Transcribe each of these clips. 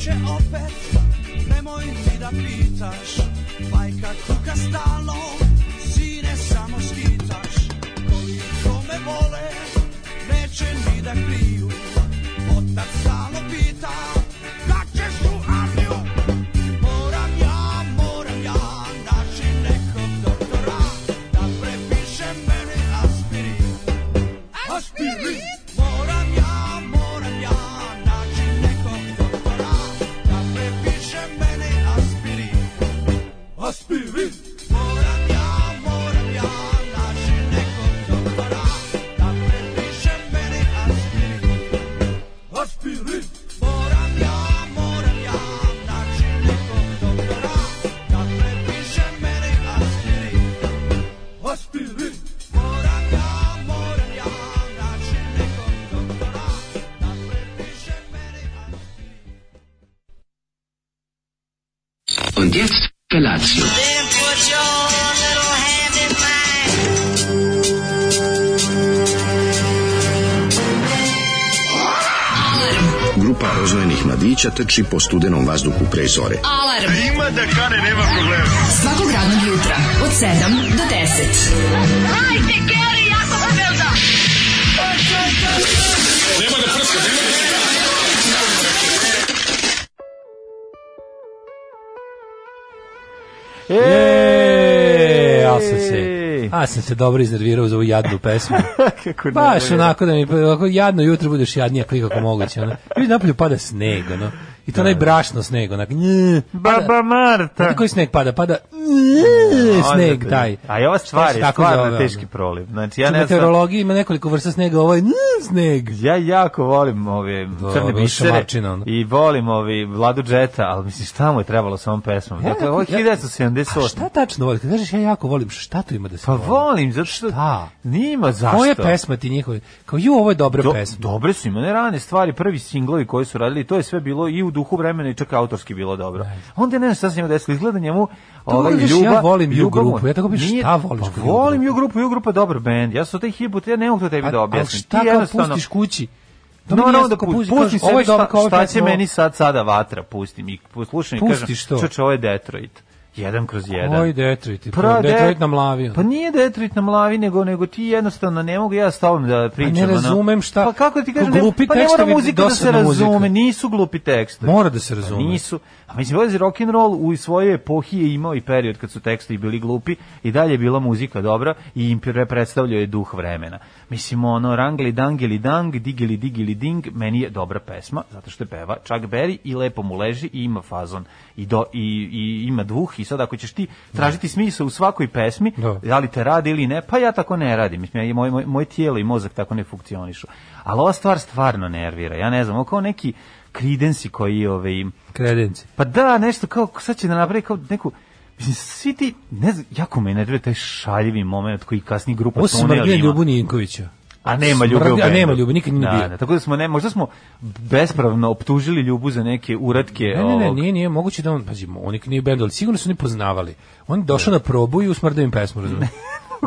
će opet, nemoj ti da pitaš, majka kuka stalno, sine samo skitaš, koliko me vole, neće ni da kriju, otac stalno pita, kad ćeš u armiju, moram ja, moram ja, naći nekog doktora, da prepiše meni aspirin, aspirin, moram ja, moram ja, naći nekog doktora, da prepiše meni aspirin, aspirin, moram ja, moram ja, naći nekog doktora, da prepiše meni aspirin, aspirin, moram ja, moram ja, naći nekog doktora, da prepiše meni aspirin, aspirin, moram ja, moram ja, naći nekog doktora, da prepiše meni aspirin. Und jetzt Felatio. Then put your little hand in mine. Grupa rozvojenih mladića teči po studenom vazduhu pre zore. Alarm. Ima da kane, nema problema. Svakog radnog jutra, od 7 do 10. Hajde, Geri, jako se velda. E, ja sam se a sam se dobro iznervirao za ovu jadnu pesmu. Kako ne, Baš ne. onako da mi pa- ovako jadno jutro budeš jadnija klikako moguće. Ono. Vidi napolju pada sneg, ono. I to najbrašno sneg, onako. nj, Pada, Baba Marta. Znate koji sneg pada? Pada nj, Onda sneg, bi- taj. A i ova Šta stvar se je tako zove, stvarno ono? teški proliv. Znači, ja U ne znam... meteorologiji ima nekoliko vrsta snega, ovo je nj, sneg. Ja jako volim ove crne ovo je bisere šamarčina, ono. i volim ovi Vladu Džeta, ali mislim šta mu je trebalo sa ovom pesmom? Dakle, ovo je A 1978. šta tačno voliš? Kad kažeš ja jako volim, šta tu ima da se Pa voli? volim, zato što... Šta? Nima zašto. Koja pesma ti njihove? Kao ju, ovo je dobra Do, pesma. dobre su im one rane stvari, prvi singlovi koji su radili, to je sve bilo i u duhu vremena i čak autorski bilo dobro. Onda je ne znam šta se njemu desilo, izgleda njemu ovaj, kažeš, ljubav, ja volim ljubav mu- U grupu, ja tako pišem, Nije- šta voliš Pa kod U volim grupu? ju grupu, ju grupa je dobar band, ja sam taj hibu, ja ne mogu to tebi da A- objasnim. Ali šta Ti kao jednostavno- pustiš kući? To No, meni no, jeste da kao pusti, pustiš, pusti kažeš, ovo je dobro, šta, kao ovo je šta će pesma, ovo- meni sad sada vatra, pustim i slušam i kažem, Pustiš to. čoč, ovo je Detroit, jedan kroz jedan. Oj, Detroit, je Pra- pro, Detroit De- nam lavi. ono. Pa nije Detroit na mlavi, nego, nego ti jednostavno ne mogu ja s tobom da pričam. ono. Pa razumem šta- Pa kako ti Ko kažem, ne- glupi pa ne mora tekstovi, muzika da se dosadna muzika. razume, nisu glupi tekstovi. Pa Mora da se razume. Nisu. A mislim, vozi rock and roll u svojoj epohi je imao i period kad su tekstovi bili glupi i dalje je bila muzika dobra i im pre- predstavljao je duh vremena. Mislim, ono, Rangeli Dangeli Dang, Digili Digili Ding, meni je dobra pesma, zato što je peva Chuck Berry i lepo mu leži i ima fazon i, do, i, i ima duh i sad ako ćeš ti tražiti smisao u svakoj pesmi, Da. da li te radi ili ne, pa ja tako ne radim. Mislim, ja, moj, moj, moje tijelo i mozak tako ne funkcionišu. Ali ova stvar stvarno nervira. Ja ne znam, ovo kao neki kridensi koji ovaj, Kredenci. pa da, nešto kao, sad će da napravi kao neku, mislim, svi ti, ne znam, jako me nervira taj šaljivi moment koji kasni grupa Ovo se Tonel mrgnja pa ima. Ljubu Ninkovića. A nema ljubi Smrdi- u a bendu. nema ljubi, nikad nije da, bio. da, tako da smo, ne, možda smo bespravno optužili ljubu za neke uratke Ne, ne, ne, ovog- nije, nije moguće da on, pazi, on nikad nije bend, ali sigurno su oni poznavali. On je došao na probu i usmrdio im pesmu, razumiješ?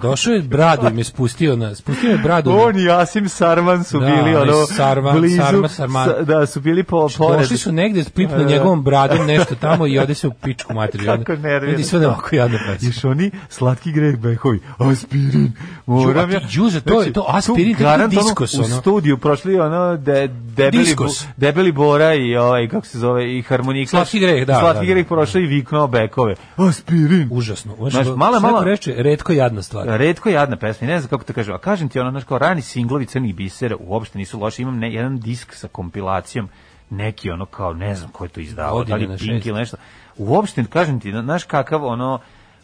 Došao je, bradu im je spustio na, spustio je bradu na, On i Asim Sarman su Da, bili oni ono Sarman, blizu, Sarma, Sarman. Znači, sa- da su bili po pored. Došli su negde, Da, pipnu da. njegovom bradom nešto tamo i ode se u pičku materiju. Kako nervira. Vidi sve da ovako jadno pesma. Još oni slatki greh behovi, aspirin, moram Ju, ja. a ti, Đuze, to je- Znači, to aspirin, tu to je garant, ono, diskos, U ono. studiju prošli ono de, debeli, Diskos. bo- debeli bora i ovaj, kako se zove, i harmonika. Slatki greh, da, da, Slatki da. greh prošao i viknuo bekove. Aspirin. Užasno. Znaš, Znaš, mala, mala, mala- mala. Reče, redko jadna stvar. Redko jadna pesma, i ne znam kako to kažem, a kažem ti ono, znaš, kao rani singlovi crnih bisera uopšte nisu loši, imam ne, jedan disk sa kompilacijom, neki ono kao, ne znam ko je to izdavao, da Godine li na Pink šest. ili nešto, uopšte, kažem ti, znaš kakav ono,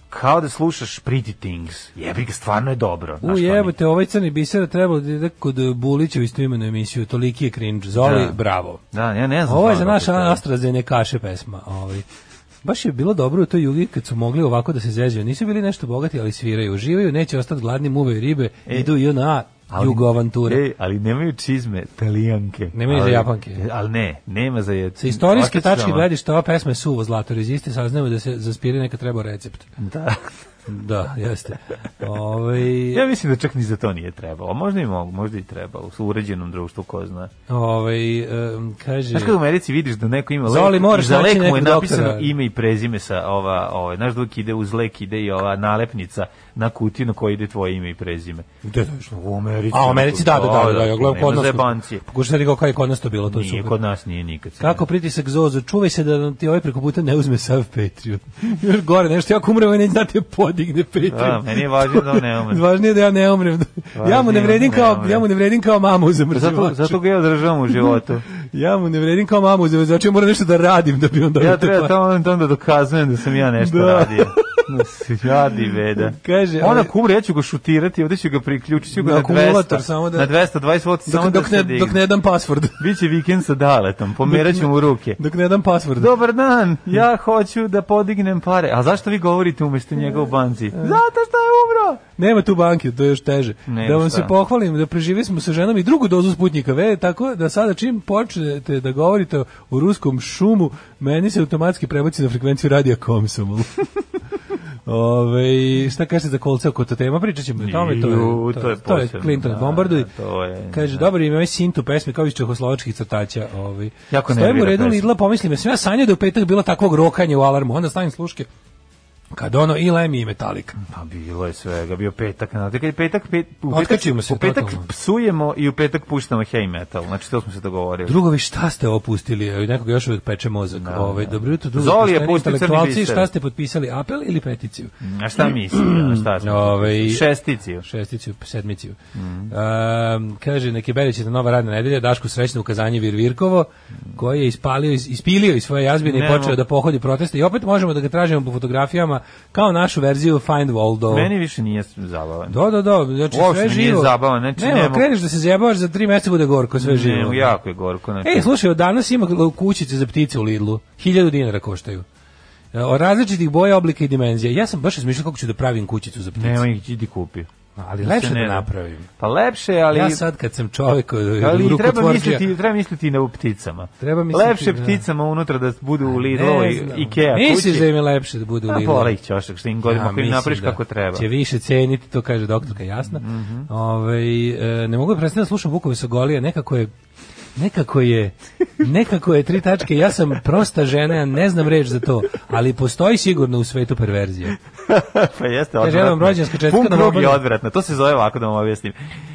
kao da slušaš Pretty Things, jebi ga, stvarno je dobro. znaš, U kao mi- jebote, ovaj crni biser trebalo da ide kod Bulića u istoimenu emisiju, toliki je cringe. Zoli, Da. bravo. Da, ja ne znam. Ovo je za stvarno naš kako to- AstraZene kaše pesma. Ovaj. Baš je bilo dobro u toj jugi kad su mogli ovako da se zeđaju. Nisu bili nešto bogati, ali sviraju, uživaju, neće ostati gladni, muvaju ribe, idu i na E, ali- e, jugoavanture. Ej, ali nemaju čizme, talijanke. Nemaju za Ali- Japanke. Ali ne, nema za je. Sa istorijske Ostaću tačke samo- gledišta ova pesma je suvo zlato, reziste, saznamo da se za aspirine neka treba recept. Da. Da, jeste. Ovaj Ja mislim da čak ni za to nije trebalo. Možda i mogu, možda i trebalo. U uređenom društvu ko zna. ovaj em, kaže Znaš kada u Americi vidiš da neko ima Zoli, lek, moraš za naći lek mu je nekog napisano doktora. ime i prezime sa ova, ovaj, znaš dok ide uz lek ide i ova nalepnica na kutiju na kojoj ide tvoje ime i prezime. Gde to je išlo? U Americi. A, u Americi, da, da, da, da, ja gledam kod nas. Zebanci. Pokušaj da ga kao je kod nas to bilo, to je Nije, super. kod nas nije nikad. Kako pritisak Zozo, čuvaj se da nam ti ovaj preko puta ne uzme sav Patreon. Još gore, nešto, ja ako umrem, on neće da te podigne Patreon. Da, meni je važno da on ne umre. Važnije je da ja ne umrem. ja mu ne je vredim da ne kao, umre. ja mu ne vredim kao mamu u zamrzivaču. Zato, zato ga ja održavam u životu. Ja mu ne vredim kao mamu u zamrzivaču, ja moram nešto da radim da bi on dobio Ja te treba pare. tamo onda da dokazujem da sam ja nešto Da. radio. Jadi veda. Kaže, Ona ali- kumre, ja ću ga šutirati, ovdje ću ga priključiti, ću ga Na na, akumulator 200, samo da- na 220 vot, samo Dok, dok, da ne, se digne. dok ne dam password. Biće vikend sa daletom, pomerat ću mu ruke. Dok ne dam password. Dobar dan, ja hoću da podignem pare. A zašto vi govorite umjesto njega u E. banci? Zato što je umro! Nema tu banke, to je još teže. Nema da vam šta. se pohvalim, da preživjeli smo sa ženom i drugu dozu Sputnjika V, tako da sada čim počnete da govorite o ruskom šumu, meni se automatski prebaci na frekvenciju radija Komsomol. Ove, šta kažete za kolce oko to tema? Pričat ćemo o tome. To je, Ju, to je to je posebno, Clinton da, bombarduj. da, to je, Kaže, da. dobro ime, ovaj sint u pesmi kao iz čehoslovačkih crtaća. Ovaj. Jako Stojim u nervira redu pesma. Lidla, pomislim, jesam ja sanjao da je u petak bilo takvog rokanja u alarmu, onda stavim sluške. Kad ono i Lemi i Metallica. Pa bilo je svega, bio petak. Znate, kad je petak, pet, u Otkačimo petak, se u petak totalno. psujemo i u petak puštamo heavy metal. Znači, to smo se dogovorili. Drugovi, šta ste opustili? Evo, Nekoga još uvijek peče mozak. Ovaj, dobro jutro, drugovi, Zoli je pošteni pustio crni intelektualci, biser. Mm. šta ste potpisali, apel ili peticiju? A šta mislim? A šta smo? Ovaj- Šesticiju. Šesticiju, sedmiciju. Mm. Um, kaže, neki berići na nova radna nedelja, Dašku srećno ukazanje Virvirkovo, koji je ispalio, iz- ispilio iz svoje jazbine i Nemo. počeo da pohodi proteste. I opet možemo da ga tražimo po fotografijama kao našu verziju Find Waldo. Meni više nije zabavan. Da, da, da, znači Uopšte sve mi nije živo. zabavno, znači Nema, nemo- kreneš da se zjebavaš, za tri mjeseca bude gorko, sve živo. Ne, jako je gorko. Znači. Ej, slušaj, od danas ima kućice za ptice u Lidlu. Hiljadu dinara koštaju. E, Od različitih boja, oblika i dimenzija. Ja sam baš razmišljao kako ću da pravim kućicu za ptice. Nema ih ti kupio. ali lepše se da ne da. napravim. Pa lepše, ali... ja sad kad sam čovjek e, Ali treba rukotvorđija- misliti, treba misliti i na u pticama. Treba misliti, Lepše da. pticama unutra da budu u Ne Lidlu i znam. Ikea kući. Misliš da im je lepše da bude u A Lidlu? pola ih ćošak, što im Ja godima, ako im mislim napraviš da kako treba. Mhm. Će više ceniti, to kaže doktorka jasna. Ovaj, e, ne mogu prestati da slušam Vukove Sogolija, nekako je nekako je nekako je tri tačke ja sam prosta žena ja ne znam reč za to ali postoji sigurno u svetu perverzija pa jeste Kaže, odvratno. evo vam rođenska čestitka Pun na krug je mobingu. odvratno, to se zove ovako da vam objasnim.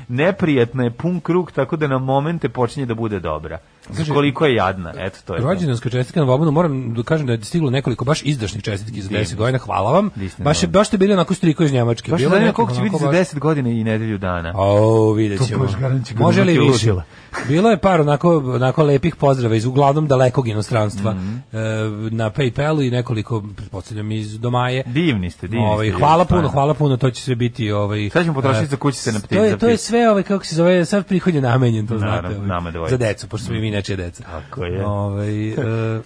Neprijatna je pun krug, tako da na momente počinje da bude dobra. Znači, koliko je jadna, eto to Pa je. to. rođendanska čestitka na Bobanu moram da kažem da je stiglo nekoliko baš izdašnih čestitki za 10 godina hvala vam Divno. baš je baš ste bili onako striko iz Njemačke Baš se Bilo zanima nekako koliko će biti onako za baš- 10 godina i nedelju dana. O, vidjet To ćemo. baš garanti kad Može li budemo ti više? ludila. Bilo je par onako, onako lepih pozdrava iz uglavnom dalekog inostranstva Mhm. e, na Paypalu i nekoliko, pretpostavljam, iz Domaje. Divni ste, divni Ovaj, ste. hvala ljudi, puno, stvarno. hvala puno, to će sve biti ovaj Sad ćemo potrošiti e, za kućice na ptice, To je, za to je ptice. sve ovaj kako se zove, sav prihod je namenjen, to Naravno, znate. ovaj, nama dvojici. za decu, pošto smo i mi nečije deca. Tako je. Ovaj e,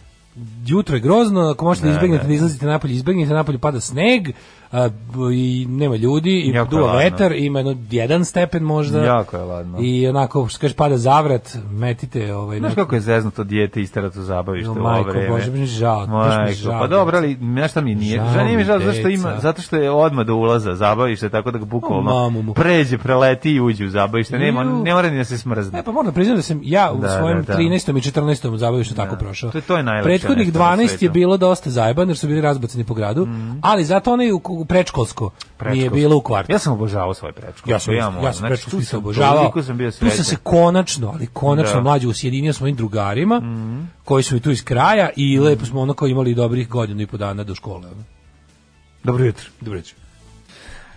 jutro je grozno, ako možete da izbegnete da izlazite napolje, izbegnite napolje pada sneg a, b- i nema ljudi i Jako je duva ladno. vetar, ima jedno jedan stepen možda. Jako je ladno. I onako što kažeš pada zavrat, metite ovaj Znaš neki- kako je zeznuto dijete isterat u zabavište Jo, u ovo majko vreme? Bože, baš mi je žao, baš mi je Majko, žao Pa djeca. dobro, ali znaš šta mi nije? Žao Žao, nije mi mi žao zašto djeca. ima, zato što je odmah do ulaza zabavište, tako da ga O, bukvalno mamu mu. pređe, preleti i uđe u zabavište. Nema, Ju. ne mora ni da se smrzne. E pa moram da priznam da sam ja u Da, svojem da, da. 13. i 14. zabavištu tako prošao. To je- to je najlepše Prethodnih nešto na 12 je svetu. Mhm. bilo dosta zajebano jer su bili razbacani po gradu, ali zato onaj u, u predškolsko, nije Predškolsko. bilo u kvartu. Ja sam obožavao svoje prečko. Ja sam, ja, sam moram. Znači, prečko tu sam sam obožavao. toliko sam bio Tu sam srećan. se konačno, ali konačno Da. Mhm. mlađe usjedinio s mojim drugarima, koji su mi tu iz kraja i lepo smo onako imali dobrih godinu i po dana do škole. ono. Dobro jutro. Dobro večer.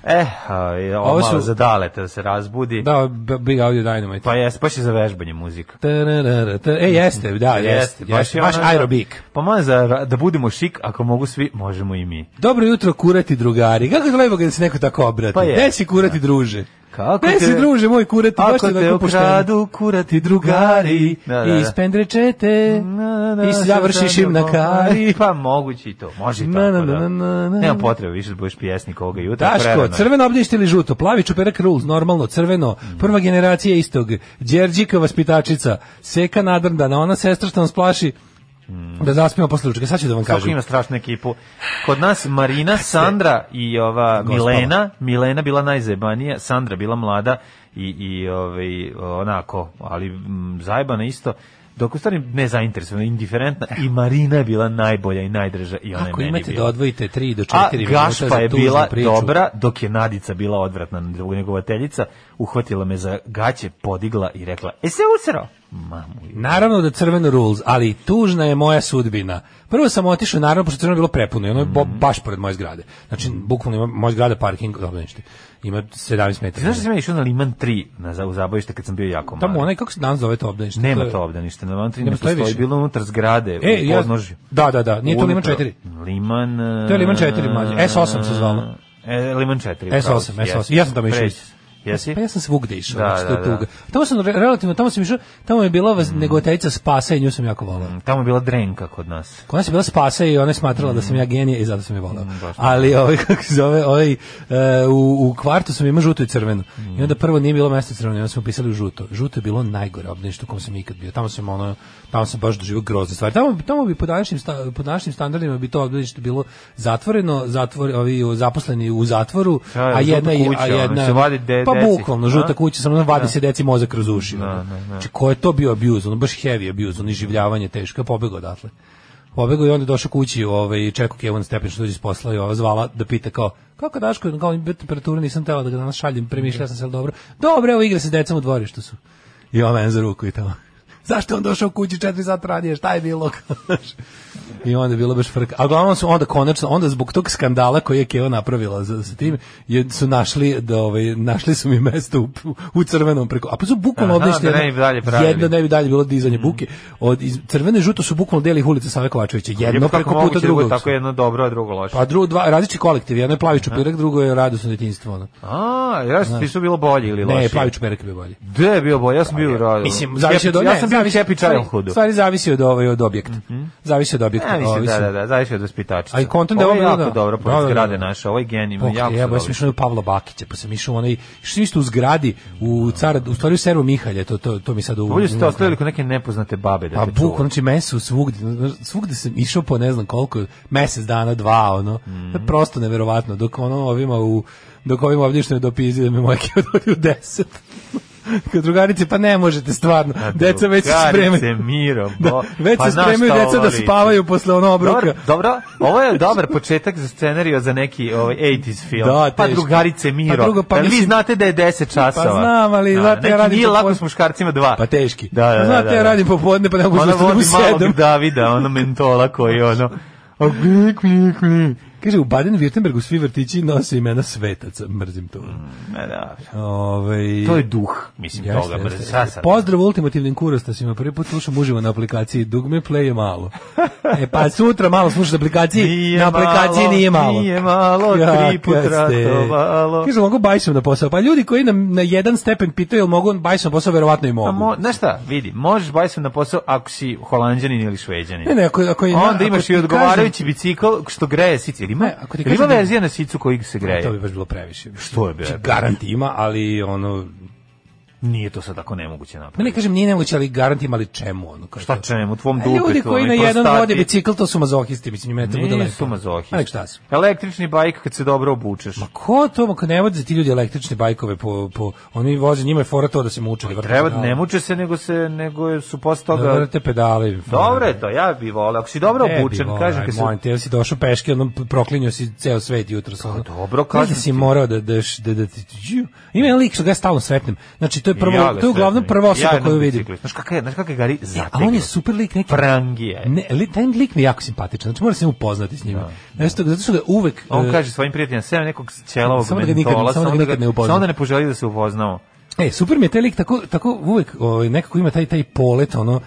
Eh, a, i ovo Ovo malo su- za dalete da se razbudi. Da, B- Big Audio Dynamite. Pa jes, baš je za vežbanje muzika. Tararara, ta- E, jeste, da, jeste, jeste, je baš ono za- aerobik. Pa malo za, da budemo šik, ako mogu svi, možemo i mi. Dobro jutro, kurati drugari. Kako je lepo kada se neko tako obrati? Pa je. Gde si kurati druže? Kako Gde te- si druže, moj kurati? baš Ako si te onako pošteno. ukradu, kurati drugari. Da, da, da. Ispendrečete Na, na, i završiš im na kari. Pa moguće i to, može i Na, tako, na, da. na, na, na. Nema potrebe više da budeš pjesnik ovoga jutra. prerano Daško, je. crveno obdješte ili žuto, plavi čuperak rules, normalno, crveno, Mm. prva generacija istog, Đerđika vaspitačica, seka nadrndana, ona sestra što nas plaši, Da zaspimo posle ručka, sad ću da vam Mm. Kako ima kažem. strašnu ekipu. Kod nas Marina, Sandra i ova Milena, Milena bila najzajebanija, Sandra bila mlada i, i ovaj, onako, ali mm, zajebana isto. Dok u stvari ne zainteresovana, indiferentna i Marina je bila najbolja i najdrža i ona je Ako meni imate da bila. odvojite 3 do 4 A minuta za Gašpa je tužnu bila priču. dobra, dok je Nadica bila odvratna njegovateljica, uhvatila me za gaće, podigla i rekla, e se usrao? Mamu. Naravno da crveno rules, ali tužna je moja sudbina. Prvo sam otišao, naravno, pošto je crveno bilo prepuno i ono je bo- Mhm. baš pored moje zgrade. Znači, bukvalno ima moja zgrada parking, dobro nešto. Ima 17 metara. Ti znaš da sam ja išao na Liman 3 na, za- u zabavište kad sam bio jako mali? Tamo onaj, kako se danas zove to obdanište? Nema je- to ovde ništa, na Mantri Ne ne postoji postoji, više. bilo unutar zgrade, E, u ja- podnožju. da, da, da, nije to Liman Unutra- 4. Liman... e, To je Liman 4 mlađe. S8 se zvalo. E, Liman 4. S8, upravo si, S8. Ja sam tamo išao. Preći. Jesi? Pa ja sam svugde išao, Da, znači, to je da, Mhm. da. tuga. Tamo sam re- relativno, tamo sam išao, tamo je bila vas negoteljica Spasa i nju sam jako volao. Tamo je bila drenka kod nas. Kod nas je bila spasa i ona je smatrala da sam ja genije i zato sam je volao. Mm, baš tako. Ali ovaj kako se zove, ovaj e, u, u kvartu sam imao žuto i crveno. I onda prvo nije bilo mesta crveno, i onda smo pisali u žuto. Žuto je bilo najgore obdanište u kom sam ikad bio. Tamo sam ono tamo sam baš doživio grozne stvari. Tamo tamo bi po današnjim sta- po današnjim standardima bi to obdanište bilo zatvoreno, zatvor ovi zaposleni u zatvoru, Da, da, a jedna žuta i- kuća, a ono, jedna se vadi de- pa deci. bukvalno žuta A? kuća samo ono, vadi se deci mozak kroz uši. ono. Znači, ko je to bio abuse, ono baš heavy abuse, ono življavanje teško, pobegao odatle. Pobegao i onda je došao kući, ovaj čekao Kevin Stepin što dođe s posla i ova zvala da pita kao kako Daško, kao ima temperatura, nisam tela da ga danas šaljem, premišljao sam se jel dobro. Dobro, evo igra se decom u dvorištu su. I on meni za ruku i tamo. Zašto je on došao kući 4 sata ranije, šta je bilo? I onda je bilo baš frka. A uglavnom su onda konačno, onda zbog tog skandala koji je Keva napravila za, sa tim, je, su našli, da, ovaj, našli su mi mesto u, u crvenom preko. A pa su bukvalno Aha, obdešli da ne bi dalje pravili. Mm. jedno ne bi dalje bilo dizanje buke. Od, iz, crvene i žuto su bukvalno deli ulice Save Kovačevića. Jedno Lijepo kako preko moguće puta da bude drugog. Tako jedno dobro, a drugo loše. Pa drugo, dva, različiti kolektiv. Jedno je plavi čupirak, drugo je radosno detinjstvo. Ono. A, ja sam ti su bilo bolji ili loši? Ne, plavi čupirak je bio bolji. Gde je bio bolji? Ja sam bio u radu. Mislim, zavisi od... Happy- ne, Ja sam bio u zavisi- Happy Childhoodu. Mhm. Stvari zavisi od, ovaj, od objekta. Zavisi od objekta. Ja mislim, ovisi- da, da, da, zavisi od vaspitačica. A i kontent da ovo ovo je bilo da- jako dobro, Da, da, pored da. zgrade naše, ovo je genijum, Pok, jako su ja, ja sam dobri. išao u Pavla Bakića, pa sam išao u onaj, što isto u zgradi, u car, u stvari u servu Mihalje, to, to, to mi sad u... Bolje Pa ste ostavili kod neke nepoznate babe da Pa te buk, čuva. znači meso svugde, svugde sam išao po ne znam koliko, mesec dana, dva, ono, To Mhm. je prosto neverovatno, dok ono ovima u, dok ovima ovdje što je dopizi da me moja keva dodi u deset. Kad drugarice, pa ne možete stvarno, deca već se Drugarice, spremaju. Miro, Da, bo- već pa se znaš spremaju šta deca ovo da liči. spavaju posle ono obroka. Dobar, dobro, ovo je dobar početak za scenariju za neki ovaj 80s film. Da, pa teško. drugarice Miro. Pa Pa drugo, pa vi mislim- Pa znate da je 10 časova. znam, ali znate, ja neki radim Nije to lako pos- s muškarcima dva. Pa teški. Da, da, da, Znate, da, ja da. radim popodne, pa ne mogu Ona da ustanem u vodi sedam. malog Davida, ono mentola koji ono... A klik, klik, klik. Kaže, u Baden-Württembergu svi vrtići nose imena svetaca, mrzim to. Ma da, Ovaj To je duh, mislim, Jeste, toga. jeste. brzo. Sad sam- Pozdrav ultimativnim kurostasima, prvi put slušam uživo na aplikaciji, dugme play je malo. E pa sutra malo slušaš na aplikaciji, Nije na aplikaciji malo, nije malo. nije malo, tri put kad ste. ratovalo. Kaže, mogu bajsom na posao. Pa ljudi koji nam na jedan stepen pitaju jel mogu bajsom na posao, verovatno i mogu. A mo, znaš šta, vidi, možeš bajsom na posao ako si holanđanin ili Ne, šveđanin. ne, ako, ako je, Onda ako imaš ti i kažem- odgovarajući bicikl što greje sice. Ili ima, Ne, ako ti ili ima kažem da- verzija na sicu koji se greje? To bi baš bilo previše. Znači, Što je bilo? Garant ima, ali ono... Nije to sad tako nemoguće Ne, ne napraviti. kažem, nije nemoguće, ali garant ima li čemu ono. Kao Šta to. čemu, u tvom A dupetu. Ljudi koji na onaj jedan prostati. vode bicikl, to su mazohisti, mislim, ne treba da lepo. Nisu mazohisti. A nek šta su. Električni bajk kad se dobro obučeš. Ma ko to, ako ne voze ti ljudi električne bajkove po, po oni voze, njima je fora to da se muče. Da vrte Treba, pedale. ne muče se, nego se, nego je- su posle Da toga... vrte pedale. im fora. Dobro je to, ja bi volao. Ako si dobro Ne bi obučen, volao, kažem aj, kad se molim te, jel si došao peške, onom proklinio si ceo svet jutro. Pa, dobro, Kaže kažem da si morao da da da, da ti- Ju, ima jedan lik što ga ja stalno sretnem. Znači to je prvo, Ja ga to je uglavnom sretnem. prva Ja osoba jednom koju vidim. biciklistu. Znaš kakav je, znaš kakav je Gari E, a on je zategnuo? super lik neki. Prangija je. Ne, li, taj lik mi je jako simpatičan. Znači moram se upoznati s njim. Nešto zato što ga uvek On e, kaže svojim prijateljima, sve nekog ćelavog Samo da ga nikad- mentola, samo da ga nikad ne upoznam. Samo da ne poželi da se upoznamo. E, super mi je taj lik, tako, tako uvek ovaj, nekako ima taj, taj polet, ono,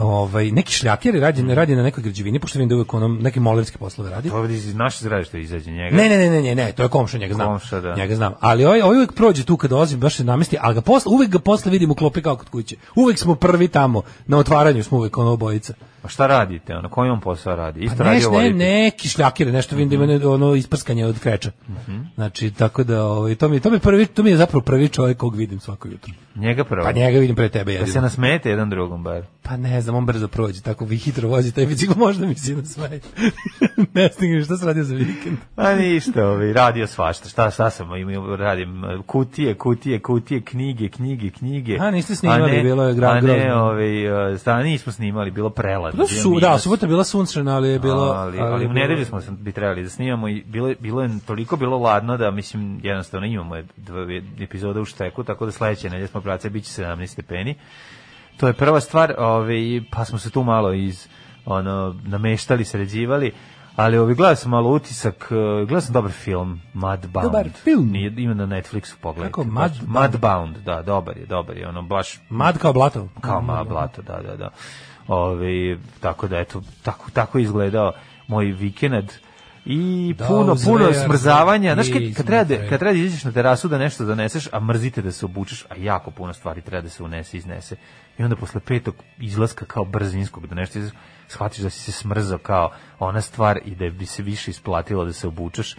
ovaj, neki šljaker je radi, radi na nekoj građevini, pošto vidim da uvek onom, neke molerske poslove radi. Mhm. To je iz naše zgrade što izađe njega. Ne, ne, ne, ne, ne, ne, to je komša, njega znam. Komša, da. Njega znam. Ali ovaj, ovaj uvek prođe tu kad dolazi, baš se namesti, ali ga posle, uvek ga posle vidim u klopi kao kod kuće. Uvek smo prvi tamo, na otvaranju smo uvek ono obojica. Pa šta radite? Ono, koji on posao radi? Isto Mhm. Pa radi ovaj neš, ne, neki šljakire, nešto vidim da ima ne- ono isprskanje od kreča. Mhm. Znači, tako da, ovaj, to, mi, to, mi prvi, to mi je zapravo prvi čovjek kog vidim svako jutro. Njega prvo. Pa njega vidim pre tebe Da se jedino. nasmete jedan drugom bar. Pa ne znam, on brzo prođe, tako vi hitro vozi taj bicikl, možda mi se nasmeje. ne stigne, šta se radio za vikend? Pa ništa, ovaj, radio svašta. Šta, šta sam im- radim? e, Kutije, kutije, kutije, knjige, knjige, knjige. A, niste snimali, A ne- bilo je gra- A ne, grozno. ovaj, e, sta, nismo snimali, bilo preladno. Pa Da, bio su, da, minus. subota je bila sunčana, ali je bilo... ali, ali u bilo- nedelju smo se bi trebali da snimamo i bilo, je- bilo je toliko bilo ladno da mislim jednostavno imamo je dva epizoda u šteku, tako da sledeće nedelje smo brace biće 17 stepeni. To je prva stvar, ovaj pa smo se tu malo iz ono nameštali, sređivali. Ali ovi gledao sam malo utisak, eh, gledao sam dobar film, Mudbound. Dobar film. Nije, ima na Netflixu, pogledajte. Kako, baš. Mudbound? Mudbound, da, dobar je, dobar je, ono, baš Mad kao Mm. blato. kao ma blato, da, da, da. Ove, tako da, eto, tako, tako je izgledao moj vikend i Da, puno, puno uzrejan smrzavanja. Znaš, i kad, kad, treba, da- smrzavanja. kad treba da izađeš na terasu da nešto zaneseš, a mrzite da se obučeš, a jako puno stvari treba da se unese, iznese. I onda posle petog izlaska kao brzinskog da nešto izlaska, shvatiš da si se smrzao kao ona stvar i da bi se više isplatilo da se obučeš.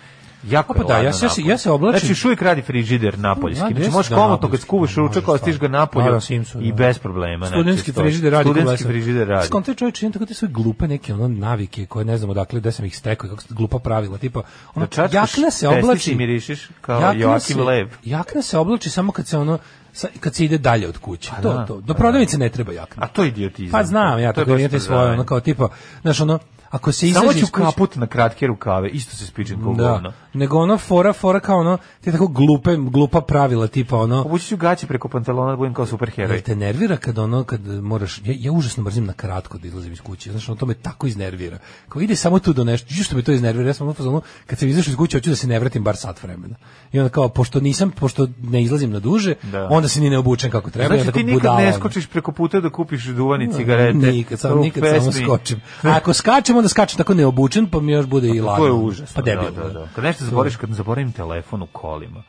A Jako pa je da, ladno ja se- ja se- napolje. ja se oblačim- Znači, još uvijek radi frižider napoljski. Da, Znači, jeste možeš da, komotno kad napoljski, skuvaš može ručak, ostiš ga stvarno. napolje Naravno, Simpson, i da. bez problema. znači, Studentski to je. frižider radi. Studentski frižider radi. Skontaj čovječ, imam tako te svoje glupe neke ono navike koje ne znam odakle, gde sam ih stekao i kako su glupa pravila. Tipa, ono, čačkaš, jakna se pesniš oblači... i mirišiš kao jakna Joakim se- Lev. Jakna se oblači samo kad se ono sa- kad se ide dalje od kuće. to, Pa da, to. Do prodavnice ne treba jakna. A to je idiotizam. Pa znam, ja To je tako baš imate svoje, smrzavanje. ono kao tipa, znaš ono, ako se izađe Samo ću iz kuće- kaput na kratke rukave, isto se spičem kao Da, govno. nego ono fora, fora kao ono, te tako glupe, glupa pravila, tipa ono, Obući ću gaće preko pantalona da budem kao Jel superheroj. te nervira kad ono kad moraš ja, ja užasno mrzim na kratko da izlazim iz kuće. Znaš, ono to me tako iznervira. Kao ide samo tu do nešto. Ju, što me to iznervira? Ja sam ono fazonu kad sam izašao iz kuće hoću da se ne vratim bar sat vremena. I onda kao pošto nisam pošto ne izlazim na duže, Da. onda se ni ne obučem kako treba. ja Znači tako ti nikad budala, ne ono. skočiš preko puta da kupiš duvan i cigarete. Nikad, U sam, nikad samo pesmi. skočim. A ako skačem, onda skačem tako neobučen, pa mi još bude i ladno. To je užasno. Pa debil. Da, da, da. Kad nešto zaboriš, kad zaboravim telefon u kolima.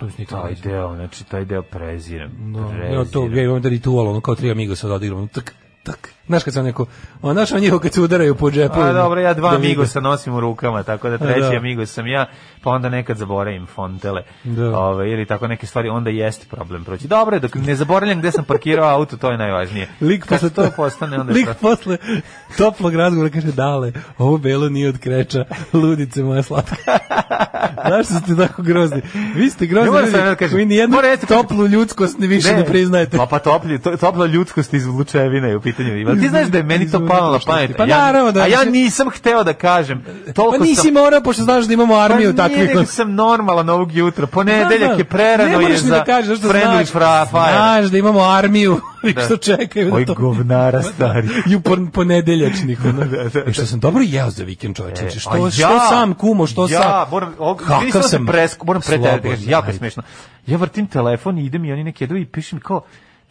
To još nikad Taj nisam. deo, znači taj deo prezirem. No, ja prezirem. to ja imam da ritual, ono kao tri amigo sad odigram, ono, tak, tak. Znaš kad sam neko, ono, znaš on njihovo kad se udaraju po džepu. A Pa dobro, ja dva da vide. Amigosa nosim u rukama, tako da treći da. Amigos sam ja, pa onda nekad zaboravim fontele. Da. Ove, ili tako neke stvari, onda jeste problem proći. Dobro, je, dok ne zaboravljam gde sam parkirao auto, to je najvažnije. Lik Kad posle to postane, onda je Lik problem. posle toplog razgovora kaže dale, ovo belo nije od kreča, ludice moja slatka. Znaš što ste tako grozni? Vi ste Ne grozni moram sad da ljudi kažem. koji nijednu Moram reći- toplu ljudskost ne više ne, priznajete. Pa, pa toplju, to, topla ljudskost iz Lučevine je u pitanju. Ima. Ti znaš da je meni to Iz palo na unutrašnjosti. pamet. Pa a ja- naravno da A ja mislim- nisam hteo da kažem. Pa E, Toliko nisi sam morao, pošto znaš da imamo armiju Pa nije, takvih. nego sam normalan ovog jutra. Ponedeljak je prerano ne je moraš ni za da kažeš, zato što friendly znaš, fra, fire. znaš da imamo armiju i što čekaju Oj, na to. govnara stari. Ju pon, ponedeljačnik. ono. E, što sam dobro jeo za vikend čovječe. E, Znači, a što, što sam kumo, što ja, pa sam... moram, ovog, Kakav kakav sam, sam presko, moram pretjerati, slobodan, kažem, jako je ajde. smešno. Ja vrtim telefon i idem i oni neki jedu i piše mi kao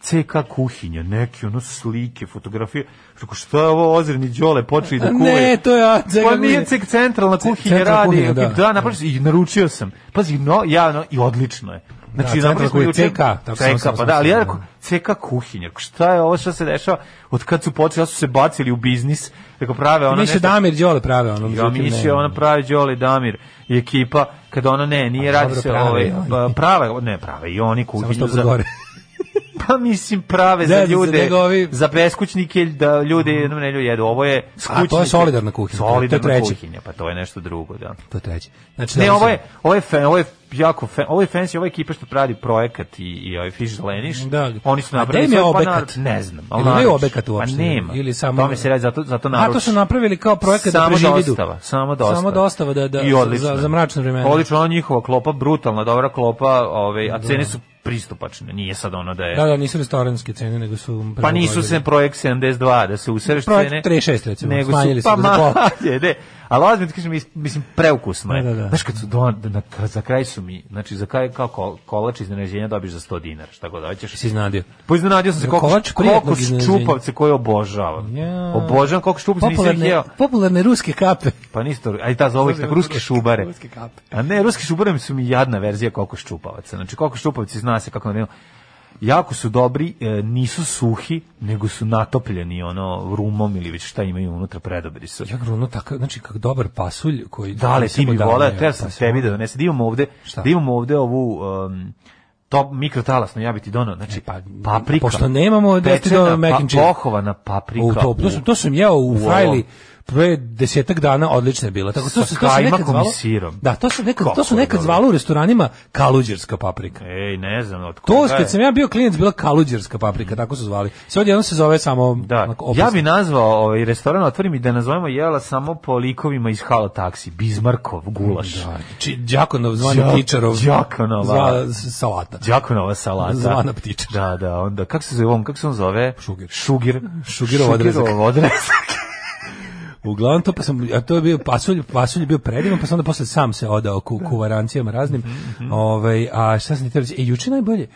CK kuhinja, neki ono slike, fotografije. Rekao, šta je ovo ozirni đole, počeli da A kuje. ne, to je a, Pa Cega nije Kuhinja. cek centralna kuhinja centralna radi, kuhinja, da. da, da napraviš, i naručio sam. Pazi, no, ja, no, i odlično je. Znači, Da, napravili centralna smo kuhinja, juče- CK, tako sam CK, sam pa sam da, ali ja sam, rekao, CK kuhinja, rekao, šta je ovo, šta se dešava, od kad su počeli, ja su se bacili u biznis, rekao, prave ono Mi se nešto, Damir Đole prave ono. Ja međutim, ne. mislio ona pravi Đole Damir i ekipa kad ona ne, nije A radi dobro, se prave ovaj i oni. pa, prave, ne prave i oni Samo kuhinju što za gore. pa mislim prave za Ne, za- za ljude, nego ovi- za beskućnike da ljudi jednom nedelju jedu. Ovo je A, to je solidarna kuhinja, to je Solidarna treće. kuhinja, pa to je nešto drugo, da. To je treće. Znači, Ne, da, ovo je, ovo je, fan, ovo je jako fan, ovo je fancy, ovo je ekipa što pravi projekat i, i ovaj Fish Leniš. Da. Oni su A napravili gde im je svoj pa obekat? naruč- Ne znam. ali Ili nemaju naruč- obekat uopšte? Pa nema. Ili samo- Tome se radi, zato, zato A naruč. to su napravili kao projekat da Samo preživi dostava, samo dostava. Samo dostava da, da, I odlično. za, za mračne vremena. Odlično, ona njihova klopa, brutalna, dobra klopa, ovaj, a cene su pristupačne, nije sad ono da je... Da, da, nisu restoranske cene, nego su... Pa nisu se projekt 72 da se usereš Projekt cene. 36 recimo, nego smanjili su, su ga pa za pola. manje, ne. Ali ozbiljno ti kažem, mis- mislim, preukusno je. Da, da, da. Znaš, kad su do, na, za kraj su mi, znači za kraj kao kol, kolač iznenađenja dobiješ za 100 dinara, šta god hoćeš. Si iznadio. Pa iznenadio sam se koliko, Kolač prijatnog koliko iznenađenja. čupavce koje obožavam. Ja. Obožavam koliko čupavce nisam ih Popularne, jeo. popularne ruske kape. Pa nisto, aj ta zove ih tako, ruske šubare. Ruske kape. A ne, ruski šubare su mi jadna verzija kokoš čupavaca. Znači, kokoš čupavci zna se kako ne jako su dobri, e, nisu suhi, nego su natopljeni ono rumom ili već šta imaju unutra, predobri su. Ja gruno tako, znači kak dobar pasulj koji Da li koji se ti mi podavljaju, vole, teo sam pasulj. tebi da donesem. Da imamo ovde, Šta? da imamo ovde ovu um, top mikrotalasno, ja bi ti donao, znači pa, paprika. pošto nemamo, da ti pečena doneo mac pa- and cheese. Pohovana paprika. U to, to, sam, to sam jeo u u Frajli ovom. pre desetak dana odlična je bila. Tako, to, Sa se, to se nekad kajmakom i zvalo, sirom. Da, to se nekad, Kako to su je nekad dobro. zvalo u restoranima kaluđerska paprika. Ej, ne znam od To koga je. kad sam ja bio klijent bila kaluđerska paprika, tako su zvali. Sve odjednom se zove samo Da, onako, opasno. ja bi nazvao ovaj restoran otvorim i da nazovemo jela samo po likovima iz Halo taksi, Bizmarkov gulaš. Da, či, Znači, Đakonov zvani Đak- Ptičarov. Đakonova. zva- s- salata. Đakonova salata. Zvana ptičar. Da, da, onda, kako se zove on, kako se on zove? Šugir. Šugir. Šugirov odrezak. Šugirov odrezak. Uglavnom to pa sam a to je bio pasulj, pasulj je bio predivan, pa sam onda posle sam se odao ku kuvarancijama raznim. Mhm, Ovaj a šta sam ti teo reći? E juče najbolje.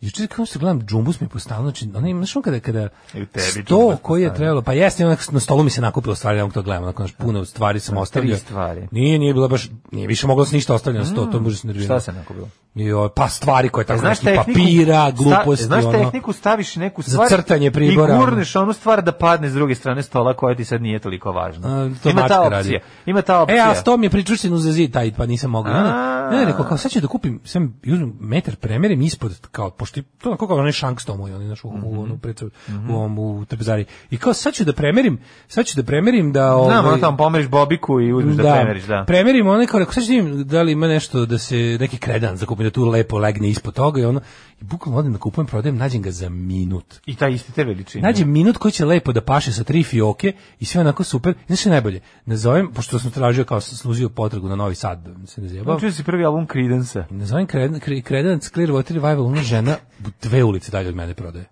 Juče kao što gledam džumbus mi je postao, znači onaj znaš on kada kada I u tebi sto džumbus koji je postane. trebalo, pa jeste onak na stolu mi se nakupilo stvari, onog to gledam, onako znaš, puno stvari sam ostavio. stvari. Mm. Nije, nije bilo baš, nije više moglo da se ništa ostavljeno na sto, to može se nervirati. Šta se nakupilo? I ovaj, pa stvari koje tako Znaš znaš tehniku, papira, sta- gluposti, znaš ono. tehniku, staviš neku Za stvar crtanje pribora, i ono. gurneš onu stvar da padne s druge strane stola koja ti sad nije toliko važna. A, to ima ta mačka radi. opcija. Ima ta opcija. E, a sto mi je pričušten za zid taj, pa nisam mogao. A. Ne, ne, rekao, kao sad ću da kupim, sam uzmem metar premerim ispod, kao, pošto je to onako kao onaj šank sto moj, onaj naš u, Mhm. ono, u, onu precu, u, ovom, u trpezari. I kao sad ću da premerim, sad ću da premerim da... ovaj, Znam, ono tamo pomeriš bobiku i uzmeš da, premeriš, da. Premerim one kao, rekao, sad ću da vidim da li ima nešto da se, neki kredan zakupim, da tu lepo legne ispod toga i ono, i bukvalno odem da kupujem, prodajem, nađem ga za minut. I ta iste te veličine. Nađe minut koji će lepo da paše sa tri fioke i sve onako super. Znaš što je najbolje? Nazovem, pošto sam tražio kao sam služio potragu na Novi Sad, da se ne zjebao. Čuo si prvi album Creedence. Nazovem Cred- Cre- Credence Clearwater Revival, ona žena u dve ulice dalje od mene prodaje.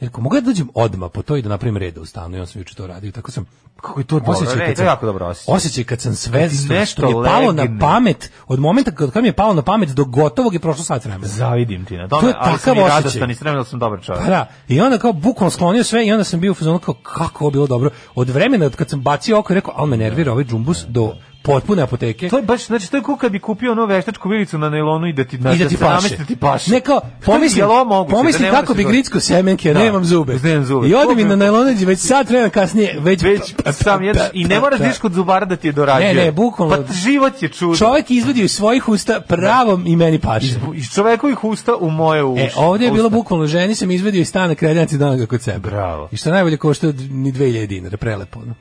Jer ako mogu ja da dođem odmah po to i da napravim reda u stanu, i on sam juče to radio, tako sam Kako je to dobro, osjećaj ne, kad to sam, je jako dobro osjećaj. osjećaj kad sam sve ti što, nešto što mi je palo na legne. pamet, od momenta kad, kad mi je palo na pamet do gotovog je prošlo sat vremena. Zavidim ti na To tome, je ali sam i takav osjećaj. radostan i sremen da sam dobar čovjek. Pa da, i onda kao bukvalno sklonio sve i onda sam bio u fazonu kao kako ovo bilo dobro. Od vremena od kad sam bacio oko i rekao, ali me nervira ovaj džumbus do potpune apoteke. To je baš, znači to je kao kad bi kupio ono veštačku vilicu na nailonu i da ti, i da ti paše. Da ti paše. Ne kao, Što je pomisli, jel ovo moguće, pomisli da ne može kako se bi to- gricko semenke, Da, nemam zube. nemam zube. I To odim bi- i na najlonađi, već sat vremena kasnije, već... pa, Već sam jedeš i ne moraš da ideš kod zubara da ti je dorađuje. Ne, ne, bukvalno. Pa život je čudo. Čovjek izvodi iz svojih usta pravom i meni paše. Iz, iz čovekovih usta u moje uši. E, ovdje je usta. bilo bukvalno, ženi sam izvedio iz stana kredenci danaga kod sebe. Bravo. I što je najbolje košta ni 2000 dinara, prelepo. No.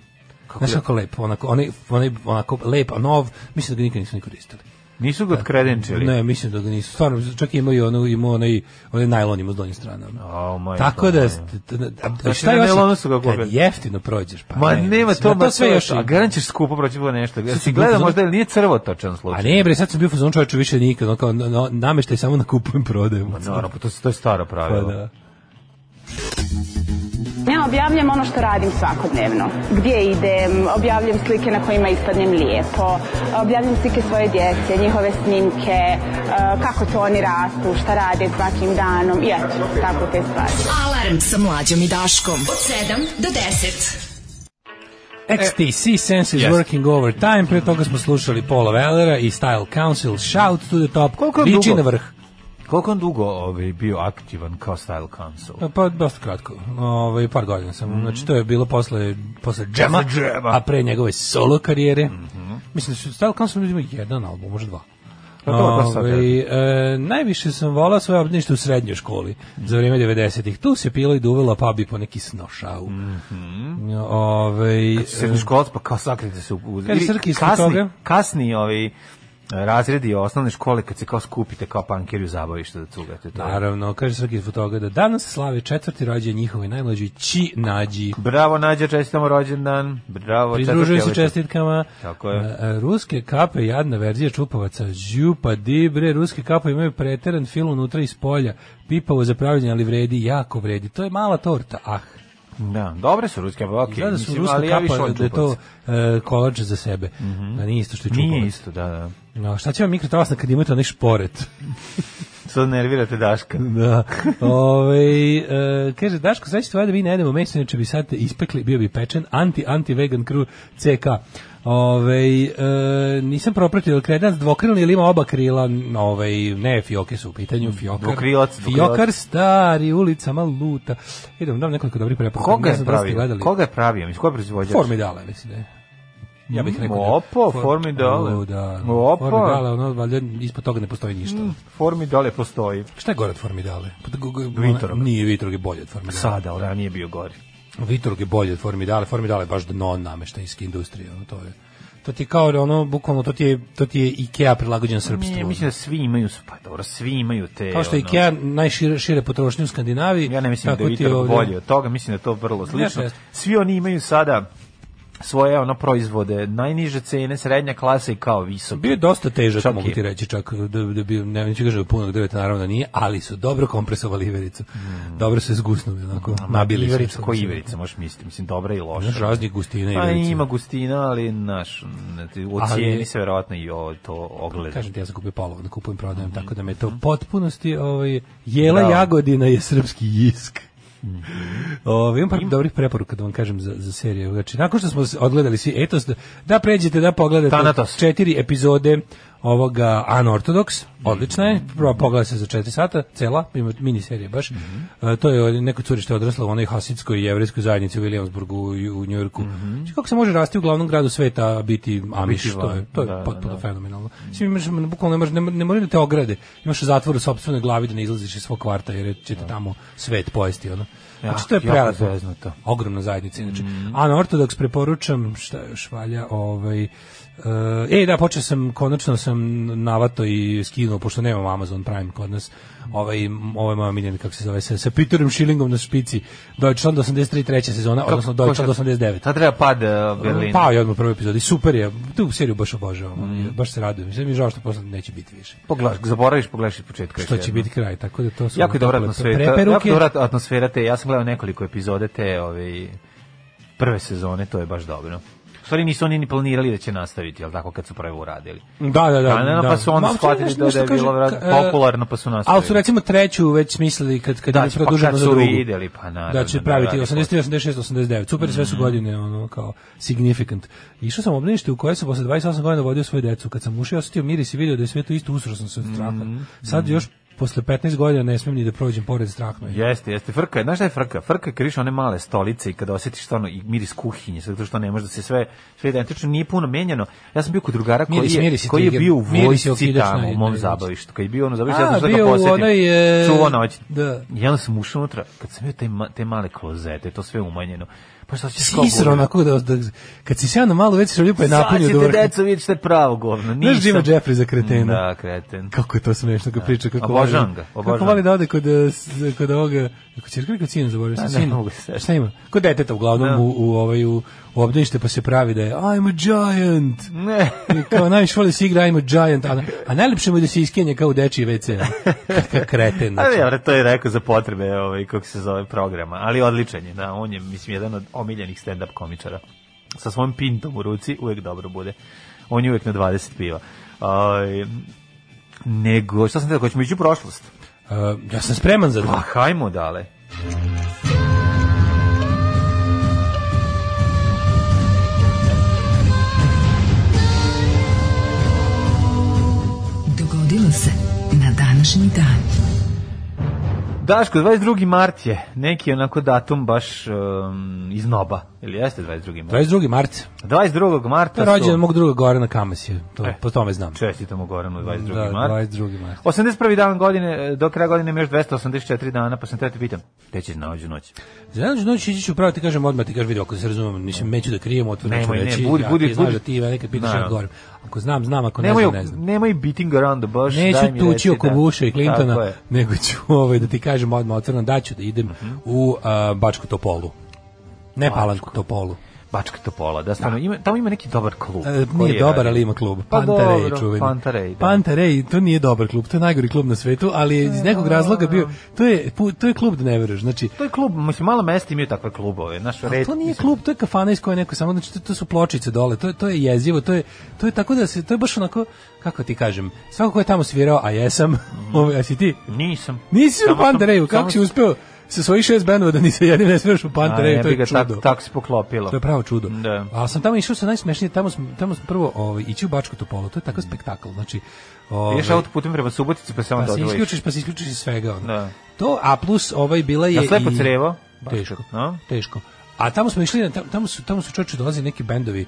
Kako Znaš je? kako lepo, onako, onaj, onaj, onako lep, a nov, mislim da ga nikad nisu ni koristili. Nisu ga odkredenčili. Ne, mislim da ga nisu. Stvarno, čak ima i ono, ima onaj, onaj najlon ima s donje strane. ono. O, majko Tako da, moja. st- t- t- a- Znači, šta na još, je- nailonu su ga kad kupili. jeftino prođeš, pa Ma ne, nema mislim, to, na ma sve još, A i- garant ćeš skupo proći bude nešto. Ja Sad si si gledao bukvalno- možda ili nije crvotočan slučaj. A Pa ne bre, sad sam bio fazon čoveče više nikad, on kao na- na- nameštaj samo na kupujem prodajem. Ma Naravno, pa to, to je staro Pa pravilo. da. Ja objavljam ono što radim svakodnevno. Gdje idem, objavljam slike na kojima ispadnem lijepo, objavljam slike svoje djece, njihove snimke, eh, kako to oni rastu, šta rade svakim danom i eto, tako te stvari. Alarm sa mlađom i Daškom. Od 7 do 10. E, XTC Sense is Jeste. working overtime, pre toga smo slušali Paula Wellera i Style Council, Shout to the Top, Koliko je liči dugo? na vrh. Koliko on dugo ovaj, bio aktivan kao Style Council? Pa, Pa dosta kratko, ovaj, par godina sam, znači to je bilo posle, posle džema, Mhm. Posle džema. Mhm. a pre njegove solo karijere. Mislim da su Style Council ima jedan album, možda dva. Pa dobro, pa sad, Ovaj, e, najviše sam volao svoje obdanište u srednjoj školi za vrijeme 90-ih. Tu se pilo i duvela pa bi po neki snošau. Mhm. Ovaj, Srednjoškolac pa kao sakrite se u... u- Kaže, ili Srki, ispod kasni, toga. kasni ovaj, razredi osnovne škole kad se kao skupite kao pankeri u zabavište da cugate. To je- Naravno, kaže Srki zbog toga da danas slave četvrti rođen njihovi najmlađi Či Nađi. Bravo Nađa, čestitamo rođendan. Bravo. Pridružuju se četvrti rođendan. čestitkama. Tako je. E, e, Ruske kape, jadna verzija čupavaca, župa, dibre, ruske kape imaju preteran fil unutra iz polja, pipavo za pravljenje, ali vredi, jako vredi. To je mala torta, ah. Da, dobre su ruske, pa okej. Izgleda da su Mislim, ruska ali ja više kapa, volim Mhm. da je to čupac. e, kolač za sebe. A nije isto što je čupavac. Nije isto, da, da. No, šta će vam mikrotalasna kad imate onaj šporet? Sad nervirate Daška. Da. Ove, e, kaže, Daško, sveći tvoje da mi ne jedemo meso, inače bi sad ispekli, bio bi pečen, anti-anti-vegan crew CK. Ove, e, nisam propratio, jel kredac dvokrilni ili ima oba krila, ovaj, ne, fioke su u pitanju, fiokar. Dvokrilac, dvokrilac. Fiokar stari, ulicama luta. Idem, dam nekoliko dobrih preporuka. Ne Koga je znam da li ste pravio? gledali. Koga je pravio? Mm, Mislim, ko je proizvođač? Formidala, mislim da je. Ja bih rekao da... Opo, For- Formidale. O, Da, Opo. Formidale, ono, valjda ispod toga ne postoji ništa. Mm. Formidale postoji. Šta je gore od Formidale? Pa da go- go- Vitorog. ona- Nije Vitorog je bolje od Formidale. Sada, ali ranije je bio gori. Vitorog je bolje od Formidale. Formidale je baš dno nameštajske industrije. Ono, to, je, to ti je kao, ono, bukvalno, to ti je, to ti je Ikea prilagođen srpstvu. Ne, ono. mislim da svi imaju, pa dobro, svi imaju te... Kao što je ono- Ikea najšire šire potrošnje u Skandinaviji. Ja ne mislim da tako je ti je Vitor ovdje- bolji od toga, mislim da je to vrlo slično. jeste. Svi oni imaju sada svoje ono proizvode, najniže cene, srednja klasa i kao visoke. Bio je dosta težak, Čak mogu je. ti reći, čak da, da bi, ne neću kažem da punog drveta, naravno da nije, ali su dobro kompresovali ivericu. Mm. Dobro se zgusnuli, onako, nabili su. Iverica, se. ko Iverica, možeš misliti, mislim, dobra i loša. Znaš, raznih gustina Pa iverice. ima gustina, ali naš, ne, ti- u Ali- cijeni se verovatno i o, to ogleda. Kažem ti, ja sam kupio palovo, da kupujem, prodajem, tako da me to u potpunosti ovaj, jela Mhm. Bravo. Mhm. jagodina je srpski jisk. Ovaj imam par dobrih preporuka da vam kažem za, za serije. Znači, nakon što smo se odgledali svi etos, da, da pređete da pogledate Thanatos. četiri epizode ovoga Unorthodox, odlična je, prva pogleda se za četiri sata, cela, ima mini serija baš. Mhm. E, to je neko curište odraslo u onoj hasidskoj i jevrijskoj zajednici u Williamsburgu u, u Njujorku. Znači, kako se može rasti u glavnom gradu sveta, a biti amiš, Mhm. Biti to je, to je van, da, potpuno da. fenomenalno. Mislim, imaš, bukvalno ne, može- ne, ne moraju da te ograde, imaš zatvor u sobstvenoj glavi da ne izlaziš iz svog kvarta, jer će te tamo svet pojesti, ono. Znači, to je jako prelepo. zeznuto. Ogromna zajednica, inače. Mhm. A na Ortodoks preporučam, šta još valja, ovaj... Uh, e, da, počeo sam, konačno sam navato i skinuo, pošto nemam Amazon Prime kod nas, ovaj, ovaj moja miljena, kako se zove, sa, sa Peterom Schillingom na špici, Deutschland 83. treća sezona, odnosno Deutschland 89. Ta treba pad e, Berlina. Pao je Pa, odmah u prvoj epizodi, super je, tu seriju baš obožavam, ono, Mhm. baš se radujem, sve mi je žao što posle neće biti više, Pogledaš, zaboraviš, pogledaš iz početka. još što će jednom. biti kraj, tako da to su... Jako je dobra tople atmosfera. preperuke. Jako dobra atmosfera te. Ja sam gledao nekoliko epizode te ove prve sezone, to je baš dobro. U stvari nisu oni ni planirali da će nastaviti, jel tako, kad su prvo uradili. Da, da, da. Pa, ne, da. pa su onda Ma, shvatili nešto- da- da je nešto bilo kaže, vjerojatno ka- e, popularno, pa su nastavili. Ali su recimo treću već smislili kad, kad Da, je pa produženo kad za su drugu. vidjeli, pa naravno, Da će da Mhm. praviti radi 83, 86, 89. Super, sve su godine, ono, kao significant. Išao sam u obdanište u koje sam posle 28 godina vodio svoju decu. Kad sam ušao, osjetio miris i vidio da je sve to isto usro sam se od straha. Mhm, Sad još posle 15 godina ne smem ni da prođem pored strahno. Jeste, jeste. Frka, je- znaš šta je frka? Frka je kad vidiš one male stolice i kada osjetiš stvarno i miris kuhinje, zato što ne može da se sve, sve identično, nije puno menjano. Ja sam bio kod drugara koji Miris, je, miris i koji je tigar. bio u Miris i vojsci okidač tamo, na- u na- mom zabavištu. Kad je bio ono zabavištu, ja sam A, sve bio ga u posjetim. onoj, e, Čuvao noć. da. I onda sam ušao unutra, kad sam vidio te, ma- te male klozete, to sve umanjeno. Pa šta ćeš kao Sisro govno? onako da, da, kad si sjao na malu već se ljupa Pa je napunio do Sad ćete vrha. deco vidjeti šta je pravo govno. Znaš Jima Nisam. Jeffrey za kretena? Da, kreten. Kako je to smešno kad priča kako Obožavam voli- ga, Kako obožavam. voli da ode kod eh, s- kod ovoga kod ćerka ili kod sina zaboravio sam Da, ne sina. mogu se setiti. Šta ima? Kod deteta uglavnom Da. u, u ovaj u, u obdanište pa se pravi da je I'm a giant. Ne. I kao najviše voli da se igra I'm a giant, a, a najlepše mu je da se iskenje kao u dečiji WC. Kakav kreten. Ali Znači. dobro, to je rekao za potrebe ovaj, kako se zove programa, ali odličan je, da, on je, mislim, jedan od omiljenih stand-up komičara. Sa svojim pintom u ruci uvek dobro bude. On je uvek na 20 piva. Aj, nego, šta sam te hoćemo ići u prošlost? Eh, ja sam spreman za Pa to. hajmo dale. Dogodilo se na današnji dan. Daško, 22. mart je neki onako datum baš um, iz noba. Ili jeste 22. mart? 22. mart. 22. To marta je rođendan mog druga Gorana Kamasija. To, E. po tome znam. Čestitamo Goranu 22. Da, mart. 22. mart. 81. dan godine, e, do kraja godine ima još 284 dana, pa sam te te pitam, te ćeš na ođu noć? Znaš, noć ići ću pravo, ti kažem odmah, ti kažem, vidi, ako se razumem, nisam, neću da krijem, otvorno ću Nemoj, ne, reći, budi- ja budi- ti znaš budi- da ti nekad pitaš, Da. ja odgovorim. Ako znam, znam, ako ne Nemoj, znam, ne znam. nemoj beating around the bush, daj mi Neću tući reci, oko da. Busha i Tako Clintona, je. nego ću ovaj, da ti kažem odmah otvorno da ću da idem u a, Bačku Topolu. Ne Palanku Topolu. Bačka Topola, da stvarno ima tamo ima neki dobar klub. E, koji nije je dobar, radio. ali ima klub. Pa Pantarej dobro, čuveni. Pantarej, da. Pantarej, to nije dobar klub, to je najgori klub na svetu, ali je iz nekog razloga bio, to je, pu- to je klub da ne veruješ. Znači, To je klub, mislim malo mesta imaju takve klubove, znaš, ali red. to nije mislim, klub, to je kafana iz koje neko samo znači to, to su pločice dole, to je to je jezivo, to je to je tako da se to je baš onako kako ti kažem, svako ko je tamo svirao, a jesam, ovaj a si ti Nisam. nisi u Mhm. Samo sam- Pantareju, samo kako si sam- uspeo sa svojih šest bendova da ni sa jednim ne sviraš u A, Pantareju, to jebi ga, je čudo. Tako, tako se poklopilo. To je pravo čudo. Da. A sam tamo išao sa najsmešnije, tamo smo, tamo smo pravo ovaj, ići u Bačku Topolu, to je Mhm. takav spektakl. Znači, ovaj, Ideš autoputem prema Subotici pa samo pa se dodvojiš. isključiš, pa se isključiš iz svega. Ono. Da. To, a plus ovaj bila je Na slepo i- crevo? Bačka, Teško, no? teško. A tamo smo išli, na- tam- tamo su, tamo su čoče dolazili neki bendovi.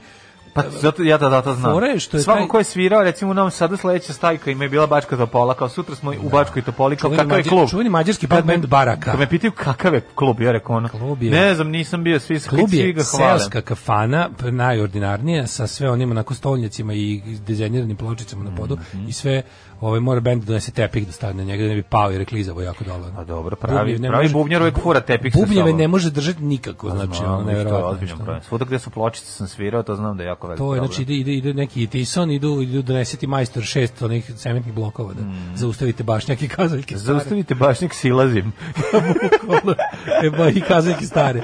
Pa zato ja to zato znam. Fora je što je Svako taj- ko je svirao, recimo u Novom Sadu sledeća stajka im je bila Bačka Topola, kao sutra smo u Bačkoj Topoli, kao Čuveni kakav je mađar- klub. čuveni mađarski Kad punk me- band Baraka. Kad me pitaju kakav je klub, ja rekao ono. Klub je- Ne znam, nisam bio, svi se Klub svi je ga hvale. seoska kafana, p- najordinarnija, sa sve onim onako stolnjacima i dizajniranim pločicama na podu Mhm. i sve, ovaj, mora bend da donese tepih da stavne na njega, da ne bi pao jer je klizavo jako dole. ono. A Pa dobro, pravi, Bubnjev ne pravi može- bubnjar uvek fura tepih sa Bubnjeve sobom. ne može držati nikako, Znam, znači, ono, ono, to je nevjerovatno. ozbiljan što- problem. Svuda gde su pločice sam svirao, to znam da je jako veliki To je, problem. znači, ide, ide, ide neki Tison, idu, idu doneseti majstor šest onih cementnih blokova da Mhm. zaustavite bašnjak i kazaljke stare. Zaustavite bašnik, silazim. Bukvalno. e, ba, i kazaljke stare.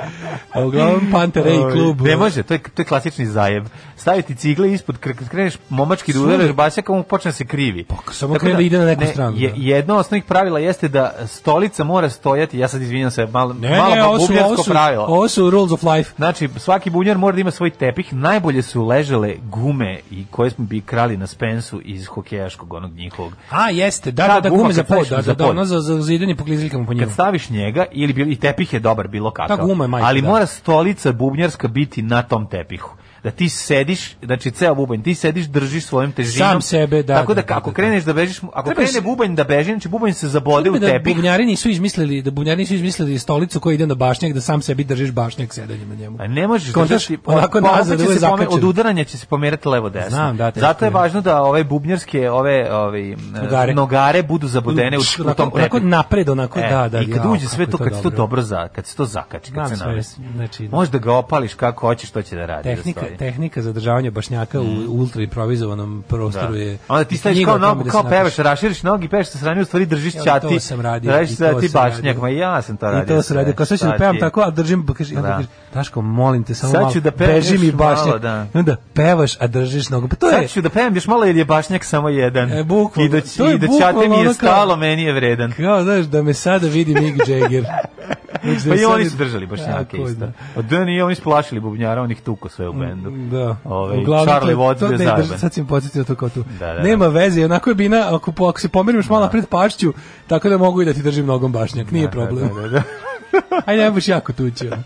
A uglavnom Pantere i klub. e, Ne može, to je, to je klasični zajeb. Staviti cigle ispod, kre- kad kreneš momački da Svugde. udaraš basjaka, on počne da se krivi. Pa, samo Tako krene da ide na neku stranu, Je, da. jedno od osnovnih pravila jeste da stolica mora stojati, ja sad izvinjam se, malo, Ne, malo ne, ovo su, bubnjarsko ovo su, pravilo. ovo su rules of life. Znači, svaki bunjar mora da ima svoj tepih. Najbolje su ležele gume i koje smo bi krali na Spensu iz hokejaškog onog njihovog. A, jeste, da, Ta da, da, guma gume kad za pod, staviš da, za da, da, pod. ono za, za zidanje po kliziljkama po njemu. Kad staviš njega, ili bil- i tepih je dobar bilo kakav, Ta guma je majka, ali da. mora stolica bubnjarska biti na tom tepihu. Da ti sediš, znači ceo bubanj, ti sediš, držiš svojom težinom. Sam sebe, da, Tako da, da, da, ako da, da. kreneš da bežiš, ako Trebaš- krene bubanj da beži, znači bubanj se zabode u da tepih. bubnjari nisu izmislili, da bubnjari nisu izmislili stolicu koja ide na bašnjak, da sam sebi držiš bašnjak sedanjem na njemu. A ne možeš Kontaš, držati, onako pa- pa nazad, opet će uvek se pome- zakačen. od udaranja će se pomerati levo desno. Znam, da, teško Zato je je. važno da ove bubnjarske, ove, ove nogare. Nogare. nogare budu zabodene u, u Onako- tom onako tepihu. E, napred, onako, da, da, I kad jao, uđe sve kako to, je to kad se to dobro. dobro za, kad se to zakači, kad Znam se sve, navesi. znači- Možda ga opališ kako hoćeš, to će da radi. Tehnika, da stoji. tehnika zadržavanja bašnjaka u ultra improvizovanom prostoru je... Da. Onda ti staviš knjiga kao o tome nogu, da kao se pevaš, napiše. raširiš nogi, pevaš sa strane, u stvari držiš Ja, i ćati. to sam radio, Radiš i to ćati sam bašnjak, radio. ma i ja sam to radio. I to se radi, kao sad ću da Šta pevam ti je? tako, a držim, pa kaže, onda Da. kaže, Daško, molim te, samo Sad malo, ću da pevam beži još mi malo, bašnjak. da. I onda pevaš, a držiš nogu. Pa to je, Sad ću da pevam još malo jer je bašnjak samo jedan. E, bukvalno. I do, To je i do bukvalno ćate mi ono je kao- stalo, meni je vredan. kao, znaš, da me sada vidi Mick Jagger. Znači, da Pa me i sad oni vidi- su držali bašnjake Tako je, isto. da. Mm, Od da nije oni splašili bubnjara, on ih tuko sve u bendu. Da. Ove, Uglavnom, to- Ovaj, Charlie Watts to ne bio drži- zajeban. Sad si mi podsjetio to kao tu. Da, da, da. Nema veze, onako je bina, ako, po- ako se pomeriš malo napred pašću, tako da mogu i da ti držim nogom bašnjak, nije problem. Da, da, da. Ajde, ne baš jako tući. ono.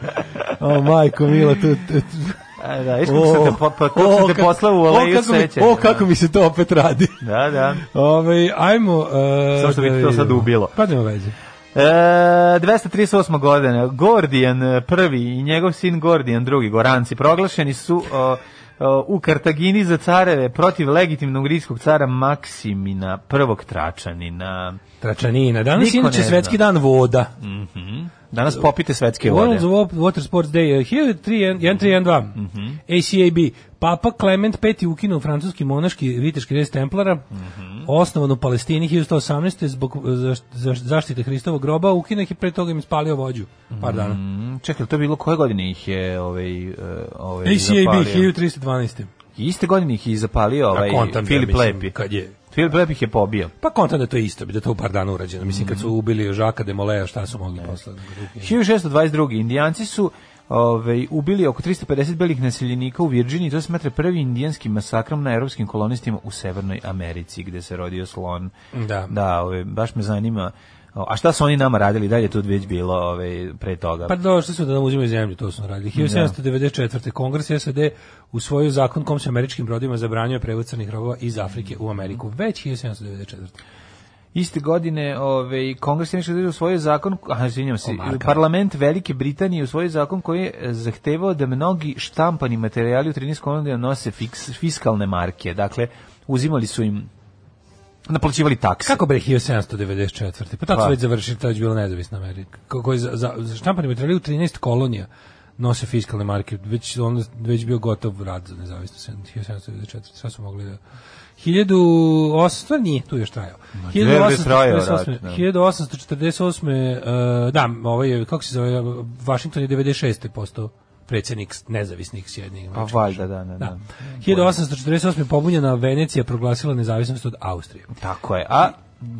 O, majko, mila, tu... tu- tu- A, da, viš kako sam te, po, po, kako o, sam te kako- poslao u o, oleju kako mi- sećanja. O, kako mi se to opet radi. Da, da. Ove, ajmo... Uh, Samo što bi to sad ubilo. Pa nema veze. E, 238. godine, Gordijan e, prvi i njegov sin Gordijan drugi, Goranci, proglašeni su o, o, u Kartagini za careve protiv legitimnog rimskog cara Maksimina, prvog tračanina. Tračanina. Danas Niko je inače ne zna. svetski dan voda. Mhm. Danas popite svetske World vode. Wa- Water Sports Day, e, 1312, Mhm. ACAB, Papa Clement V ukinuo francuski monaški viteški res Templara, Mhm. osnovan u Palestini 1118. zbog zaš- zaš- zaštite Hristovog groba, ukinuo ih i pre toga im spalio vođu, par dana. Mm, Čekaj, to je bilo koje godine ih je ovaj, e, ovaj ACAB, zapalio? 1312. Iste godine ih je i zapalio ovaj, A kontam da, Filip mislim, Lepi. Kad je Filip Lepi ih je pobio. Pa kontam da je to isto, bi da je to u par dana urađeno. Mislim, kad su ubili Žaka de Moleja, šta su mogli posle? 1622. Indijanci su ovaj, ubili oko 350 belih naseljenika u Virđiniji, to se smatra prvi indijanskim masakrom na evropskim kolonistima u Severnoj Americi, gde se rodio slon. Da. Da, ovaj, baš me zanima. o, A šta su oni nama radili? Dalje je to već bilo ovaj, pre toga. Pa došli su da nam uzimaju zemlju, to su nam radili. 1794. Kongres SAD usvojio zakon kom se američkim brodima zabranjuje prevoz crnih robova iz Afrike u Ameriku. Već 1794. Iste godine ovaj, Kongres je nešto usvojio zakon, aha, izvinjam se, O, Marka. parlament Velike Britanije usvojio zakon koji je e, zahtevao da mnogi štampani materijali u 13 kolonija nose fiks, fiskalne marke. Dakle, uzimali su im naplaćivali takse. Kako bre 1794. Pa tako Pa. su već završili, tad je bila nezavisna Amerika. Kako je za, za, za štampani materijali u 13 kolonija nose fiskalne marke. Već, on, već bio gotov rad za nezavisnost 1794. Sad su mogli da... 1800, nije, tu još trajao. gde je bre trajao rat, da. 1848. Uh, da, ovaj je, kako se zove, Washington je 96. postao predsjednik nezavisnih sjednih. Pa valjda, da, da, da. Da. 1848. pobunjena Venecija proglasila nezavisnost od Austrije. Tako je. A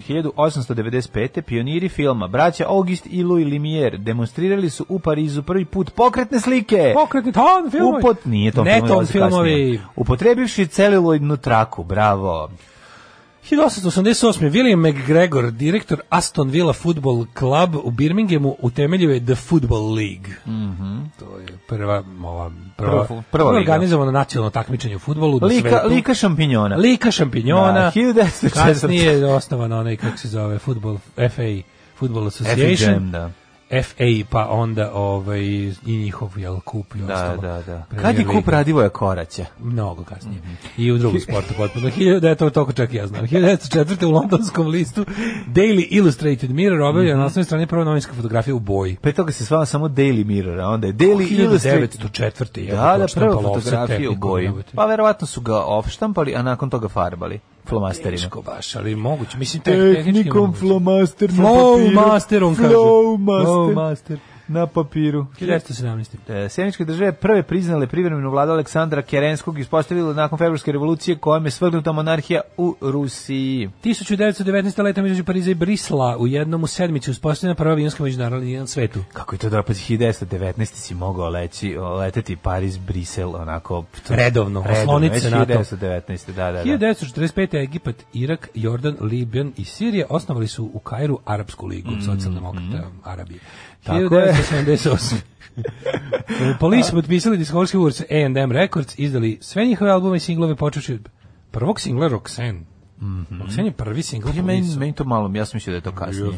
1895. pioniri filma braća August i Louis Lumière demonstrirali su u Parizu prvi put pokretne slike. Pokretni ton filmovi. Upot, nije tom ne filmovi, ton dolazi filmovi. kasnije. Upotrebivši celuloidnu traku, bravo. 1888. William McGregor, direktor Aston Villa Football Club u Birminghamu, utemeljio je The Football League. To je prva, ova, prva, Prva Mhm. fu- prva prvo liga. organizovano nacionalno takmičenje u futbolu. na Lika, svetu. lika šampinjona. Lika šampinjona. Da, 1904. kasnije je osnovan onaj, kako se zove, football, FA, Football Association. Jam, da. FA, pa onda ovaj, i njihov, jel, kup i Da, ostalo. da, da. Premier Kad je kup Liga. Radivoja Koraća? Mnogo kasnije. I u drugom sportu potpuno. 1000 da je to toliko čak i ja znam. 1904. u londonskom listu Daily Illustrated Mirror objavlja na osnovnoj strani prva novinska fotografija u boji. Pre toga se svala samo Daily Mirror, a onda je Daily Illustrated. 1904. je Da, da, počela prva pa lovca fotografija u tehnikom, boji. jebote. Pa verovatno su ga ofštampali, a nakon toga farbali flomasterima. Teško baš, ali moguće. Mislim, te, tehnički moguće. flomaster Flow master, on kaže. Flowmaster. Flowmaster. na papiru. 1917. E, Sjemičke države prve priznale privremenu vladu Aleksandra Kerenskog ispostavila nakon februarske revolucije kojom je svrgnuta monarhija u Rusiji. 1919. leta među Pariza i Brisla u jednom u sedmici uspostavljena prva avionska međunarodna linija na svetu. Kako je to dobro, pa 1919. si mogao leći, o, leteti Paris, Brisel, onako... to- Redovno, oslonit se već na to. 1919. Da, da, da. 1945. Egipat, Irak, Jordan, Liban i Sirija osnovali su u Kairu Arapsku ligu socijaldemokrata Arabije. Tako je. 1978. Police potpisali diskovski ugovor sa A&M Records, izdali sve njihove albume i singlove počeši od prvog singla Roxanne. Roxanne je prvi singl Je Police. meni, meni to malo, ja sam mislio da je to kasnije.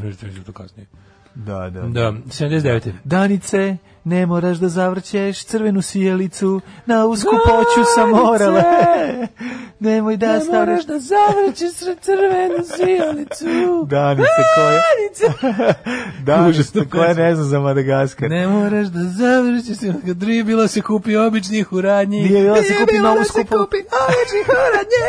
kasnije. Da, da. Da, 79. Danice, ne moraš da zavrćeš crvenu sjelicu, na uskupoću sam morala. Nemoj da ne stavljaš... da zavrćeš crvenu sjelicu. Danice koja... Danice koja ne zna za Madagaskar. Ne moraš da završiš, kad nije bilo se kupi običnih u radnji. Nije bilo da se kupi novu da se skupu. kupi običnih u radnji,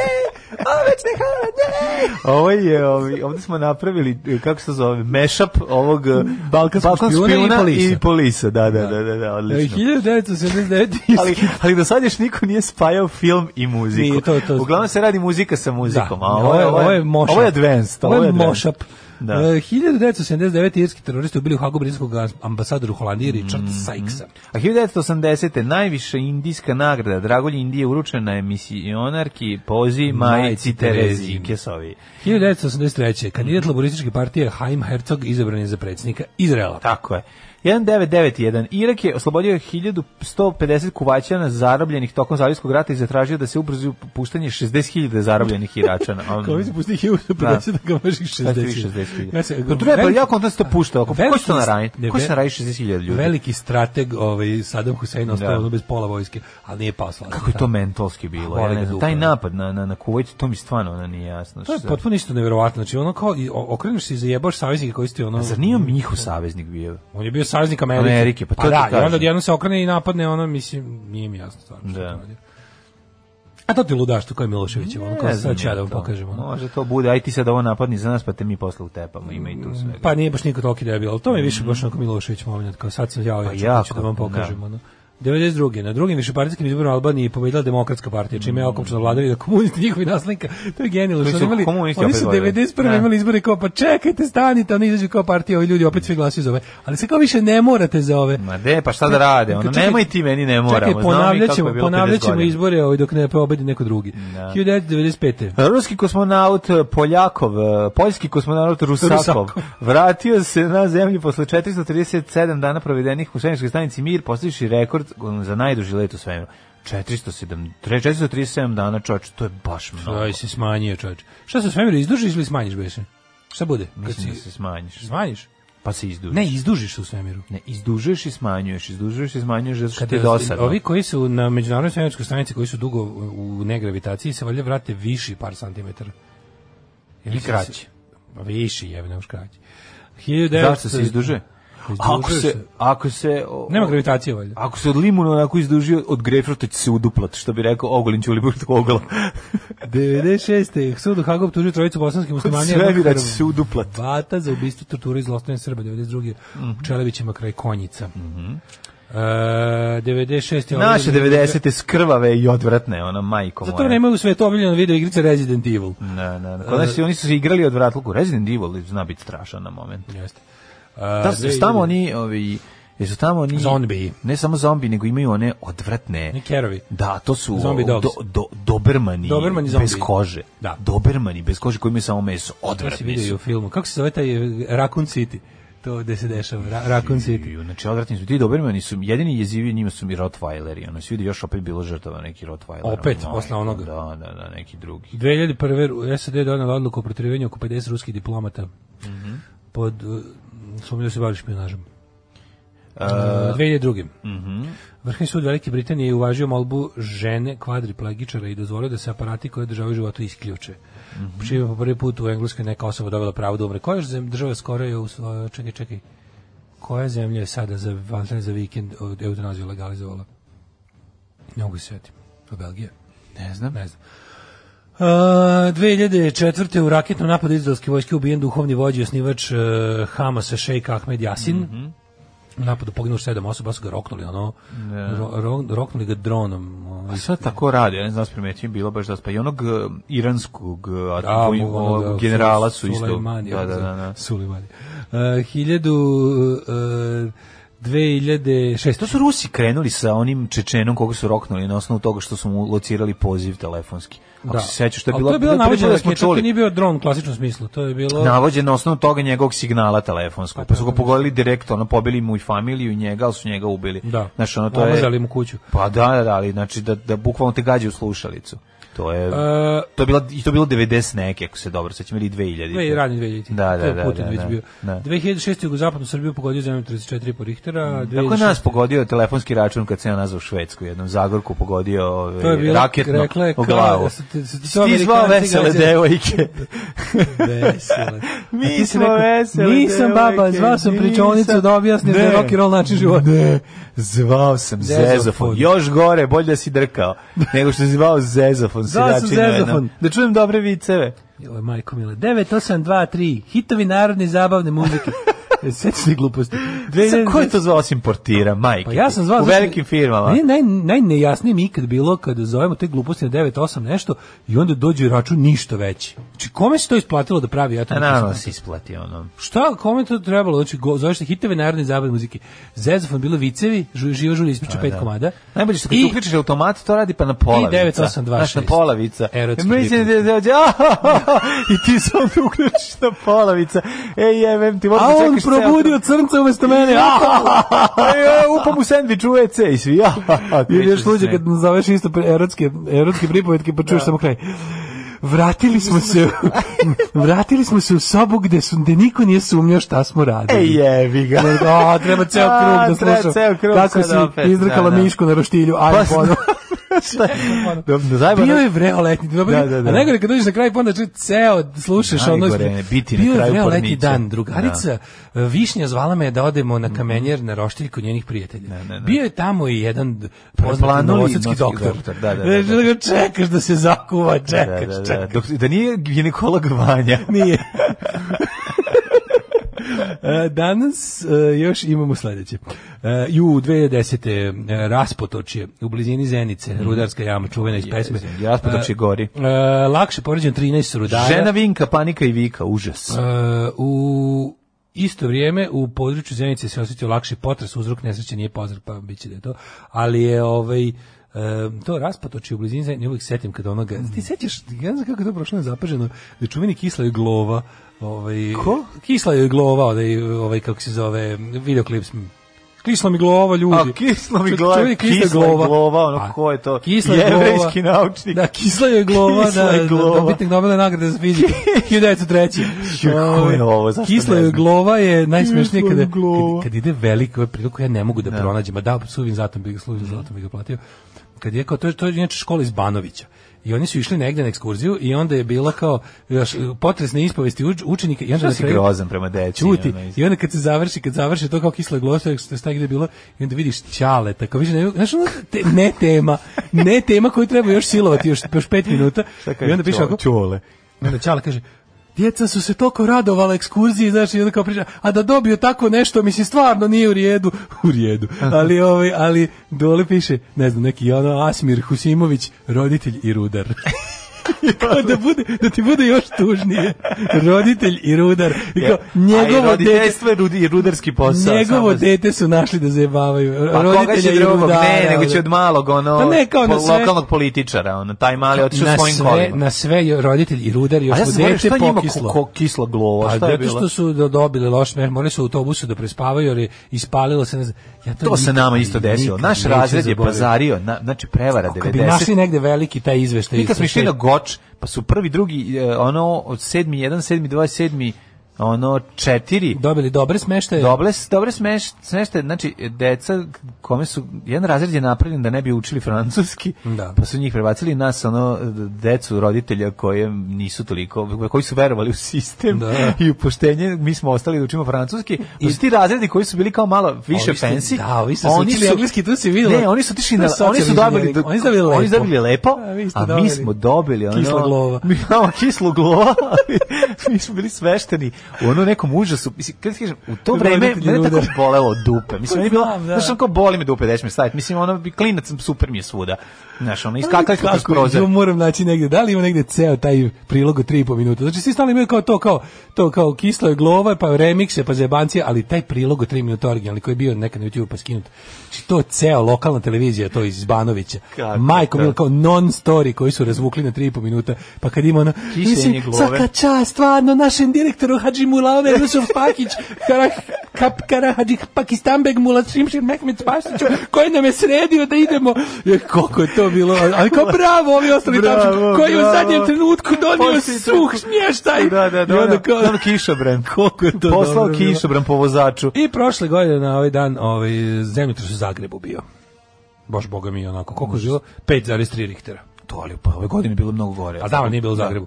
običnih u radnji. Ovo je, ovi, ovdje smo napravili, eh, kako se zove, mashup ovog eh, Balkanskog špijuna i Polisa. i polisa. Da, da, da, da, da odlično. E, 1979. Ali, ali do sad još niko nije spajao film i muziku. Nije, to- to- Uglavnom se radi muzika sa muzikom. Da, a ovo, je, ovo, je, mošap. ovo je advanced. Ovo je advanced. mošap. E, Da. Da. 1979. irski teroristi ubili u Hagu britanskog ambasadora u Holandiji Richard Mhm. Sykesa. A 1980. najviša indijska nagrada Dragolje Indije uručena je misionarki Pozi Majici Majici Terezi Terezi. Kesovi. 1983. kandidat laborističke partije Haim Herzog izabran je za predsjednika Izraela. Tako je. 1991. Irak je oslobodio 1150 kuvaćana zarobljenih tokom Zavijskog rata i zatražio da se ubrzi puštanje 60.000 zarobljenih Iračana. Ono, On- Kao vi se pusti 1050 da ga možeš Da, 60. 60.000. Ja se- Pa to ne, pa jako onda se to pušta. Ako, ko Znači, Veliki će to naraniti? ne, Ko će ve- naraniti 60.000 ljudi? Veliki strateg ovaj Saddam Hussein ostao Da. ono bez pola vojske, ali nije pao slavno. Kako je to mentolski bilo? Ja Voli ne ga znam, dupe, taj da. napad na, na, na Kuvajt, to mi stvarno ono, nije jasno. To je Šta- potpuno isto neverovatno. Znači ono kao i o- okreneš se i zajebaš saveznike koji ste ono Zar nije on njihov saveznik bio? on je bio saveznik Amerike. Amerike, pa to ti da, i kažem. onda odjednom se okrene i napadne ono, mislim, nije mi jasno stvarno što Da. to radi. A to ti ludaš, to je Miloševićev, ono kao Ne znam sad ću ja da vam to. pokažem. ono. Može to bude, aj ti sad ovo napadni za nas, pa te mi posle utepamo, ima i tu svega. Pa nije baš niko toliko debil, ali to mi je više baš onako Milošević moment, kao sad sam ja, ja ću, ja ću da Mhm. Pa jako, vam da. pokažem. Ono. 92. Na drugim višepartijskim izborima u Albaniji pobedila demokratska partija, čime je okomčila vladavina komunisti njihovi naslenka. To je genijalno. Koji što su Oni, imali, komunisti oni opet su vladali. 91. Ne. imali izbore kao, pa čekajte, stanite, oni izađu kao partija, ovi ljudi opet svi glasuju za ove. Ali se kao više ne morate za ove. Ma de, pa šta da rade? Ono, Čekaj, nemoj ti meni, ne moramo. Čekaj, Znamo mi ponavljat kako je ćemo, bilo 50 ponavljat ćemo godina. izbore ovaj, dok ne pobedi neko drugi. 1995. Ruski kosmonaut eh, Poljakov, eh, poljski kosmonaut Rusakov, Rusakov. vratio se na zemlju posle 437 dana provedenih u svemirskoj stanici Mir, postavivši rekord eh, za najduži let u svemiru. 407, 437 dana, čovječ, to je baš mnogo. Aj, si smanjio, čovječ. Šta se u svemiru, izdužiš ili smanjiš, beše? Šta bude? Kad Mislim da si- se smanjiš. Smanjiš? Pa se izdužiš. Ne, izdužiš se u svemiru. Ne, izdužuješ i smanjuješ, izdužuješ i smanjuješ zato što ti je Kada dosadno. Ovi koji su na međunarodnoj svemirskoj stanici koji su dugo u- u negravitaciji se valjda vrate viši par santimetara. Ili Pa kraći. Viši, jebe, ne možeš kraći. 1900... Zašto se izdužuje? Izdužio Ako se, ako se... o- Nema gravitacije, valjda. Ako se od limuna onako izdužio, od grejpfruta će se uduplat, što bi rekao Ogolin Ćuliburt Ogla. 96. Sud u Hagu optužio trojicu bosanskih muslimana. svemira će se uduplat. Vata za ubistvo, tortura i zlostavljanje Srba 92. Mhm. u Čelebićima kraj Konjica. E, 96. je Naše objavljeno- 90. skrvave i odvratne, ona majko moja. Zato vreme u svetu omiljena video igrica Resident Evil. Ne, ne, ne. Kod nas je- oni su se igrali od vratluku. Resident Evil zna biti strašan na moment. Jeste. E, Da, su tamo oni, ovi, jesu tamo oni... Zombiji. Ne samo zombi, nego imaju one odvratne... Oni kerovi. Da, to su Zombie dogs. do, do, dobermani, Dobermani bez zombiji. kože. Da. Dobermani bez kože koji imaju samo To meso. si Odvratni vidio i su. u filmu. Kako se zove taj e, Raccoon City? To gde se dešava. Ra- Raccoon City. Ju, Znači, odvratni su. Ti Dobermani su, jedini jezivi njima su mi Rottweileri. Ono se vidi još opet bilo žrtava neki Rottweiler. ono, Opet, posle onoga. Da, da, da, neki drugi. 2001. SAD je donela odluku o protjerivanju oko 50 ruskih diplomata. Pod uh, sumnjom da se bavi špionažom. Uh, 2002. Vrhovni sud Velike Britanije je uvažio molbu žene kvadriplagičara i dozvolio da se aparati koje državaju životu isključe. Mm -hmm. Čime je po prvi put u Engleskoj neka osoba dobila pravo da umre. Koja još zem- država skoro je, u, uh, čekaj, čekaj, koja zemlja je sada za, valjda za vikend od eutanaziju legalizovala? Ne mogu se sjetiti. Pa Belgija? Ne znam. Ne znam. Uh, 2004. u raketnom napadu izraelske vojske ubijen duhovni vođi i osnivač uh, Hamasa Sheikh Ahmed Yasin. Mhm. U napadu poginulo sedam osoba, su ga roknuli, ono, ro, ro- roknuli ga dronom. Pa ovaj. sad tako radi, ja ne znam da primetim, bilo baš da pa i onog eh, iranskog eh, ono, Da, atom- mu onoga ovog generala su Su- isto. Sulejmani, ono, Da, da, da, da. Sulejmani. Uh, hiljadu, uh, 2006. To su Rusi krenuli sa onim Čečenom koga su roknuli na osnovu toga što su mu locirali poziv telefonski. Ako se sećaš, to je Ali bilo, to je bilo prvi put navođena da smo raketa, to nije čuli. bio dron u klasičnom smislu, to je bilo... Navođen na osnovu toga njegovog signala telefonskog. Pa su ga pogodili direktno, ono, pobili mu i familiju i njega, ali su njega ubili. Da, Znaš, ono, to omazali je... mu kuću. Pa da, da, da, ali znači da, da bukvalno te gađaju u slušalicu. To je... Uh, to je bilo, I to je bilo 90 neke, ako se dobro sećam, ili 2000. Dve i rani 2000. Da, da, To je da, Putin da, već da, bio. da. 2006. jugozapadnu Srbiju pogodio zemljom 34 po Richtera. Mm. Tako 2006. je nas pogodio telefonski račun kad se ja nazvao Švedsku, jednom Zagorku pogodio To je ovaj, bilo, raketno rekla je, u kao, glavu. su ti- su ti to Ti zvao Amerikanci vesele gađali. devojke. Vesele. Mi A ti si smo vesele Nisam baba, devojke, zvao sam nisam." pričovnicu da objasniš da je Ne. rock and roll način života. Ne, zvao sam Zezofon. zezofon. Još gore, bolje da si drkao, nego što si zvao zezofon. Zvao sam siračinu jednom. zezofon. Da čujem dobre viceve. Joj, majko mile. 9823, hitovi narodne i zabavne muzike. E, Sećni gluposti. Sa ko je to zvao osim portira, majke? Pa ja sam zvao... U zato što- velikim firmama. Meni je naj, najnejasnije mi ikad bilo kada zovemo te gluposti na 98 nešto i onda dođe račun ništa veći. Znači, kome se to isplatilo da pravi? Ja to A nisam naravno shvatio. si isplati ono. Šta, kome to trebalo? Znači, go, zoveš se hitove narodne zabavne muzike. Zezofon bilo vicevi, žu, živo žulje ispriča pet komada. Najbolje što kad I- ti uključiš automat, to radi pa na polavica. I 9826. Znaš, na polavica. Erotski Mislim da da- da- I ti se onda uključiš na polavica. Ej, jebem ti, možda A on čekaš ceo- probudio crnca umesto mene. Ej, ej, upam u sandvič u WC i svi. Ja, Ili još luđe kad nazoveš isto pre- erotske, erotske pripovetke pa čuješ samo kraj. Vratili smo se u- vratili smo se u sobu gde su gde niko nije sumnjao šta smo radili. Ej, E, jebi ga. A, treba ceo A, krug da treba slušam. ceo krug Kako sad si opet, izdrkala da, da. mišku na roštilju, aj Pa, ponovo. Šta je? Da, da zajebano- Bio je vreo letni. Dobro, Da, da, da. A najgore kad dođeš na kraj, pa onda ču, ceo slušaš ono... Najgore je biti na bio je kraju vreo letni pornića. dan. Drugarica e, Višnja zvala me da odemo na kamenjer na roštilj kod njenih prijatelja. ne, ne. Bio je tamo i jedan poznati Preplanuli novosadski novosadski doktor. doktor, da, da, da, da. Znači, ga čekaš da se zakuva, Da, čekaš, da, da, čekaš. dok, da nije ginekolog Vanja. Nije. E, Danas e, još imamo sledeće. E, Ju, 2010. e, Raspotočje, u blizini Zenice, Mhm. rudarska jama, čuvena iz pesme. Raspotočje E, gori. e, Lakše poređen 13 rudara. znači- Žena vinka, panika i vika, užas. E, u isto vrijeme u području Zenice se osjetio lakši potres, uzrok nesreće nije pozdrav, pa bit će da je to, ali je ovaj e, to raspotoči u blizini Zenice, uvijek setim kada onoga, Mhm. ti sećaš, ja ne znam kako je to prošlo zapaženo, da je čuveni kisla je glova, ovaj, Ko? Kisla je glova, ovaj, ovaj, kako se zove, videoklip s- Kisla mi glava, ljudi. A, kisla mi Ču- glava, čuveni kisla, kisla glova. je glava, ono, Pa, ko je to? Kisla je glava. Jevrejski naučnik. Da, kisla je glava, Kisla da, je glava. dobitnik Nobelove nagrade za fiziku. 1903. Ju, ko je ovo, zašto Kisla ne je znam? glova je najsmešnije Kisla kada, je glava. kad, kad ide veliko, ovaj prilog koji ja ne mogu da pronađem, a da, suvim zatom bi ga, suvim zatom bi ga platio. kad je kao to je to je inače škola iz Banovića. I oni su išli negde na ekskurziju i onda je bila kao još potresne ispovesti uč- učenika i onda Što na si kraju- grozan prema deci? Ćuti. ono, iz- I onda kad se završi, kad završi to kao kisla glosa, što je gde je bilo, i onda vidiš ćale, tako više ne, znaš, ono, te, ne tema, ne tema koju treba još silovati još, još pet minuta. Šta kaže I onda piše Ćo- ovako, Ćole. i onda ćale kaže, Djeca su se toliko radovala ekskurziji, znaš, i onda kao priča, a da dobiju tako nešto, mislim, stvarno nije u rijedu, u rijedu, ali, ovaj, ali dole piše, ne znam, neki ono Asmir Husimović, roditelj i rudar. Kao da, bude, da ti bude još tužnije, roditelj i rodar. I kao, A i njegovo dete roditeljstvo je rudi- i rudarski posao. Njegovo samo- dete su našli da zajebavaju. Pa koga će Roditelja i drugog? rudara. Ne, nego će ono. od malog, ono, Pa ne, kao na po- sve- lokalnog političara, ono, taj mali je otišao na svojim sve, kolima. na sve je roditelj i rudar još A ja mu sam govorio, dete šta njima ko, pokislo. ko, kislo glovo, Pa šta je zato bilo? što su do- dobili loš meh, morali su u autobusu da prespavaju, jer je ispalilo se, ne znam. Ja to To se nikad nama i- isto desilo. nikad Naš neću razred je zaboraviti. pazario, na, znači prevara Kad bi našli 90. negde veliki taj izveštaj. Mi kad smo ispred išli te- na Goč, pa su prvi, drugi, e, ono, od sedmi, jedan, sedmi, dva, sedmi, ono, četiri, Dobili dobre smeštaje. Dobre, dobre smeš, smešte, znači, deca kome su, jedan razred je napravljen da ne bi učili francuski, Da. pa su njih prebacili nas, ono, decu roditelja koje nisu toliko, koji su verovali u sistem Da. i u poštenje, mi smo ostali da učimo francuski, pa su ti razredi koji su bili kao malo više Ovi su- fancy, da, ovi su se učili engleski, tu si videla. Ne, oni su tišli, To je na, oni su socijalni dobili, inženjering. Oni su dobili oni su lepo. dobili lepo, A vi ste a, mi dobili smo dobili, ono, kisla glava. mi imamo kislu glova, mi smo bili svešteni u ono nekom užasu, mislim, kad ti kažem, u to Dobro, vreme roditelji mene tako lude. bolelo od dupe. Mislim, meni je bilo, Znam, da. znaš, ono kao boli me dupe, da ćeš me staviti. Mislim, ono, bi- klinac sam, super mi je svuda. Znaš, ono, iskakali smo kroz Kako, prozor. Ja moram naći negde, da li ima negde ceo taj prilog od 3,5 minuta. Znači svi stalno imaju kao to, kao, to kao kislo je glova, pa remikse, pa zebancije, ali taj prilog od 3 minuta originalni koji je bio nekad na YouTube pa skinut. Znači to ceo lokalna televizija, to iz Banovića. Kako Majko, to? bilo kao non story koji su razvukli na 3,5 minuta, pa kad ima ono, Kišenje mislim, glove. svaka čast, stvarno, našem direktoru Hadži Mulaome, Rusov Pakić, Karah, Kap Karahadži, Pakistanbeg Mulat Šimšir, Mehmet Pašiću, koji nam je sredio da idemo. Je, koliko je to bilo, ali kao bravo, ovi ostali Bravo, tamo, koji je u bravo. zadnjem trenutku donio Posjećaj. suh smještaj. Da, da, da. I ono, onda kao, ono kišobran. koliko je to Poslao dobro bilo. kišobran po vozaču. I prošle godine na ovaj dan ovaj, zemljotres u Zagrebu bio. Baš boga mi onako, koliko je bilo? 5,3 Richtera. To, ali pa ove godine je bilo mnogo gore. A znam, ali nije bilo u Zagrebu.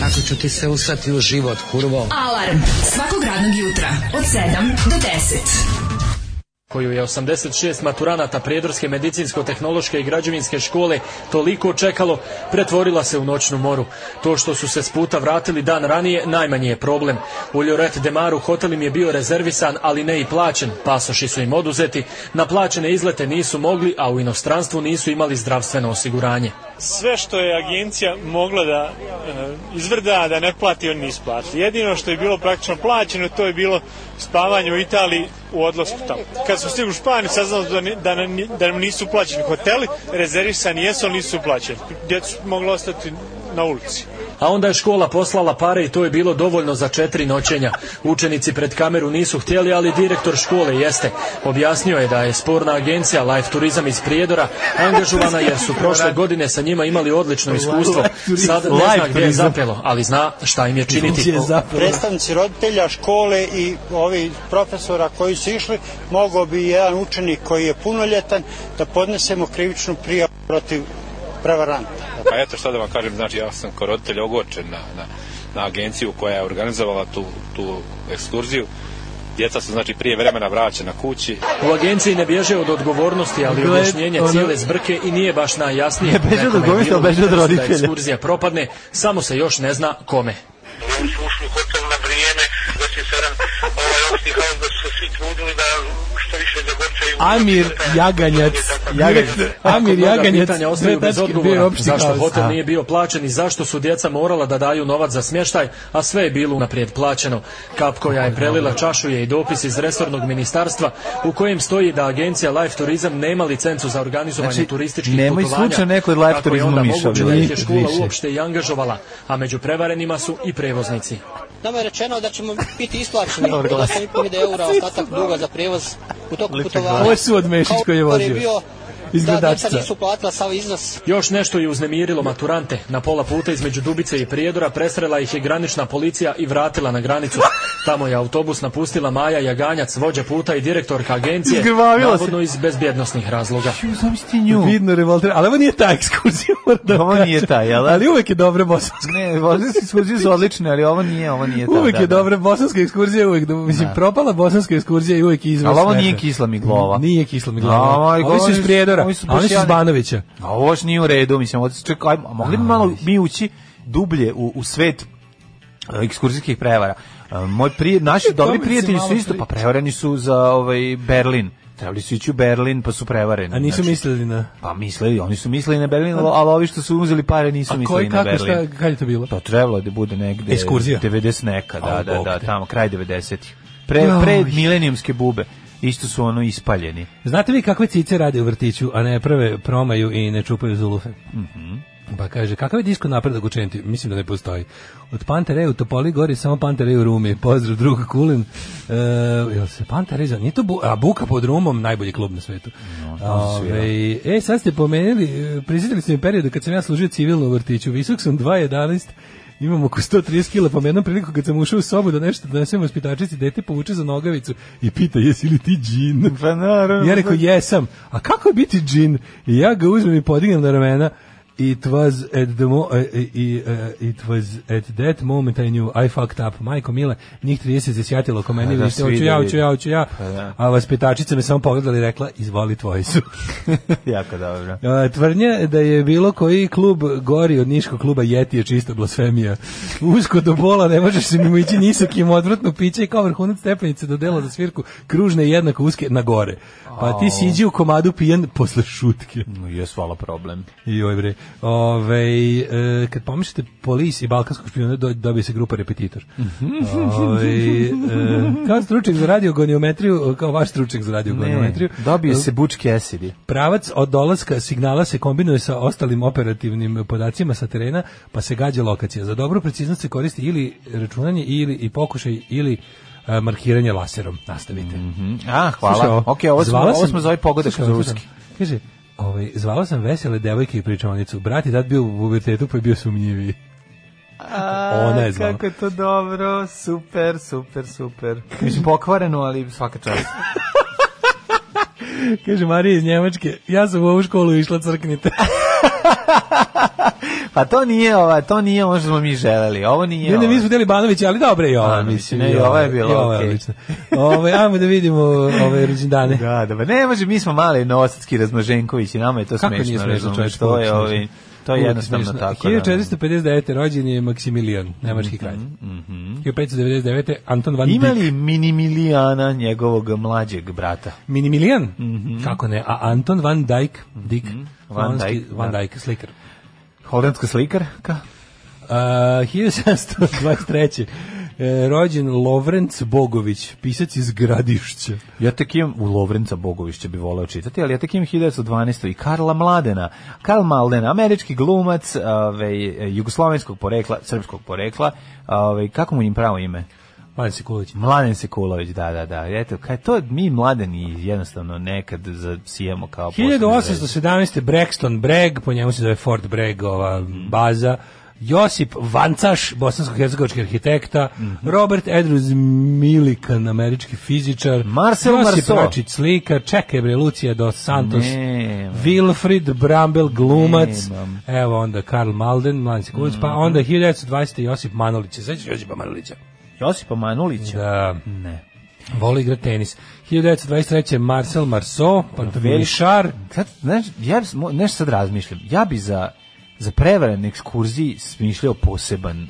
Kako ću ti se usrati u život, kurvo? Alarm svakog radnog jutra od 7 do 10. koju je 86 maturanata Prijedorske medicinsko-tehnološke i građevinske škole toliko čekalo, pretvorila se u noćnu moru. To što su se s puta vratili dan ranije, najmanji je problem. U Ljoret de Maru hotel im je bio rezervisan, ali ne i plaćen. Pasoši su im oduzeti, na plaćene izlete nisu mogli, a u inostranstvu nisu imali zdravstveno osiguranje. sve što je agencija mogla da e, izvrda, da ne plati, on nisu platili. Jedino što je bilo praktično plaćeno, to je bilo spavanje u Italiji u odlasku tamo. Kad smo stigli u Španiju, saznali da, ni- da, nam ni- da nam nisu plaćeni hoteli, rezervisani jesu, ali nisu plaćeni. Djecu su mogla ostati na ulici. A onda je škola poslala pare i to je bilo dovoljno za četiri noćenja. Učenici pred kameru nisu htjeli, ali direktor škole jeste. Objasnio je da je sporna agencija Life Turizam iz Prijedora angažovana jer su prošle godine sa njima imali odlično iskustvo. Sad ne zna Life gdje je Turizam. zapelo, ali zna šta im je Gdje činiti. je zapravo? Predstavnici roditelja, škole i ovi profesora koji su išli, mogao bi jedan učenik koji je punoljetan da podnesemo krivičnu prijavu protiv prevaranta. Pa eto šta da vam kažem, znači ja sam kao roditelj ogorčen na, na, na agenciju koja je organizovala tu, tu ekskurziju. Djeca su znači prije vremena vraćena kući. U agenciji ne bježe od odgovornosti, ali Gled, objašnjenje ono- cijele zbrke i nije baš najjasnije. Ne beže od Nekome je odgovornosti, bilo ali beže interes od da roditelja. ekskurzija propadne, samo se još ne zna kome. Oni su ušli u hotel na vrijeme, da se sada ovaj opšti haos, da su se svi trudili da što više zagorčaju. Amir Jaganjac. Jaganjac. Amir Mnoga Jaganjac. pitanja ostaju dve bez tačke, bio je odgovora. opšti Zašto haos. hotel A. nije bio plaćen i zašto su djeca morala da daju novac za smještaj, a sve je bilo naprijed plaćeno. Kap koja je prelila čašu je i dopis iz resornog ministarstva u kojem stoji da agencija Life Turizam nema licencu za organizovanje Znači, turističkih nemoj putovanja. slučajno neko od Life Kako je Turizma onda mišao, moguće da bilo. ih je škola Više. uopšte i angažovala, a među prevarenima su i prevoznici. Nama je rečeno da ćemo biti isplaćeni Dobar glas. 8.500 eura ostatak duga za prevoz u toku Lijepi putovanja. glas. Ovo je su od Mešić koji je Kao upor vozio. bio izgledačica. Da, deca nisu platila sav iznos. Još nešto je uznemirilo maturante. Na pola puta između Dubice i Prijedora presrela ih je granična policija i vratila na granicu. Tamo je autobus napustila Maja Jaganjac, vođa puta i direktorka agencije, Izgrvavila se. navodno iz bezbjednostnih razloga. Vidno revolter, ali ovo nije ta ekskurzija, moram da Ovo kažem. nije taj, jel da? ali uvek je dobra bosanska. Ne, bosanske ekskurzije su odlične, ali ovo nije, ovo nije ta. Uvek da, je da. dobra bosanska ekskurzija, uvek, do- mislim, Da. propala bosanska ekskurzija i uvek je izvor Ali ovo smeha. nije kisla miglova. ovaj, Nije kisla miglova. A, Ovi su iz Prijedora, a oni baš su iz jadni. Banovića. A ovo baš nije u redu, mislim, ovo čekaj, ajmo, a mogli bi malo mi ući dublje u, u svet e, ekskurzijskih prevara. E, Moj prije, naši tome dobri si prijatelji malo su isto, pri- pa prevareni su za ovaj Berlin. Trebali su ići u Berlin, pa su prevareni. A nisu znači. mislili na... Pa mislili, oni su mislili na Berlin, ali ali ovi što su uzeli pare nisu A mislili koji, na kako, Berlin. šta, kad je to bilo? To trebalo je da bude negde Ekskurzija? 90 neka, da, A, da, Bog da, te. tamo kraj 90-ih. Pre, Joj. pre milenijumske bube. Isto su ono ispaljeni. Znate vi kakve cice rade u vrtiću, a ne prve promaju i ne čupaju zulufe? Pa kaže, kakav je disko napredak u Čenti? Mislim da ne postoji. Od Pantere u Topoli gori, samo Pantere u Rumi. Pozdrav drug Kulin. E, jel se Pantere zove? Nije to bu, a Buka pod Rumom, najbolji klub na svetu. Ove, e, sad ste pomenuli, e, prisjetili ste mi periodu kad sam ja služio civilno u vrtiću. Visok sam 2.11 imam oko 130 kila, pa mi jednom priliku kad sam ušao u sobu da nešto donesem vaspitačici, dete povuče za nogavicu i pita jesi li ti džin? Pa naravno. Ja rekao, jesam. A kako je biti džin? I ja ga uzmem i podignem na ramena. It was at the mo eh, eh, i, eh, it was at that moment I knew I fucked up. Majko Mile, njih 30 se sjatilo oko mene, Pa da, vidite, svi hoću da ja, vide. hoću ja, hoću ja. Pa da. A vaspitačica me samo pogledala i rekla, izvoli tvoji su. jako dobro. E, Tvrdnja da je bilo koji klub gori od niškog kluba Jeti je čista blasfemija. Usko do bola ne možeš se mimo ići nisakim odvratno piće i kao vrhunac stepenice do dela za svirku kružne i jednako uske na gore. Pa ti siđi u komadu pijen posle šutke. No, jes, hvala problem. Joj bre. Ove, e, kad pomislite polis i balkanskog špijuna, do, dobije se grupa repetitor. Ovaj, e, kao stručnjak za radiogoniometriju, kao vaš stručnjak za Pa radiogoniometriju. dobije se bučki esidi. Pravac od dolaska signala se kombinuje sa ostalim operativnim podacima sa terena, pa se gađa lokacija. Za dobru preciznost se koristi ili računanje ili i pokušaj ili e, markiranje laserom. Nastavite. mm, A, Mhm. hvala. Slušaj, ok, ovo smo, zvala ovo sam- smo za ovaj pogodak slušaj, za ovo, slušaj, ruski. Kaže, ovaj, zvala sam vesele devojke i pričavnicu. Brat je tad bio u pubertetu pa je bio sumnjiviji. Ona je zvala. Kako je to dobro, super, super, super. Mislim, pokvareno, ali svaka čast. Kaže, Marija iz Njemačke, ja sam u ovu školu išla crknite. Pa to nije, ova, to nije ono što smo mi želeli. Ovo nije... Ne, ne, ovo. mi smo deli Banovića, ali dobro je i ovo. Banović, mislim, ne, i ovaj, Ovaj. i ovo je i bilo ovo je okej. odlično. Ovo, ajmo da vidimo ove rođendane. Da, da, ba, ne može, mi smo mali Novosadski Razmaženković i nama je to Kako nije smešno, smešno, razumeš, čovječ, to je, uvijek ovaj, smešno. to je Uvijek jednostavno smešno. tako. da. 1459. rođen je Maksimilijan, nemački kralj. 1599. Anton van Mhm, Ima Dyck. li Minimilijana njegovog mlađeg brata? Minimilijan? Kako ne? A Anton van Dyck, Dyck, Mhm. Van van Dyck, Dyck, van da. Dyck slikar. Holandska slikarka? Uh, 1723. E, rođen Lovrenc Bogović, pisac iz Gradišća. Ja tek imam, u Lovrenca Bogovića bi voleo čitati, ali ja tek imam 1912. i Karla Mladena. Karl Malden, američki glumac, ovaj, jugoslovenskog porekla, srpskog porekla, ovaj, kako mu im pravo ime? Mladen Sikulović. Mladen Sekulović, da, da, da. Eto, kaj to mi mladeni jednostavno nekad zasijemo kao posljednje zvezde. 1817. Brexton Breg, po njemu se zove Fort Breg, ova baza. Josip Vancaš, bosansko-hercegovački arhitekta, Mhm. Robert Edrus Milikan, američki fizičar, Marcel Josip Marceau. Račić slikar, čekaj bre, Lucija dos Santos, Nemam. Wilfrid Brambel glumac, Nemam. Mhm. evo onda Karl Malden, Mladen Sekulović, pa onda 1920. Josip Manolić, se sećaš Josipa Manolića? Josipa Manulića? Da, Ne. voli igra tenis. 1923. Marcel Marceau, pantomimišar, Sad, znaš, ja bi- mo- nešto sad razmišljam. Ja bi za za prevarene ekskurziji smišljao poseban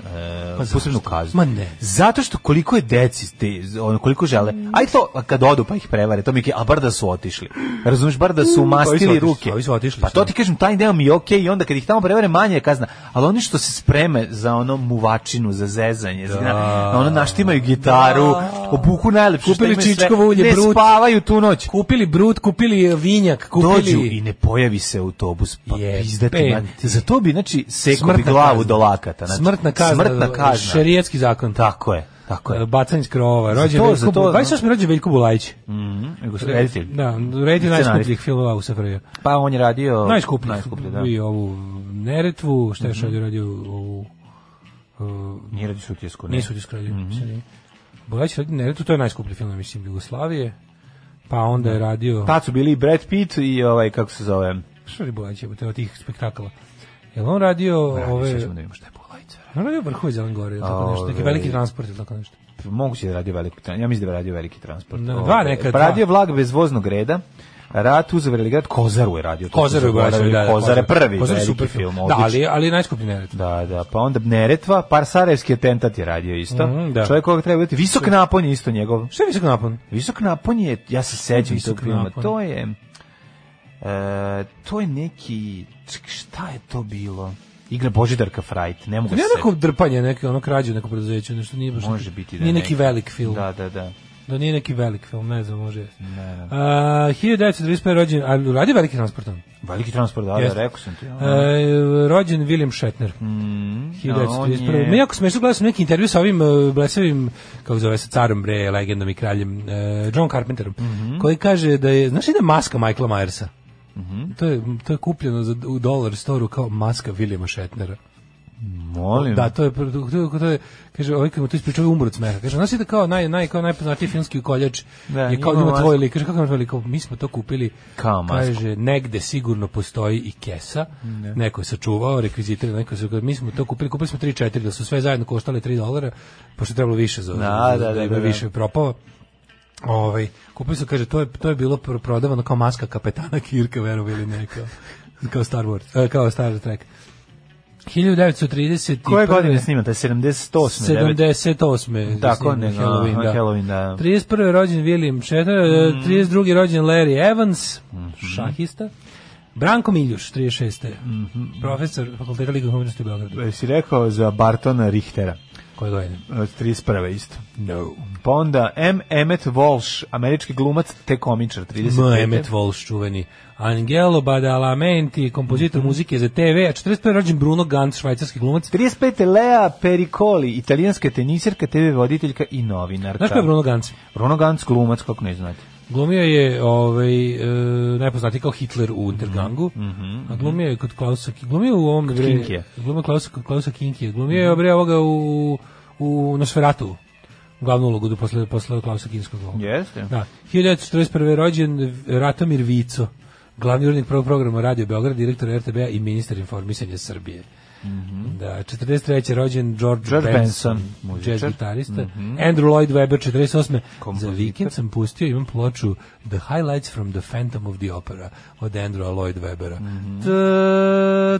e, posebnu kaznu. Pa Ma ne. Zato što koliko je deci te, ono, koliko žele. Aj to kad odu pa ih prevare, to mi je, a bar da su otišli. Razumeš, bar da su umastili otišli, ruke. Mm. Pa ovi su otišli, Pa to sad. ti kažem, taj deo mi je okej i onda kad ih tamo prevare manje je kazna. Ali oni što se spreme za ono muvačinu, za zezanje, za, na, ono naštimaju gitaru, obuku najlepšu. Kupili šta imaju sve, čičkovo ulje, ne brut. spavaju tu noć kupili brut, kupili vinjak, kupili... dođu i ne pojavi se autobus. Pa Je, pizdati pet. man. Za to bi, znači, seko bi Smrtna glavu kazna. do lakata. Znači, smrtna kazna. E, Smrtna kazna. Šerijetski zakon. Tako je. Tako je. Bacanje iz krova. Za Rođen to, Veljko, za to, Bu- da. 28. rođen Veljko Bulajić. Mhm, reditelj. e, Da, reditelj Scenarist. najskupljih filmova u SFRJ. Pa on je radio... Najskuplji. Najskuplji, da. Mhm. I ovu Neretvu, šta je mm radio ovu... Uh, Nije radio Sutjesku, ne. Mhm. Nije Sutjesku radio, mm -hmm. Bulajić radi Neretvu, to je najskuplji film, ja mislim, Jugoslavije. Pa onda je radio... Tad su bili i Brad Pitt i ovaj, kako se zove... Šta je Bulajić, jebote, od tih spektakala? Jel on radio Radio, ove... sad ćemo da vidimo šta je Bulajić radio. On radio vrhu iz Zelene Gore, ili tako nešto, neki Ovaj. veliki transport ili tako nešto. Moguće da je radio veliki transport. Ja mislim da je radio veliki transport. Da, dva Ovaj, neka, Pa dva. radio vlak bez voznog reda. Rat uzavr ili grad Kozaru je radio. to Kozaru smo je baš, zaboravili. da, da, Kozar je Kozar. prvi Kozar je veliki super film. film. Da, odličan. ali- ali je najskuplji Neretva. Da, da, pa onda Neretva, par Sarajevski atentat je radio isto. Mhm, da. Čovjek koga treba biti. Visok napon je isto njegov. Šta je visok napon? Visok napon je, ja se sećam Visok tog filma, napon. to je... E, to je neki... ček, Šta je to bilo? Igra Božidarka Frajt, ne mogu To se nije setiti. neko drpanje, neki ono krađe, neko preduzeće, nešto nije baš... Može biti da Nije je neki velik film. Da, da, da. Da nije neki velik film, ne znam, može. jesti. Ne, ne. Uh, 1935. rođen, ali radi veliki transportom. Veliki transport, da, da, rekao sam ti. Mhm, E, rođen William Shatner. Mm, on 1931. je- Me jako smešno gledao sam neki intervju sa ovim e, blesavim, kako zove se, carom bre, legendom i kraljem, e, John Carpenterom, Mhm. koji kaže da je, znaš li da je maska Michaela Myersa? Mhm. To je, to je kupljeno za, u dolar storu kao maska Williama Shatnera. Molim. Da, to je to, to, to je kaže ovaj kad mu to ispričao umro od smeha. Kaže, znači da kao naj naj kao najpoznatiji filmski ukoljač Da, je kao ima ima masku. tvoj lik. Kaže kako ima tvoj lik? Kao, Mi smo to kupili. Kao masku. Kaže negde sigurno postoji i kesa. Ne. Neko je sačuvao rekvizite, neko se mi smo to kupili, kupili smo 3 4 da su sve zajedno koštale 3 dolara, pošto je trebalo više za Da, za- da, za- da, ima da, da. više propao. Ovaj kupili su kaže to je to je bilo pr- prodavano kao maska kapetana Kirka, verovali ili ne kao, kao Star Wars, e, kao Star Trek. 1930 Koje godine snimate? 78. 78. Tako, ne, ne, no, Halloween, da. Halloween, da. Mhm. 31. rođen William Shatner, mm. 32. rođen Larry Evans, šahista. Branko Miljuš, 36. Mhm. Profesor Fakulteta Liga umjetnosti u Beogradu. Jesi si rekao za Bartona Richtera. Koje godine? Od 31. isto. No. Pa onda M. Emmet Walsh, američki glumac, te komičar, 35. Mehmet Walsh, čuveni. Angelo Badalamenti, kompozitor Mhm. muzike za TV, a 41. rođen Bruno Gantz, švajcarski glumac. 35. Lea Pericoli, italijanska tenisirka, TV voditeljka i novinarka. Znaš ko je Bruno Gantz? Bruno Gantz, glumac, kako ne znate. Glumio je ovaj e, najpoznatiji kao Hitler u Untergangu. a glumio je kod Klausa Ki- glumio je u ovom bre. Kinkija. Glumio je Klausa kod Klausa Kinkija. Glumio je bre ovoga u u Nosferatu. Glavnu ulogu do posle posle Klausa Kinskog. Jeste. Da. 1941. rođen Ratomir Vico, glavni urednik prvog programa Radio Beograd, direktor RTB-a i ministar informisanja Srbije. Da, 43. rođen George, Mhm. George Benson, Benson, muzičar. jazz gitarista. Mhm. Andrew Lloyd Webber, 48. Kompozitor. Za vikend sam pustio, imam ploču The Highlights from the Phantom of the Opera od Andrew Lloyd Webbera. Mhm.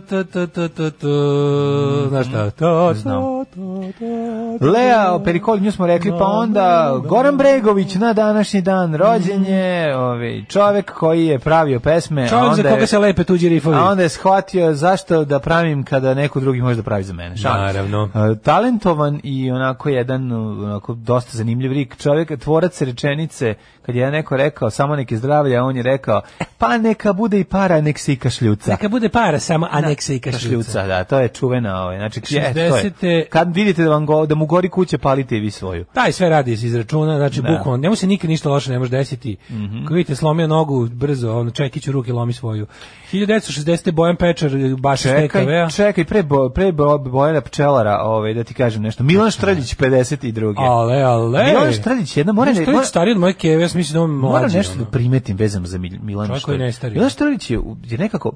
Ta, ta, ta, ta, ta, ta. Znaš šta? Ta, Znam. ta, ta, ta, ta. Lea Pericoli, nju smo rekli, pa onda Goran Bregović na današnji dan rođen je, ovaj, čovek koji je pravio pesme, a Čovjek za E, onda je- koga se lepe tuđi rifovi. A onda je shvatio zašto da pravim kada neko drugi može da pravi za mene. Šalim se. Naravno. E, Talentovan i onako jedan e, onako dosta zanimljiv lik čovjek, tvorac rečenice, kad je neko rekao samo neke zdravlja, on je rekao pa neka bude i para, nek se i kašljuca. Neka bude para samo, a nek se i kašljuca. kašljuca. Da, to je čuvena, ovaj, znači, je, to je. 60-te Kad vidite da, vam go, da mu gori kuće, palite i vi svoju. Taj sve radi iz izračuna, znači Da. Mhm. bukvalno, njemu se nikad ništa loše ne može desiti. Ako vidite, slomio nogu, brzo, ono, čekić u ruke, lomi svoju. 1960. Bojan Pečar, e, baš Čekaj, TKV-a. čekaj, pre, bo, pre bo, Bojana Pčelara, ovaj, da ti kažem nešto. Milan Štrljić, 52. Ale, ale. Milan Štrljić, jedna mora... Milan Štrljić mora- stariji od moje keve, ja sam mislim da on mlađi. Moram nešto ono. da primetim vezano za Mil- Milana Čovjek koji ne stari. Milan Štrlić je, u- je nekako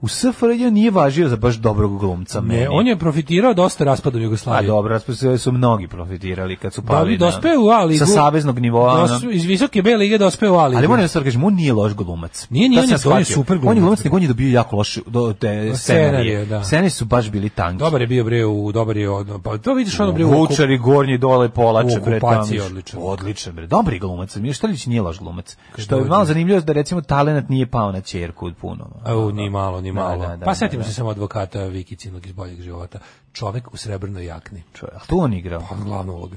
u SFRJ nije važio za baš dobrog glumca. meni. Ne, on je profitirao dosta raspadom A Jugoslavije. dobro, raspisali su mnogi profitirali kad su Da pali bi na- dospeo u A ligu. sa saveznog nivoa. ono. Dos- iz visoke B lige dospeo u A ligu. Ali moram da sad kažem, on nije loš glumac. Nije, nije, To on sam je- on je shvatio. super On je glumac. glumac, nego on je dobio jako loše do, te, scenarije. da. Scenariji su baš bili tanki. Dobar je bio bre, u, dobar je odno. Pa to vidiš ono bre u okupu. Vučari, gornji, dole, polače, U bre, tamo. okupaciji odličan. Odličan, bre. Dobri glumac. Milan Štrlić nije loš glumac. Što je malo zanimljivo da recimo talenat nije pao na čerku od puno. ono. Au, ni malo, ni Da, malo. da, da, pa da, setimo da. se samo advokata Vikicinog iz boljeg života. Čovek u srebrnoj jakni. Čovjek, ali to on igrao. Pa glavna uloga.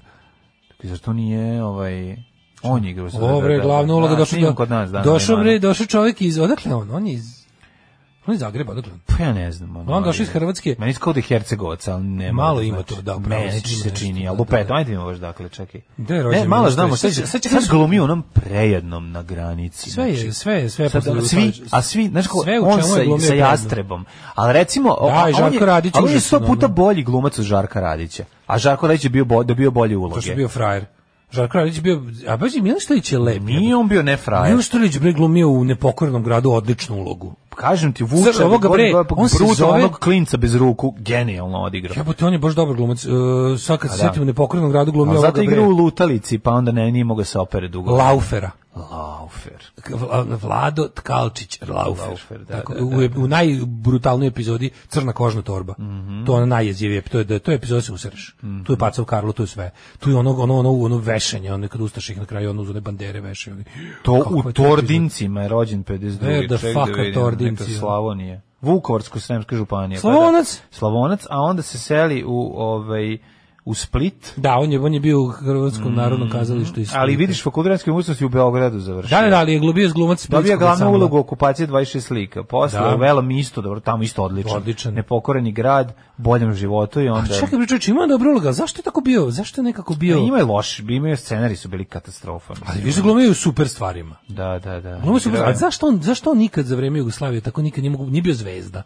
Čekaj, zar to nije ovaj on je igrao za Ovo bre, da, da, glavna da, uloga da, ono- došao snimam do- kod nas da. došao bre, došao čovek iz odakle je on, on je iz On je iz Zagreba, odakle? on? Pa ja ne znam. On došao iz Hrvatske. Meni skao da je Hercegovac, ali ne. Malo moram, ima znači. to, da, upravo Meni si, ima se nešto, čini, da, ali da, lupeto, ajde mi baš dakle, čekaj. Gde je Ne, rođen malo Miloš znamo, sad, Stojić? sad, Sad će- sad glumi onom prejednom na granici. Sve je, znači. sve je, sve je. Sad, posle svi, Jugoslavije. a svi, znaš ko, Sve u on čemu je sa, glumio sa Prejednog. jastrebom. Ali recimo, Da, i a, on, Žarko je, Radić a on je užasno, sto puta ono. bolji glumac od Žarka Radića. A Žarko Radić je bio bo, dobio bolje uloge. To što je bio frajer. Žarko Radić je bio, a baš je Milan Štelić je lep. Nije on bio ne frajer. Milan Štelić bre glumio u nepokorenom gradu odličnu ulogu. Kažem ti, vuče, Zar ovoga, bre, on se zove- onog klinca bez ruku, genijalno odigrao. Jebote, on je baš dobar glumac. E, sad kad A se da. setim u nepokorenom gradu glumio A ovoga zato igra bre, u lutalici, pa onda ne, nije mogao se opere dugo. Laufera. Laufer. K- Vla- Vlado Tkalčić Laufer. Laufer, da, Tako, da, da. U, u najbrutalnijoj epizodi Crna kožna torba. Mhm. To je ona najjezivije, to je da to je epizoda se usreš. Tu je pacao Karlo, tu je sve. Tu je ono ono ono ono vešanje, ono kad ustaš ih na kraju ono uz one bandere vešaju. To u Tordincima je rođen 52. Where E, the Ček fuck da are vidim, Tordinci, neka ono? Slavonije. Vukovarsko-Sremska županija. Pa da, Slavonac? Slavonac, a onda se seli u, ovaj, u Split. Da, on je on je bio u Hrvatskom narodnom kazalištu i Mhm. Ali vidiš, fakultetske umustnosti u Beogradu završio. Da, da, da, ali je glumio glumac Dobio Splitskog glavnu ansambla. ulogu okupacije 26 slika. Posle Da. da. u Velom isto, dobro, tamo isto odličan. Odličan. Nepokoreni grad, boljem životu i onda... A Pa čekaj, bre, čovječe, ima on dobra uloga. Zašto je tako bio? Zašto je nekako bio? Pa Ima je loš, ima je scenari su bili katastrofa. Ali više glumio u super stvarima. Da, da, da. Glumio super, Igrao je- a zašto on, zašto on nikad za vreme Jugoslavije tako nikad nije, mogu, nije bio zvezda?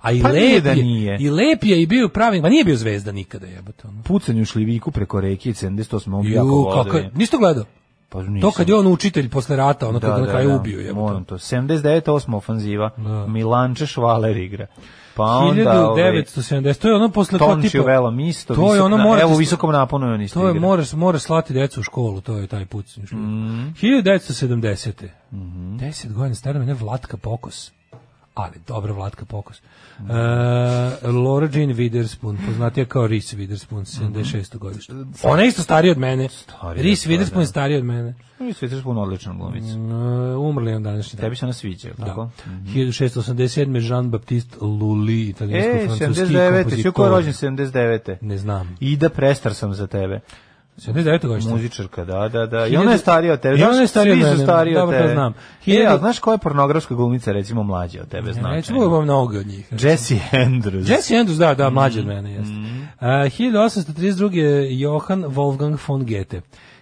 A i Pa lep nije je, da nije. i lep je i bio pravi, pa nije bio zvezda nikada, jebote ono. pucanju šljiviku preko reke 78. On bi jako Ju, volao da kako, vidim. nisi to gledao? Pa nisam. To kad je on učitelj posle rata, ono Da, kad ga na da, kraju da, ubio, jebote. Moram to. 79. osma ofanziva. Milanče Švaler igra. Pa onda... ovaj, 1970, to je ono posle kao Tonči tipa... u velom isto. to je ono mora... Evo u visokom naponu je on isto To je igra. moraš, moraš slati decu u školu, to je taj put. Mhm. Mm. 1970. Mm 10 godina stara mene Vlatka Pokos. Ali dobra Vlatka Pokos. Mhm. E, Laura Jean Witherspoon, poznatija kao Reese Witherspoon, 76. godište. Ona je isto starija od mene. Mhm. Starija, Reese to je, Witherspoon da. je starija od mene. Mi su vidiš puno odličan glumica. E, umrli je on današnji dan. Tebi se ona sviđa, Da. tako? Mhm. 1687. Jean-Baptiste Lully, E, italijansko-francuski 79. Sjeko je kompozitor. rođen 79. Ne znam. Ida, prestar sam za tebe. 79. godište. Muzičarka, da, da, da. I Pa Hiljadu- ona je starija od tebe. I ona Znaš, je starija od svi su mene, stariji od dobro, to tebe. znam. E, Hiljadu- a znaš koja je pornografska glumica, recimo, mlađa od tebe, značajno? Recimo imam mnogo od njih. Jesse Andrews. Jesse Andrews, da, da, mlađi Mhm. od mene, jeste. Uh, 1832. je Johann Wolfgang von Goethe.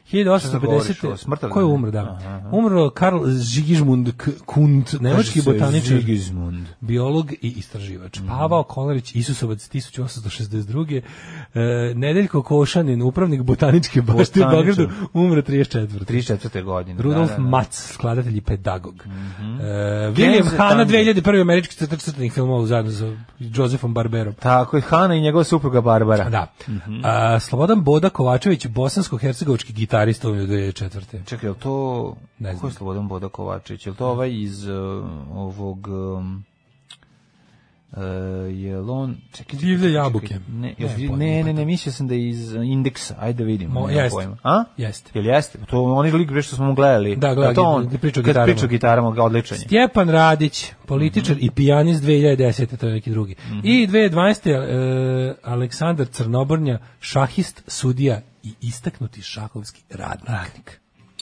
Šta govoriš, ovo, 1850. smrtav Ko je dan? umro, da. Aha, aha. Umro Karl Sigismund K- Kunt, nemački Kaže se Mhm. botaničar, Sigismund. biolog i istraživač. Pavao Kolarić, Isusovac 1862. Uh, Nedeljko Košanin, upravnik botaničke bašte u Botaničar. Beogradu, umro 34. 34. godine. Rudolf da, Mhm. da, da. Mac, skladatelj i pedagog. E, William Kenze Hanna, Tange. 2001. američki crtač crtanih filmova zajedno sa Josephom Barberom. Tako je, Hana i njegova supruga Barbara. Da. A, Slobodan Boda Kovačević, bosansko-hercegovički gitarista u 2004. Čekaj, je li to... Ne Ne znam. Ko je Slobodan Boda Kovačević? Je li to ovaj iz uh, ovog... Um, Uh, je li on... Čekaj, čekaj, Divlje čekaj, jabuke. čekaj. Ne, Ne, jel, pojma, ne, ne, ne, pitam. mislio sam da je iz uh, indeksa. Ajde da Mo- vidimo. nemam jeste. Pojma. A? Jeste. Jel jeste? To je onaj lik bre što smo mu gledali. Da, gleda, Je to gdje- on, gdje priča o kad gitarama. priča o gitarama, odličan je. Stjepan Radić, političar i pijanist 2010. To je neki drugi. I 2012. E, Aleksandar Crnobornja, šahist, sudija i istaknuti šahovski radnik.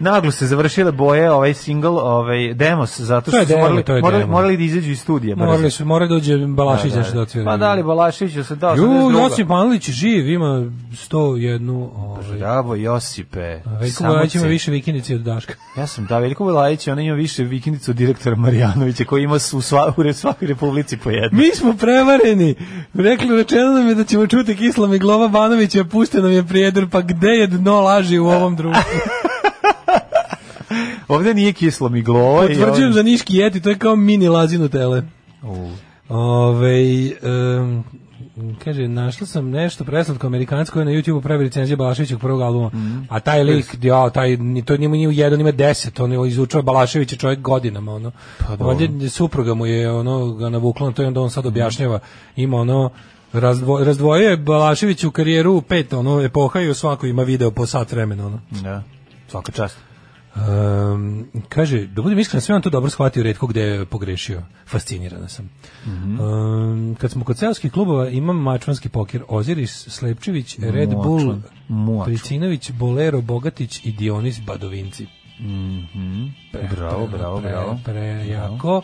Naglo se završile boje ovaj single, ovaj demos, zato To je što su demo, morali, to je morali, demo. morali da izađu iz studija. brzo. E, Morali su, morali da uđe Balašić da, da, se da. otvori. Pa da li Balašević se dao Ju, 82.. Josip Manlić živ, ima 101... Ovaj, Bravo Josipe. Veljko Samo Bojajić ima cen- više vikendice od Daška. Ja sam da Veljko Bulajić, ona ima više vikendicu od direktora Marjanovića koji ima su u sva u re- svakoj republici po jednu. Mi smo prevareni. Rekli, rečeno nam je da ćemo čuti Kisla i Glova Banovića, pušten nam je prijedor, pa gde je dno laži u ovom društvu? Ovde nije kislo mi glova. i Potvrđujem ovde- za Niški jeti, to je kao mini lazinu tele. U. Ove, em, kaže, našla sam nešto preslatko amerikansko je na YouTubeu pravi recenzije Balaševićeg prvog albuma. A taj lik, ja, taj, ni- to njemu nije u jedan, ima deset, on je izučava Balaševića čovjek godinama, ono. Pa, supruga mu je, ono, ga navukla, na to je onda on sad objašnjava, ima ono, razdvo, razdvojio je Balašević u karijeru u pet, ono, epoha i u svakoj ima video po sat vremena, ono. Da. Svaka čast. E, Um, kaže, da budem iskren, sve on to dobro shvatio, redko gde je pogrešio. Fascinirana sam. Mhm. Um, kad smo kod seoskih klubova, imam mačvanski pokir. Oziris, Slepčević, Red Mačvan. Bull, Mačvan. Pricinović, Bolero, Bogatić i Dionis Badovinci. Mhm. Bravo, bravo, pre- bravo. Prejako.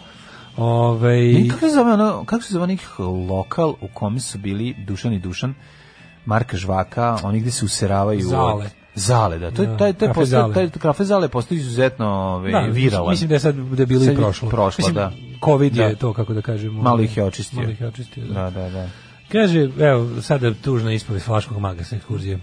Ovaj I kako se zove ono, kako se zove onih lokal u kome su bili Dušan i Dušan, Marka Žvaka, oni gde se useravaju Zale. od- Zale, da. To je Da, taj taj kafe postao Zale. taj kafe Zale postao izuzetno ovaj Da, viralan. Mislim da je sad da je bilo Sad i prošlo. Prošlo, mislim, da. Covid Da. je to, kako da kažemo. Malo ih je očistio. Malo ih je očistio, da. Da, da, da. Kaže, evo, sada tužna ispovest Vlaškog maga sa ekskurzije.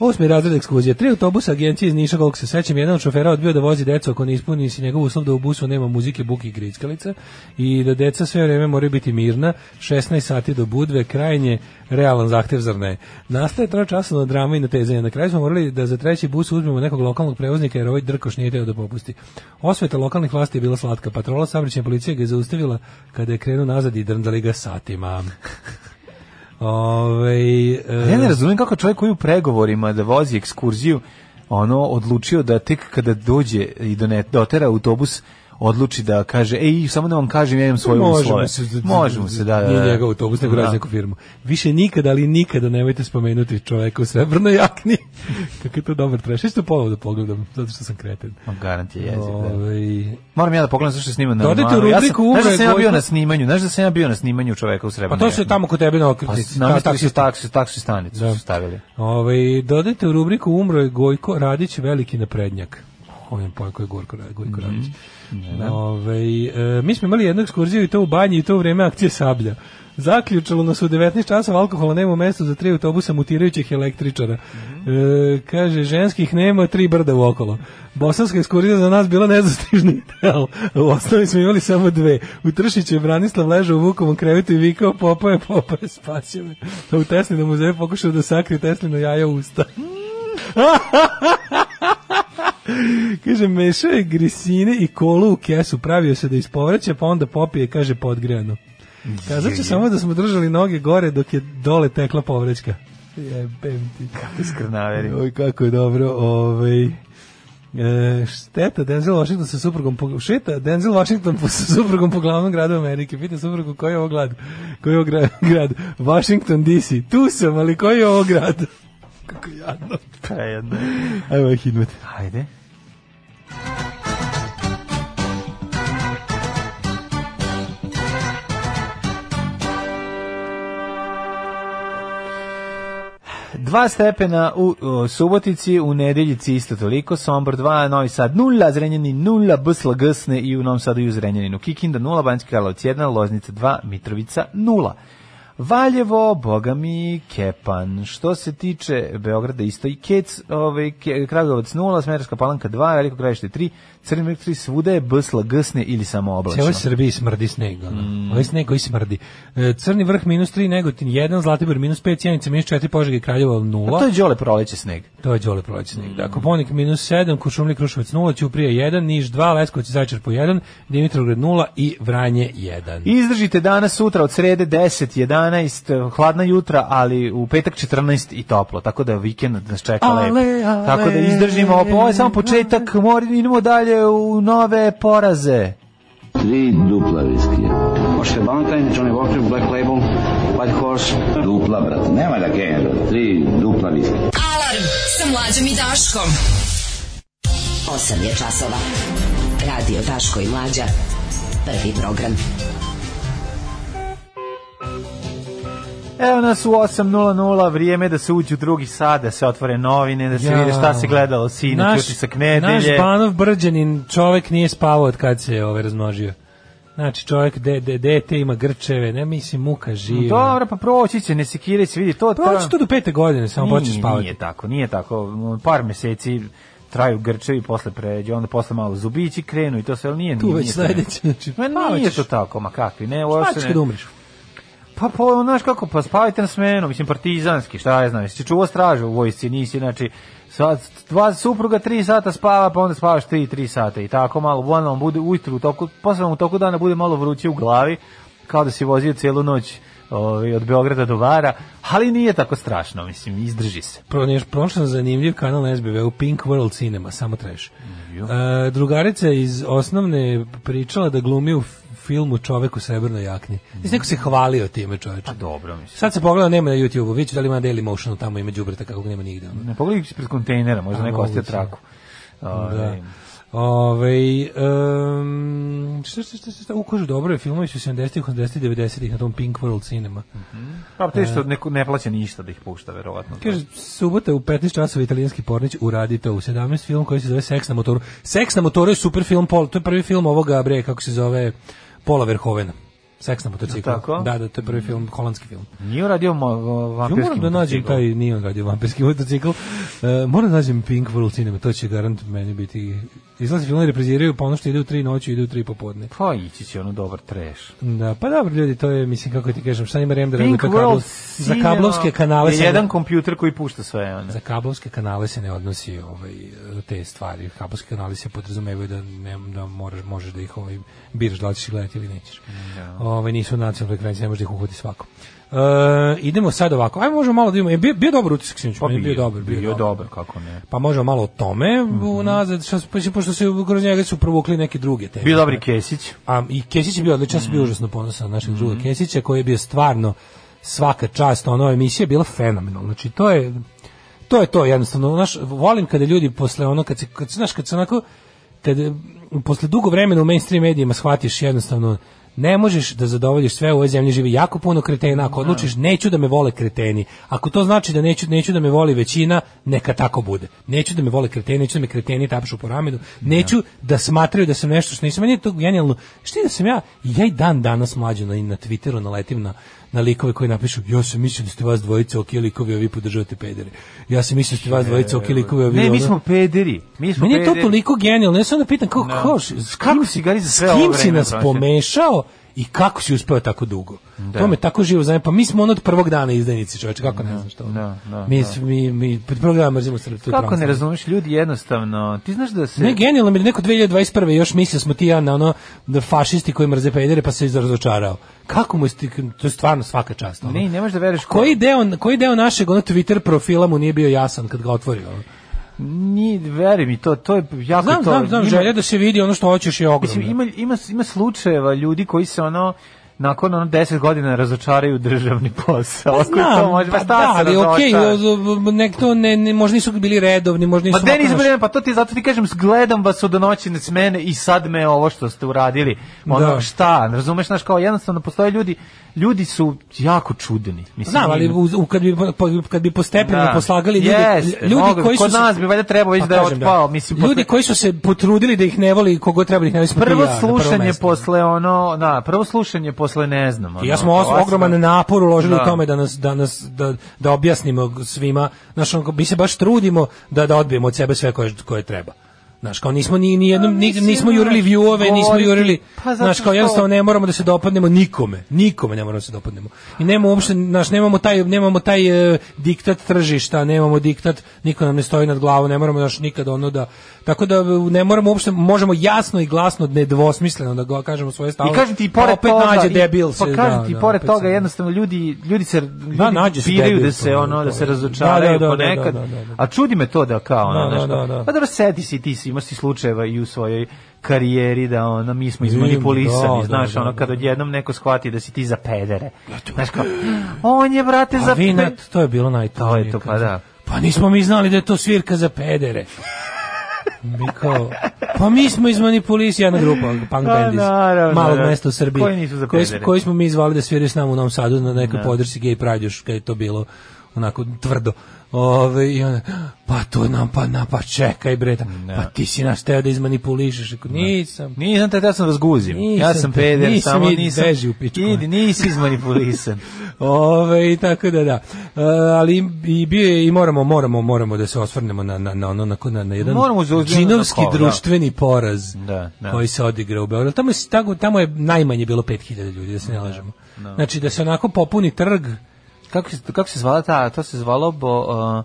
Osmi razred ekskurzije. Tri autobusa agencije iz Niša, koliko se sećam, jedan od šofera odbio da vozi decu ako ne ispuni si njegov uslov da u busu nema muzike, buke i grickalica i da deca sve vreme moraju biti mirna, 16 sati do budve, krajnje realan zahtev, zar ne? Nastaje tročasovna drama i natezanje. Na kraju smo morali da za treći bus uzmemo nekog lokalnog prevoznika jer ovaj drkoš nije teo da popusti. Osveta lokalnih vlasti je bila slatka. Patrola saobraćajne policije ga je zaustavila kada je krenuo nazad i drndali ga satima. Ovaj Ja ne razumem kako čovjek koji u pregovorima da vozi ekskurziju, ono odlučio da tek kada dođe i do ne, dotera autobus odluči da kaže ej samo da vam kažem ja imam svoje uslove. Možemo se da, da, Nije da. njegov autobus, nego Da. da. neku firmu. Više nikada, ali nikada nemojte spomenuti čoveka u srebrnoj jakni. Kako je to dobar trash. Isto povod da pogledam, zato što sam kreten. Ma, garant je jezik, da. Ovaj, Moram ja da pogledam zašto snima na Dodajte u Normalu. rubriku ja sam, znaš da Umre sam ja bio Gojko. na snimanju, znaš da sam ja bio na snimanju čoveka u pa Srebrnoj. to su tamo kod tebe na okretnici. na Ta- Pa taksi, taksi- taksi, taksi stanicu Da. su stavili. Ovaj dodajte u rubriku umro je Gojko Radić veliki naprednjak. Ovim pojko je Gorko Ra- Gojko Radić. Ovaj, e, mi smo imali jednu ekskurziju i to u banji i to u vreme akcije Sablja. Zaključalo nas u 19 časova alkohola nema u mestu za tri autobusa mutirajućih električara. E, kaže, ženskih nema, tri brda uokolo. Bosanska ekskurzija za nas bila nezastižni ideal. U osnovi smo imali samo dve. U Tršiću je Branislav ležao u Vukovom krevetu i vikao popoje, popoje, spasio me. A u Teslinom muzeju pokušao da sakrije Teslino jaja u usta. kaže, mešao je grisine i kolu u kesu, pravio se da ispovraća, pa onda popije, kaže, podgrejano. Kazat ću samo da smo držali noge gore dok je dole tekla povrećka. Jebem ti. Kakvi skrnaveri. Oj, kako je dobro. Ovaj, e, šteta Denzel Washington sa suprugom po, šeta Denzel Washington po, sa suprugom po glavnom gradu Amerike. Pita suprugu koji je ovo grad? Koji je ovo gra- grad? Washington DC. Tu sam, ali koji je ovo grad? Kako je jadno. Prejedno. Ajmo hidmet. Ajde. Dva stepena u, u Subotici, u Nedeljici isto toliko, Sombor 2, Novi Sad 0, Zrenjanin 0, Bsla Gsne i u Novom Sadu i u Zrenjaninu. Kikinda 0, Banjski Karlovac 1, Loznica 2, Mitrovica 0. Valjevo, boga mi, Kepan. Što se tiče Beograda, isto i Kec, ovaj, Ke- Kragujevac 0, Smerovska palanka 2, Veliko gravište 3, Crni vrh 3, svuda je Bsla Gsne ili samo oblačno. Cijeloj Srbiji smrdi sneg. Mm. Ovo je sneg koji smrdi. E, Crni vrh minus 3, Negotin 1, Zlatibor minus 5, Cijenica minus 4, Požeg i Kraljeva A 0. to je Đole proleće sneg. To je Đole Prolećni. Da, Koponik minus 7, Kušumlik Kruševac 0, Ćuprije 1, Niš 2, Leskovac i Zaječar po 1, Dimitrovgrad 0 i Vranje 1. Izdržite danas, sutra od srede 10, 11, hladna jutra, ali u petak 14 i toplo, tako da vikend nas čeka Ale, lepo. ale, Tako da izdržimo, ovo je samo početak, moramo idemo dalje u nove poraze. Tri dupla viskija. Možete Valentine, Johnny Walker, Black Label, White Horse. Dupla, brate, nema da genja, brate. Tri dupla viskija. Alarm sa mlađom i Daškom. 8 je časova. Radio Daško i Mlađa. Prvi program. Evo nas u 8.00, vrijeme da se uđu u drugi sad, da se otvore novine, da se Ja. vide šta se gledalo sinoć, utisak naš nedelje. Banov Brđanin čovek nije spavao od kad se ove razmnožio. Znači čovek de, de, dete ima grčeve, ne mislim muka živa. Dobro, pa proći će, ne sekiraj se, vidi to. Proći to do pete godine, samo Nije, počneš spavati. Nije tako, nije tako. Par meseci traju grčevi, posle pređe, onda posle malo zubići krenu i to sve, ali nije. Tu nije, već nije sledeće, tako. znači, Ma spavat nije ćeš. to tako, ma kakvi, ne, ovo Spavat se ćeš ne- Znači, kad umreš. Pa, pa, znaš kako, pa spavajte na smenu, mislim, partizanski, šta ja znam, jesi čuvao stražu u vojsci, nisi, znači, sva, dva supruga tri sata spava, pa onda spavaš tri, tri sata i tako malo, onda vam bude ujutru, u toku, posle vam u toku dana bude malo vruće u glavi, kao da si vozio celu noć ovaj, od Beograda do Vara, ali nije tako strašno, mislim, izdrži se. Pro, neš, prošlo sam zanimljiv kanal na SBV u Pink World Cinema, samo treš. E, drugarica iz osnovne pričala da glumi u filmu Čovek u srebrnoj jakni. Mislim, neko se hvalio time čoveče. Pa dobro, mislim. Sad se pogleda, nema na YouTube-u, vidjet ću da li ima Daily Motionu, tamo ima đubreta kako nema nigde. ono. Ne pogledaj ispred kontejnera, možda A, neko ostaje moguće. traku. Da. Ovaj, Ove, um, šta, šta, šta, šta, šta, ukožu dobro je filmovi su 70-ih, 80-ih, 90-ih na tom Pink World Cinema. Pa te što neko ne plaća ništa da ih pušta, verovatno. Kaže, subota u 15 časova italijanski pornić uradi to u 17 film koji se zove Seks na motoru. Seks na motoru je super film, Pol, to je prvi film ovoga, bre, kako se zove, Pola Verhovena. Seks na motociklu. Jel tako? Da, da, to je prvi film, holandski film. Nije uradio mo, Ja vampirski moram da nađem motocikl. taj, nije on radio vampirski motocikl, uh, moram da nađem Pink World Cinema, to će garant meni biti, izlazi film i repriziraju, pa ono što ide u tri noću, ide u tri popodne. Pa ići će ono dobar treš. Da, pa dobro ljudi, to je, mislim, kako ti kažem, šta ima Remdera, Pink da to je World kablos- za kablovske kanale je se- jedan kompjuter koji pušta sve. ono. One. za kablovske kanale se ne odnosi ovaj te stvari. Kablovski kanali se podrazumevaju da ne da moraš možeš da ih ovaj biraš da li ćeš ih gledati ili nećeš. Ovaj nisu nacionalne frekvencije, ne možeš da ih uhvati svako. E, idemo sad ovako. Ajmo možemo malo da imamo. Je bio, bio dobar utisak sinoć, meni je Pa bio dobar, bio, bio dobar. Mhm. dobar, kako ne. Pa možemo malo o tome unazad, što, pa, pošto se kroz njega su provukli neke druge teme. pa- Bio dobri Kesić. A, I Mhm. Kesić je bio odličan, ja sam bio užasno ponosan na našeg druga Kesića, koji je bio stvarno svaka čast, ono, emisija je bila fenomenalna. Znači, to je, to je to, jednostavno. Naš, volim kada ljudi posle ono, kad se, kad, se- znaš, kad se onako, kad e, posle dugo vremena u mainstream medijima shvatiš jednostavno, ne možeš da zadovoljiš sve u ovoj zemlji živi jako puno kretena ako odlučiš neću da me vole kreteni ako to znači da neću neću da me voli većina neka tako bude neću da me vole kreteni neću da me kreteni tapšu po ramenu neću da smatraju da sam nešto što nisam meni je to genijalno što da sam ja ja i dan danas mlađo na, na Twitteru naletim na na likove koji napišu ja sam mislio da ste vas dvojica ok likovi a vi podržavate pedere ja sam mislio da ste vas dvojica ok likovi a vi Ne, mi ono- smo pederi. Mi smo meni je to pederi. toliko genijalno, ja se onda pitam kako, Da. kako, s Kako kim, si gari za s sve ovo kim si vreme nas prošao? pomešao i kako si uspeo tako dugo. To me tako živo zanima. Pa mi smo ono od prvog dana izdajnici, čoveče, kako ne znaš to. Da, da, mi, da. mi, mi, od prvog dana mrzimo Srbiju. Kako ne razumeš ljudi jednostavno. Ti znaš da se Ne, genijalno mi je da neko 2021. još mislio smo ti i ja na ono da fašisti koji mrze pedere pa se razočarao. Kako mu je, sti- to je stvarno svaka čast. Ono. Ne, ne možeš da veruješ ko- koji deo, koji deo našeg ono, Twitter profila mu nije bio jasan kad ga otvorio? Ono? ni veri mi to, to je jako Znam, to. znam, znam, ima- želja da se vidi ono što hoćeš je ogromna. Mislim, ima, ima, ima slučajeva ljudi koji se ono nakon ono 10 godina razočaraju državni posao. Ako Znam, to može, pa šta da, se ali okej, razočara? okay, nek to ne, ne, možda nisu bili redovni, možda Ma nisu... Denis ovako, Brena, pa to ti zato ti kažem, gledam vas od noćne smene i sad me ovo što ste uradili. Ono Da. šta, razumeš naš kao jednostavno postoje ljudi, ljudi su jako čudni. Mislim, Znam, ali u, u- kad, bi, po- kad bi postepeno Da. poslagali ljudi, Jeste, ljudi mogli bi. koji su Kod se- Pa nas bi valjda trebao već da je kažem otpao, mislim, ljudi posle- koji su se potrudili da ih ne voli, kogo treba da ih ne voli, smo ti i prvo ja na prvom slušanje mestu. posle ono, da, prvo slušanje posle ne znam. I ono, ja smo os- osma- ogroman napor uložili Da. u tome da nas da nas da da objasnimo svima, znaš, ono, mi se baš trudimo da da odbijemo od sebe sve koje koje treba. Znaš, kao nismo ni, ni jednom, ni, Pa mislim, nismo jurili znaš, viewove, nismo govoriti- jurili, pa zato znaš, kao što- jednostavno ne moramo da se dopadnemo nikome, nikome ne moramo da se dopadnemo. I nemamo uopšte, znaš, nemamo taj, nemamo taj e, diktat tržišta, nemamo diktat, niko nam ne stoji nad glavom, ne moramo daš nikad ono da, tako da ne moramo uopšte, možemo jasno i glasno, nedvosmisleno da go- kažemo svoje stavove. I kažem ti i Pa pored opet toga, nađe i- debil se, pa kažem da, ti da, pored opet toga se- jednostavno ljudi ljudi se ljudi nađe se biraju debil, da to se je, ono to da je. se razočaraju Da, da, da, ponekad. da, da, da, da. A čudi me to da kao ono Da, da, znaš, da, da. Pa dobro sedi si ti si imaš ti slučajeva i u svojoj karijeri da ono mi smo izmanipulisani, da, da, znaš, da, ono da. kad odjednom neko shvati da si ti za pedere. Znaš kao on je brate za A vinat, pe- to je bilo najtužnije. To je to, pa kad- da. Pa nismo mi znali da je to svirka za pedere. Mi kao, pa mi smo izmanipulis jedna grupa punk Pa, band iz naravno, malog da. mesta u Srbiji. Koji nisu za koji, su- pedere. koji smo mi izvali da sviraju s nama u Novom Sadu na nekoj Da. podršci gay prađuš, kad je to bilo onako tvrdo. Ove, i onda, pa to nam, pa na, pa čekaj bre, da- pa ti si nas teo da izmanipulišeš. Rekao, Nisam. Nisam te, ja sam razguzim. Nisam ja sam te, peder, nisam, samo idi, nisam. beži u pičku. Idi, nisi izmanipulisan. Ove, i tako da da. E, ali i bio je, i moramo moramo moramo da se osvrnemo na na na ono na na, na jedan Moramo za- džinovski na kol, da. društveni poraz Da, da. koji se odigra u Beogradu. Tamo je tamo, tamo je najmanje bilo 5000 ljudi, da se ne lažemo. da. Znači da se onako popuni trg kako se kako se zvala ta, to se zvalo bo uh,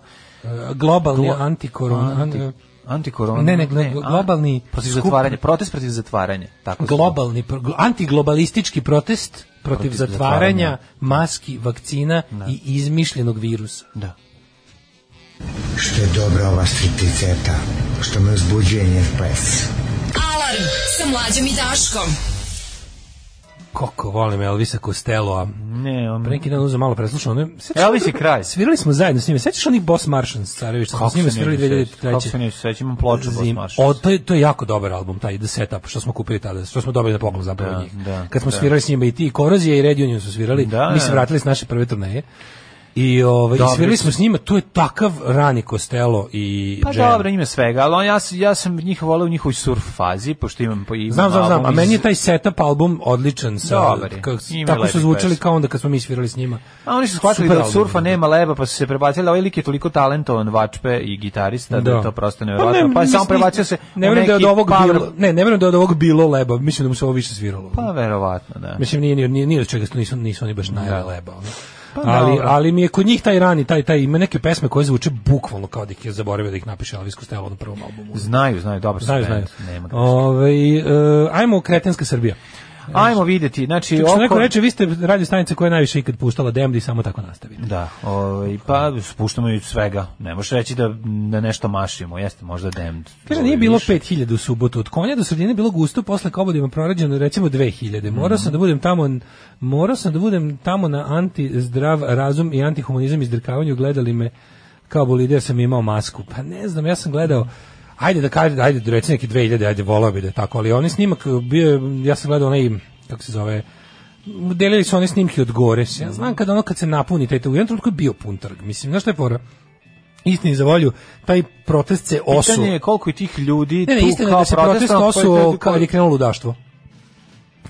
e, globalni antikorona anti- anti, Antikorona. Ne, ne, globalni a, protiv skup- zatvaranja, protest protiv zatvaranja, tako. se zove. globalni pro- gl- antiglobalistički protest protiv, Protiv zatvaranja, zatvaranja. maski, vakcina Da. i izmišljenog virusa. Da. Što je dobra ova stripticeta, što me uzbuđuje njen pes. Alarm sa mlađom i Daškom. Kako volim Elvisa Costello, a ne, ono- on... Pre neki dan uzem malo preslušao. Ono, sećaš- Elvis je kraj. Svirali smo zajedno s njima. Sećaš onih Boss Martians, Carević, smo Kako s njima se ne svirali bi sećao? 2003. Kako se ne bi sećao? Imam ploču Boss Zim- Martians. O, to je, to je jako dobar album, taj The Setup, što smo kupili tada, što smo dobili na poklon zapravo Da, od njih. da, Kad smo da. svirali s njima i ti, i Korozija i Red Union su svirali, Da, mi se da. vratili s naše prve turneje. I, ovaj, i Dobri svirali su. smo s njima, to je takav rani Costello i Pa Jam. dobro, ima svega, ali on, ja, s- ja sam njih volao u njihovoj surf fazi, pošto imam... Po, imam Znam, znam, znam, a album iz- meni je taj setup album odličan sa, Dobar je. kako- Ima tako su lepih zvučali pesama. kao onda kad smo mi svirali s njima. A oni su shvatili Super da od album. surfa nema leba, pa su se prebacili, a ovaj lik je toliko talentovan vačpe i gitarista, da, Da. je to prosto nevjerojatno. Pa, je mislim, samo prebacio se ne u verujem da je od neki ovog power- bilo, ne, ne verujem da je od ovog bilo leba, mislim da mu se ovo više sviralo. Pa verovatno, da. Mislim nije nije nije, od čega su- nisu nisu oni baš najleba. ono. Pa ali dobro. ali mi je kod njih taj rani taj taj ima neke pesme koje zvuče bukvalno kao da ih je zaboravio da ih napiše Elvis Costello na prvom albumu. Znaju, znaju, dobro su Znaju, znaju. band, nema ga. Ovaj e, ajmo kretenska Srbija. Ajmo vidjeti, znači... Kako što oko- neko reče, vi ste radio stanica koja je najviše ikad puštala Demdi i samo tako nastavi. Da, ovaj, pa spuštamo i svega. Ne možeš reći da, da nešto mašimo, jeste možda demd. Kaže, nije bilo 5000 u subotu. Od konja do sredine bilo gusto, posle kobodima prorađeno recimo 2000. Morao sam da budem tamo morao sam da budem tamo na antizdrav razum i antihumanizam izdrkavanju. Gledali me kao bolider sam imao masku. Pa ne znam, ja sam gledao Ajde da kaže, ajde da reci neki 2000, ajde volao bi da je tako, ali onaj snimak bio je, ja sam gledao onaj, kako se zove, delili su one snimke od gore. Ja znam kad ono kad se napuni taj u jednom trenutku je bio pun trg. Mislim, znaš šta je fora? Istini za volju, taj protest se osu. Pitanje je koliko je tih ljudi Ne, ne, tu istina je kao da se protest protestovano, koji osuo ljudi kada koji- je krenulo ludaštvo.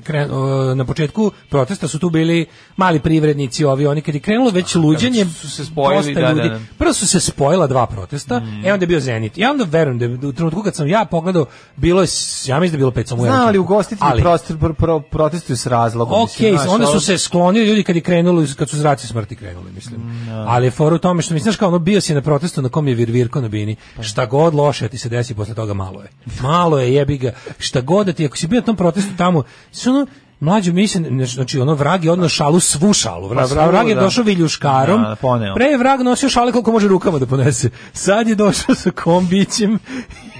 Kren- o, na početku protesta su tu bili mali privrednici, ovi oni kad je krenulo već luđenje, su se spojili, dosta da, da, ljudi. da. Prvo su se spojila dva protesta, e onda je bio Zenit. Ja onda verujem da je u trenutku kad sam ja pogledao, bilo je, s- ja mislim da je bilo pet samo u jednom Zna, ali trenutku. ugostitelji Ali- prost- pro- pro- protestuju s razlogom. Ok, mislim, znaš, ono, onda su ali- se sklonili ljudi kad je krenulo, kad su zraci smrti krenuli, Mm, mislim. Ali je fora u tome što mislim, znaš kao ono, bio si na protestu na kom je virvirko na bini, Pa. šta god loše ti se desi posle toga malo je. Malo je, jebi ga, šta god da ti, ako si bio na tom protestu tamo, su ono, mlađu mislim, znači ono vrag je odno šalu, svu šalu, Pa vrag, svu, vrag je da. došao viljuškarom, Da, poneo. pre je vrag nosio šale koliko može rukama da ponese, sad je došao sa kombićem,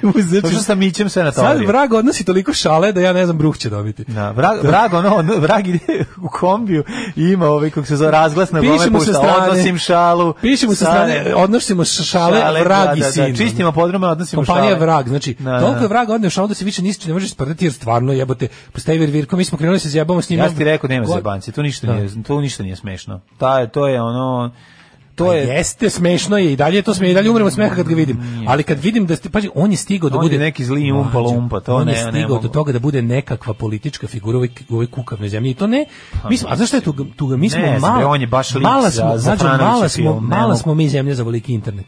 i uzet će- Došao sa mićem sve na Sad tovari. vrag odnosi toliko šale da ja ne znam bruh će dobiti. Da, vrag, vrag, ono, ono, vrag ide u kombiju i ima ovaj, kako se zove, razglas na Pišemo gome sa pušta, strane. odnosim šalu. Pišemo sa strane, odnosimo sa šale, vrag i da, da, sin. ono. Da, čistimo podrume, odnosimo Kompanija šale. vrag, znači, Da, da. toliko je vraga odneo šalu da se više ništa ne može sprdati, jer stvarno jebote, postaje virvirko, mi smo krenuli se zjebamo s njima. Ja sam ti rekao nema Go- zebanci, to ništa Da. nije, to ništa nije smešno. Ta je, to je ono to Pa je Jeste, smešno je i dalje je to sme i dalje umrem od smeha kad ga vidim. Ali kad vidim da ste, pazi, on je stigao da On je bude neki zli Mlađo, umpa lumpa, to on je ne- ne stigao mogu. do toga da bude nekakva politička figura u ovoj, u ovoj kukavnoj zemlji. I to ne, mi smo, a zašto je tu, tu ga, mi smo Pa Ne znam, mala- bre, on je baš lik mala za- smo, za mlađo, Franovića mala smo, film, ne mala mogu. smo mi zemlja za veliki internet.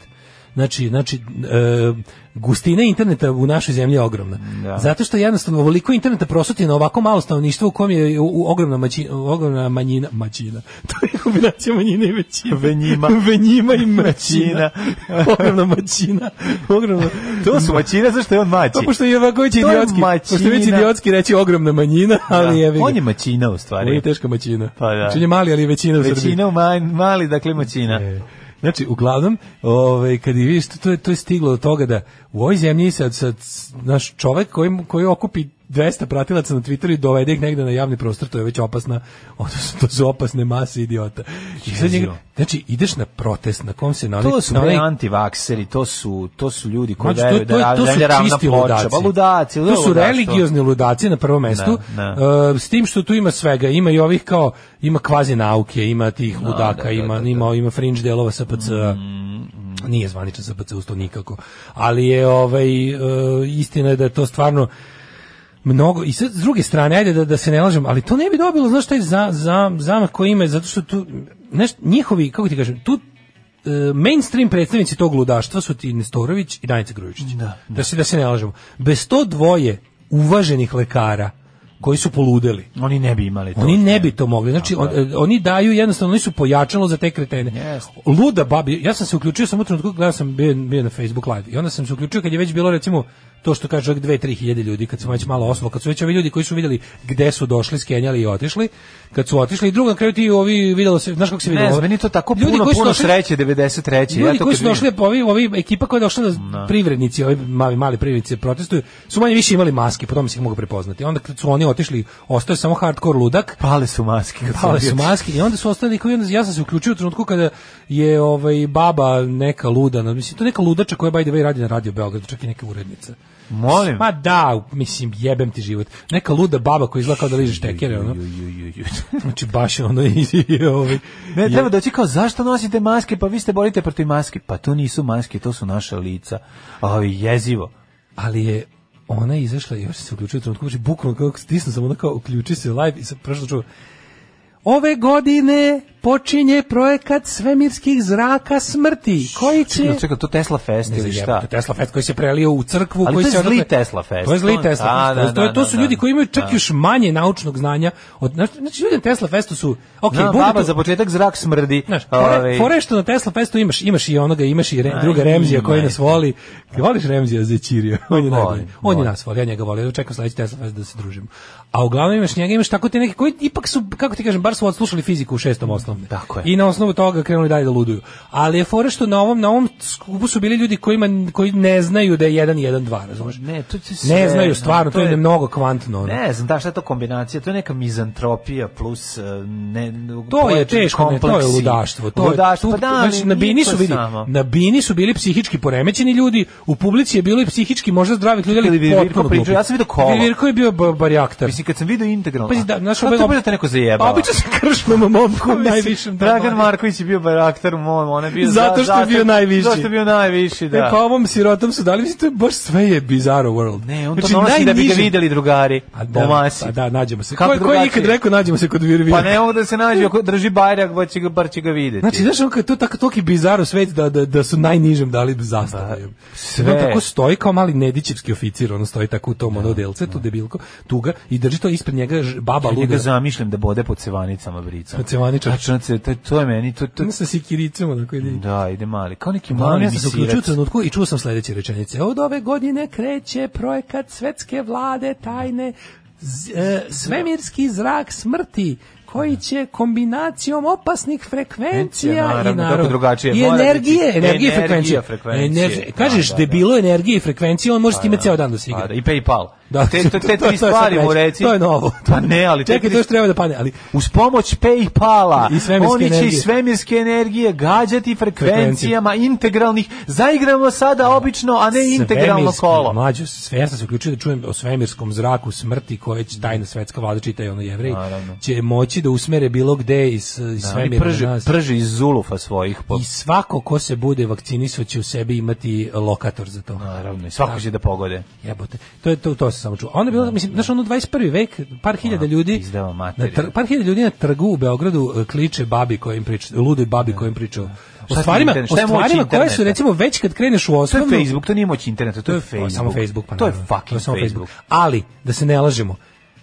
Znači, znači e, gustina interneta u našoj zemlji je ogromna. Da. Zato što jednostavno ovoliko interneta prosuti na ovako malo stanovništvo u kom je u, u ogromna, maći, ogromna manjina, maćina. To je kombinacija manjine i većine. Venjima. Venjima i maćina. ogromna maćina. Ogromna. to su maćine zašto je on maći. To pošto je ovako već To je idiotski. Pošto je već maćina. idiotski reći ogromna manjina, ali je on je maćina u stvari. On je teška maćina. Pa da. Znači, on je mali, ali je većina u Srbiji. Većina u manj- mali, dakle maćina. Znači, uglavnom, ovaj, kad je vidiš, to je, to je stiglo do toga da u ovoj zemlji sad, sad naš čovek koji, koji okupi 200 pratilaca na Twitteru i dovede ih negde na javni prostor, to je već opasna, odnosno, to su opasne mase idiota. I sad njega- Jezivo. znači, ideš na protest na kom se na onaj- To su na bre onaj antivakseri, to su to su ljudi koji Znači, to, veruju to, da ra- to su zemlja ravna čisti ploča. ludaci. Pa ludaci, to su ludaštvo. religiozni ludaci na prvom mestu. Da, e, s tim što tu ima svega, ima i ovih kao ima kvazi nauke, ima tih ludaka, ima ima ima fringe delova SPC. mm. Nije zvaničan SPC usto nikako. Ali je ovaj e, istina je da je to stvarno mnogo i sad s druge strane ajde da da se ne lažem, ali to ne bi dobilo znaš taj za za zamah koji ima zato što tu znaš, njihovi kako ti kažem, tu e, mainstream predstavnici tog ludaštva su ti Nestorović i Danica Grujičić. Da, se da se ne lažemo. Bez to dvoje uvaženih lekara koji su poludeli. Oni ne bi imali to. Oni ne bi to mogli. Znači, on- eh, oni daju jednostavno, oni su pojačalo za te kretene. Luda babi, ja sam se uključio sam u trenutku, gledao sam, bio, bio na Facebook live, i onda sam se uključio kad je već bilo, recimo, to što kaže čovjek, dve, tri hiljade ljudi, kad sam već malo oslo, kad su već ovi ljudi koji su vidjeli gde su došli, skenjali i otišli, kad su otišli, i drugo na kraju ti ovi, vidjelo se, znaš kako se vidjelo? Ne znam, meni je to tako Ljudi puno, koji su puno došli- sreće, 93. Ljudi ja to koji kad su došli, vidim- ovi, ovi ekipa koja je došla da privrednici, ovi mali, mali privrednici protestuju, su manje više imali maske, po tome se ih mogu prepoznati. Onda kad su oni otišli, ostao je samo hardcore ludak. Pale su maske. kad Pale sam su bio- maske i onda su ostali koji onda ja sam se uključio u trenutku kada je ovaj baba neka luda, no, mislim to je neka ludača koja by the way radi na Radio Beogradu, čak i neka urednica. Molim. Ma da, mislim jebem ti život. Neka luda baba koja izgleda kao da liže štekere, ono. Znači baš je ono i, i ovaj Ne, je- treba doći kao, zašto nosite maske, pa vi ste borite protiv maske. Pa to nisu maske, to su naša lica. Ovi, jezivo. ali je ona je izašla i još se uključio u trenutku, znači bukvalno kako stisnu sam ono kao uključi se live i sam prošlo čuo Ove godine počinje projekat svemirskih zraka smrti, koji će... Čekaj, čekaj, to Tesla Fest Ne ili znam, šta? jebote, Tesla Fest koji se prelio u crkvu, Ali koji to je se zli odatle- Tesla Fest. To je zli To- Tesla Da, Fest. da, to, je, to su da, ljudi da. koji imaju čak još manje naučnog znanja. Od, znači, znači ljudi na Tesla Festu su... Ok, Na, bude baba tu- za početak zrak smrdi. Znaš, fore, Ovaj, fore što na Tesla Festu imaš, imaš i onoga, imaš i re, Aj, druga Remzija koji imaj. nas voli. Voliš Remzija za Ćirija? On je Volim, najbolji. On je volim. nas voli, ja njega volim. Ja Čekam sledeći Tesla Fest da se družimo. A uglavnom imaš njega, imaš tako te neke koji ipak su, kako ti kažem, bar su odslušali fiziku u šestom osnovne. Tako je. I na osnovu toga krenuli dalje da luduju. Ali je fore što na ovom, na ovom skupu su bili ljudi kojima, koji ne znaju da je 1-1-2, razumeš? Ne, to će sve- Ne znaju stvarno, to, to je je- mnogo kvantno. ono. Ne znam, da šta je to kombinacija, to je neka mizantropija plus eh, ne, To je pojačani teško, ne, to je kompleksi. ludaštvo. To ludaštvo, je, pa tu- da, znači, ali na bini nije su to bili, samo. na bini su bili psihički poremećeni ljudi, u publici je bilo i psihički možda zdravih ljudi, ali Ili Virko potpuno pričao, glupi. ja sam vidio kolo. Virko je bio ba- barijaktar. Mislim, kad sam vidio integralno. Pa Pazi, da, znaš, Šta ovaj- te bude da te neko zajebava? A Obično se kršnom momkom najvišem. da Dragan mora. Marković je bio baraktar u mom, on je bio... Zato što je bio najviši. Zato što je bio najviši, da. E, pa ovom sirotom su dali, mislim, to je baš sve je bizarro world. Ne, on to nosi da bi ga Znači, najniži- videli drugari A da, po masi. pa da, nađemo se. Kako Ko, ko je ikad drugačije? rekao nađemo se kod Virvira? Pa ne mogu da se nađe, ako drži bajrak, bar će ga, bar će ga videti. Znači, znaš, on kad je to tako toki bizaro svet da, da, da su najnižem dali zastavu. sve. Pa, sve. On tako stoji kao mali nedićevski oficir, ono stoji tako u tom ono delce, tu debilko, tuga, i drži to ispred njega ž- baba ja njega luda. zamišljam da bode po cevanicama brica. Po cevaničar. Znači, on se- to, to je meni, to, to, Ono sa sikiricom, onako ide. da, ide mali, kao neki Mali mali Pa ja sam se uključio u misirac. trenutku i čuo sam sledeće rečenice. Od ove godine kreće projekat svetske vlade tajne z- e, svemirski zrak smrti koji će kombinacijom opasnih frekvencija Frekvencija, i naravno, naravno, kako drugačije, i mora biti energije, energije i energija, frekvencije. frekvencije, Energi- da, kažeš da, da, je da. bilo energije i frekvencije, on može s time da. ceo dan da se igra. Pa da, I PayPal. Da, te, to, to- te to tri je sad stvari mu već- reci. to je novo. Pa ne, ali te Čekaj, tri to još treba da pane, ali Uz pomoć PayPala I svemirske oni će energije. iz svemirske energije gađati frekvencijama integralnih. Zaigramo sada obično, a ne integralno Svemirski, kolo. Mlađo, sve ja sam se uključio da čujem o svemirskom zraku smrti koje će tajna svetska vlada čita i ono jevrej, Naravno. će moći da usmere bilo gde iz, iz Da, oni svemira prže, na nas. prže iz zulufa svojih. Po, I svako ko se bude vakcinisao će u sebi imati lokator za to. naravno, i svako Da. će da pogode. Jebote. To je to to se samo čuo. A Onda je bilo, mislim, znaš, ono 21. vek, par hiljada ljudi Izdava na Ono, materiju. tr, par hiljada ljudi na trgu u Beogradu e, kliče babi kojim priča, ludoj babi kojim priča. O Šta ti stvarima, internet? o Šta je moć stvarima koje su interneta? recimo već kad kreneš u To je osnovnu Facebook, to nije moć interneta, to, je to Facebook. samo Facebook, pa to je naravno. fucking To je samo Facebook. Ali da se ne lažemo.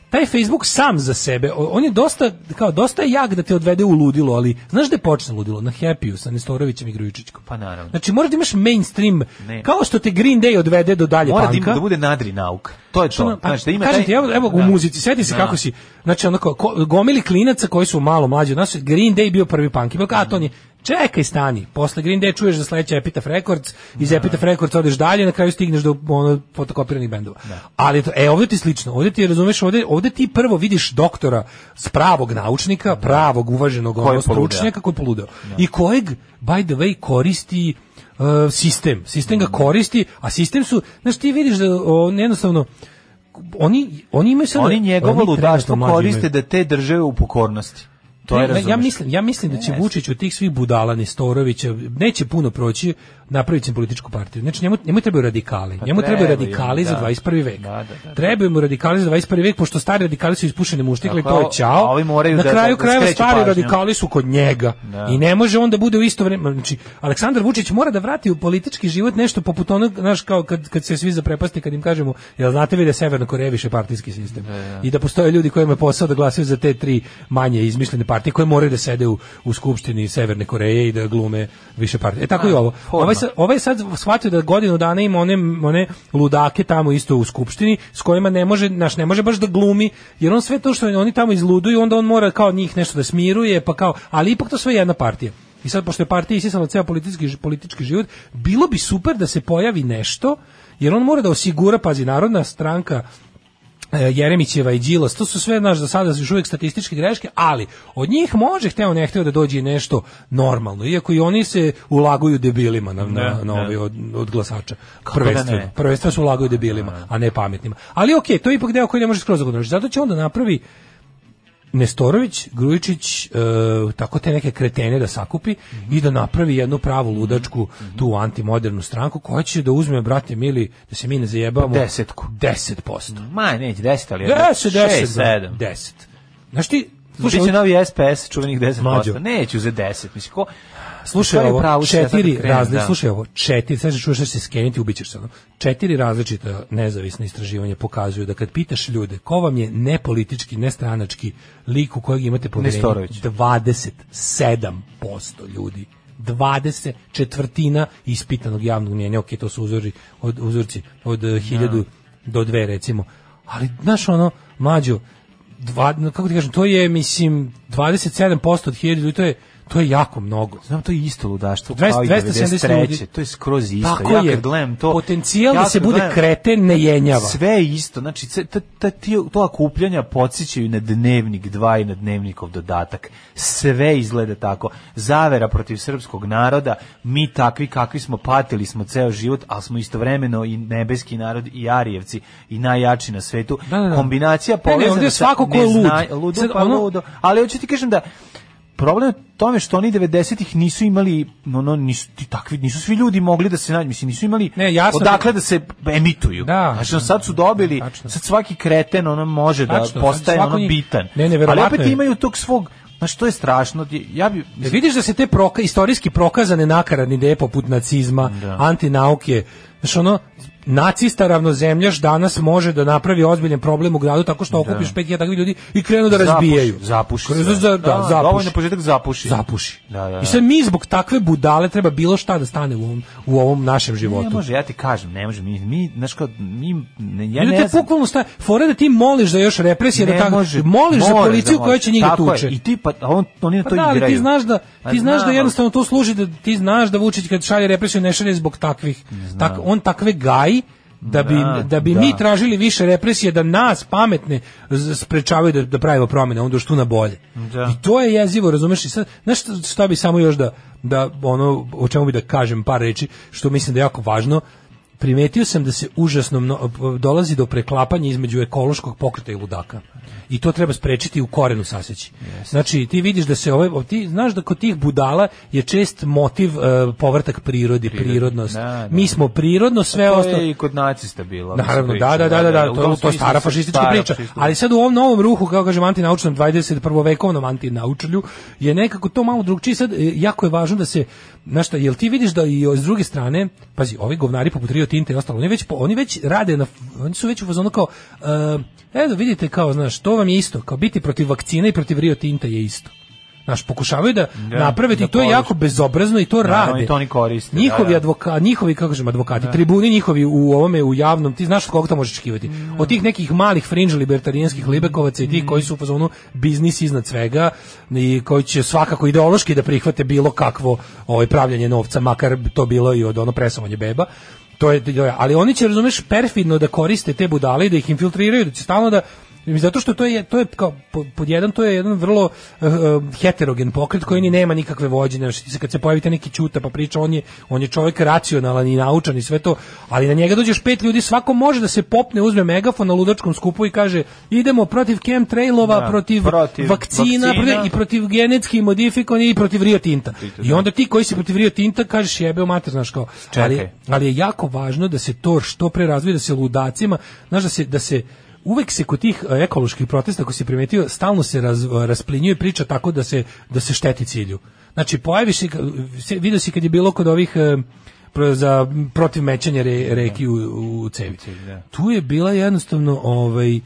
Taj Facebook sam za sebe, o- on je dosta kao dosta je jak da te odvede u ludilo, ali znaš gde počne ludilo? Na Happy-u sa Nestorovićem i Grujičićkom. Pa naravno. Znači moraš da imaš mainstream, Ne. kao što te Green Day odvede do dalje Mora da, panka. ima, da bude nadri nauka. To je Što ono, to. pa, Znači, da ima kažem taj- ti, evo, evo u Da. muzici, sedi se Da. kako si, znači onako, ko- gomili klinaca koji su malo mlađi od nas, Green Day bio prvi punk, i bilo kao, a to nije, čekaj stani, posle Green Day čuješ za sledeće Epitaph Records, iz Epitaph Records odeš dalje, na kraju stigneš do ono, fotokopiranih bendova. Ali to, e, ovdje ti je slično, ovdje ti, razumeš, ovdje, ovdje ti prvo vidiš doktora s pravog naučnika, pravog uvaženog je ono, poludeo. stručnjaka koji je poludeo. I kojeg, by the way, koristi e, sistem. Sistem ga Mm. koristi, a sistem su, znaš, ti vidiš da o, jednostavno, oni oni imaju sad Oni njegovo oni trenutno ludaštvo mlađi koriste imaju. da te drže u pokornosti. To je Ne, ja razumeš. mislim, ja mislim da će Jeste. Vučić od tih svih budala Nestorovića neće puno proći napraviti će političku partiju. Znači njemu njemu trebaju radikali. Pa njemu trebaju trebaju, radikali za da. 21. vek. Da, da, da. Trebaju mu radikali za 21. vek pošto stari radikali su ispušeni muštikli, Dakle, to je a- ćao. a ovi moraju Na da- kraju da- da krajeva skreću stari pažnju. radikali su kod njega. Da. I ne može on da bude u isto vrijeme. Znači Aleksandar Vučić mora da vrati u politički život nešto poput onog, znaš, kao kad kad se svi zaprepasti kad im kažemo, jel znate vi da je Severna Koreja više partijski sistem i da postoje ljudi kojima je posao da glasaju za te tri manje izmišljene partije koje moraju da sede u, u skupštini Severne Koreje i da glume više partije. E tako i ovo. Ovaj, sa, ovaj je sad shvatio da godinu dana ima one, one ludake tamo isto u skupštini s kojima ne može, naš, ne može baš da glumi jer on sve to što oni tamo izluduju onda on mora kao njih nešto da smiruje pa kao, ali ipak to sve je jedna partija. I sad, pošto je partija isisala ceo politički, ži- politički život, bilo bi super da se pojavi nešto, jer on mora da osigura, pazi, narodna stranka e, Jeremićeva i Đilas, to su sve naš za sada još uvijek statističke greške, ali od njih može hteo ne hteo da dođe i nešto normalno, iako i oni se ulaguju debilima na, na, Ne, na ne. ovaj od, od glasača. da ne? Prvenstveno. Prvenstveno se ulaguju debilima, a ne pametnima. Ali okej, to je ipak deo koji ne može skroz odreći. Zato će onda napravi Nestorović, Grujičić, e, tako te neke kretene da sakupi i da napravi jednu pravu ludačku tu antimodernu stranku koja će da uzme, brate mili, da se mi ne zajebamo. Pa Desetku. 10%. Ma, neće 10, ali 10, 10, 6, 7. 10. Znaš ti, slušaj, Biće novi SPS, čuvenih 10%. Mlađo. Neću za 10, mislim, ko... slušaj Ko je u ovo, pravu, šta sad četiri da krenem, različite, da. slušaj ovo, četiri, sad ćeš čuješ da će se skeniti, ubićeš se. ono. Četiri različita nezavisna istraživanja pokazuju da kad pitaš ljude ko vam je nepolitički, nestranački lik u kojeg imate poverenje, Nestorović. 27% ljudi 20 četvrtina ispitanog javnog mnjenja, ok, to su uzori, od, uzorci od eh, 1000 do 2 recimo, ali znaš ono, mlađo, dva, no, kako ti kažem, to je, mislim, 27% od 1000 ljudi, to je, to je jako mnogo. Znam, to je isto ludaštvo, kao i 270 ljudi. 93. To je skroz isto. Tako ja je. kad gledam to... Potencijal da ja se kad bude gledam- kreten ne jenjava. Sve je isto. Znači, ce- ta, ta, ti, to okupljanja podsjećaju na dnevnik 2 i na dnevnikov dodatak. Sve izgleda tako. Zavera protiv srpskog naroda, mi takvi kakvi smo patili smo ceo život, ali smo istovremeno i nebeski narod i Arijevci i najjači na svetu. Da, da, da. Kombinacija Ne, ne, ovdje povezana je svako sa ko je lud. nezna- Ludo, Sad, pa ono- ludo. Ali hoću ti kažem da problem je u tome što oni 90-ih nisu imali ono nisu ti takvi nisu svi ljudi mogli da se nađu mislim nisu imali Ne, jasno. odakle da se emituju Da. znači ono, sad su dobili sad svaki kreten ono može Tačno, Znači, da postaje svako ono njih- bitan Ne, ne, ali verovatno opet je. E, imaju tog svog znači to je strašno ja bi Jel vidiš da se te proka, istorijski prokazane nakaradne ideje poput nacizma, antinauke, znaš ono, nacista ravnozemljaš danas može da napravi ozbiljan problem u gradu tako što okupiš 5000 takvih ljudi i krenu da razbijaju. zapuši, Krenu sve. za- da, Da, zapuši. dovoljno početak zapuši Zapuši. Da, da, da. I sad mi zbog takve budale treba bilo šta da stane u ovom, u ovom našem ne životu. može ja ti kažem ne može mi mi znaš kao mi ne, ja Ljudi, ne te znam bukvalno sta fora da ti moliš za još represije, da Ne tako, može, moliš za mora policiju da koja može. će njega Tako je, tuče. I ti pa a on oni na Pa to da, ali igraju. ti znaš da Pa ti znaš da znam, ali- jednostavno to služi da ti znaš da Vučić kad šalje represiju ne šalje zbog takvih. Tak, on takve gaji da bi, Da, da, bi da. mi tražili više represije da nas pametne z- sprečavaju da, da pravimo promjene, onda što na bolje. Da. I to je jezivo, razumeš? I sad, znaš šta, šta bi samo još da, da ono, o čemu bi da kažem par reči, što mislim da je jako važno, primetio sam da se užasno mno- dolazi do preklapanja između ekološkog pokreta i ludaka. I to treba sprečiti i u korenu saseći. Znači, ti vidiš da se ovaj, ti znaš da kod tih budala je čest motiv e, povratak prirodi, prirodnost. Da, da. Mi smo prirodno sve to ostalo... je i kod nacista bilo. Naravno, mislim, da, da, priča, da, da, da, U tom to, to je smislu stara se- fašistička stara priča. fašistička. Ali sad u ovom novom ruhu, kako kažem, antinaučnom 21. vekovnom antinaučlju, je nekako to malo drugčije. Sad, e, jako je važno da se, znaš šta, jel ti vidiš da i o- s druge strane, pazi, ovi govnari poput Rio Tinta i ostalo, oni već, po- oni već rade, na, oni su već u fazonu kao, e, evo vidite kao, znaš, to vam je isto, kao biti protiv vakcine i protiv Rio Tinta je isto. Znaš, pokušavaju da Da, napraviti, da i to je poruče. jako bezobrazno i to Naravno, rade. i to oni koriste, da, Njihovi da. advoka, njihovi kako kažem advokati, tribuni njihovi u ovome u javnom, ti znaš od koga to možeš očekivati. Od tih nekih malih fringe libertarijanskih libekovaca i tih Mhm. koji su u fazonu biznis iznad svega i koji će svakako ideološki da prihvate bilo kakvo ovaj pravljanje novca, makar to bilo i od ono presovanje beba. To je, ali oni će razumeš perfidno da koriste te budale i da ih infiltriraju, da će stalno da I zato što to je to je kao po- pod jedan to je jedan vrlo eh, eh, heterogen pokret koji ni nema nikakve vođe, znači ti se kad se pojavite neki ćuta pa priča on je on je čovjek racionalan i naučan i sve to, ali na njega dođeš pet ljudi, svako može da se popne, uzme megafon na ludačkom skupu i kaže idemo protiv chemtrailova, Da, protiv, protiv vakcina, vakcina. protiv- i protiv genetski modifikovanih i protiv Rio Tinta. I onda ti koji si protiv Rio Tinta kažeš jebe u mater, znaš kao. Ali, Čekaj. ali je jako važno da se to što pre razvije, da se ludacima, znaš da se, da se uvek se kod tih e, ekoloških protesta, ako si primetio, stalno se raz, rasplinjuje priča tako da se, da se šteti cilju. Znači, pojaviš se, ka- se- vidio si kad je bilo kod ovih e, pro- za protiv mećanja re, reki u, u cevi. Tu je bila jednostavno ovaj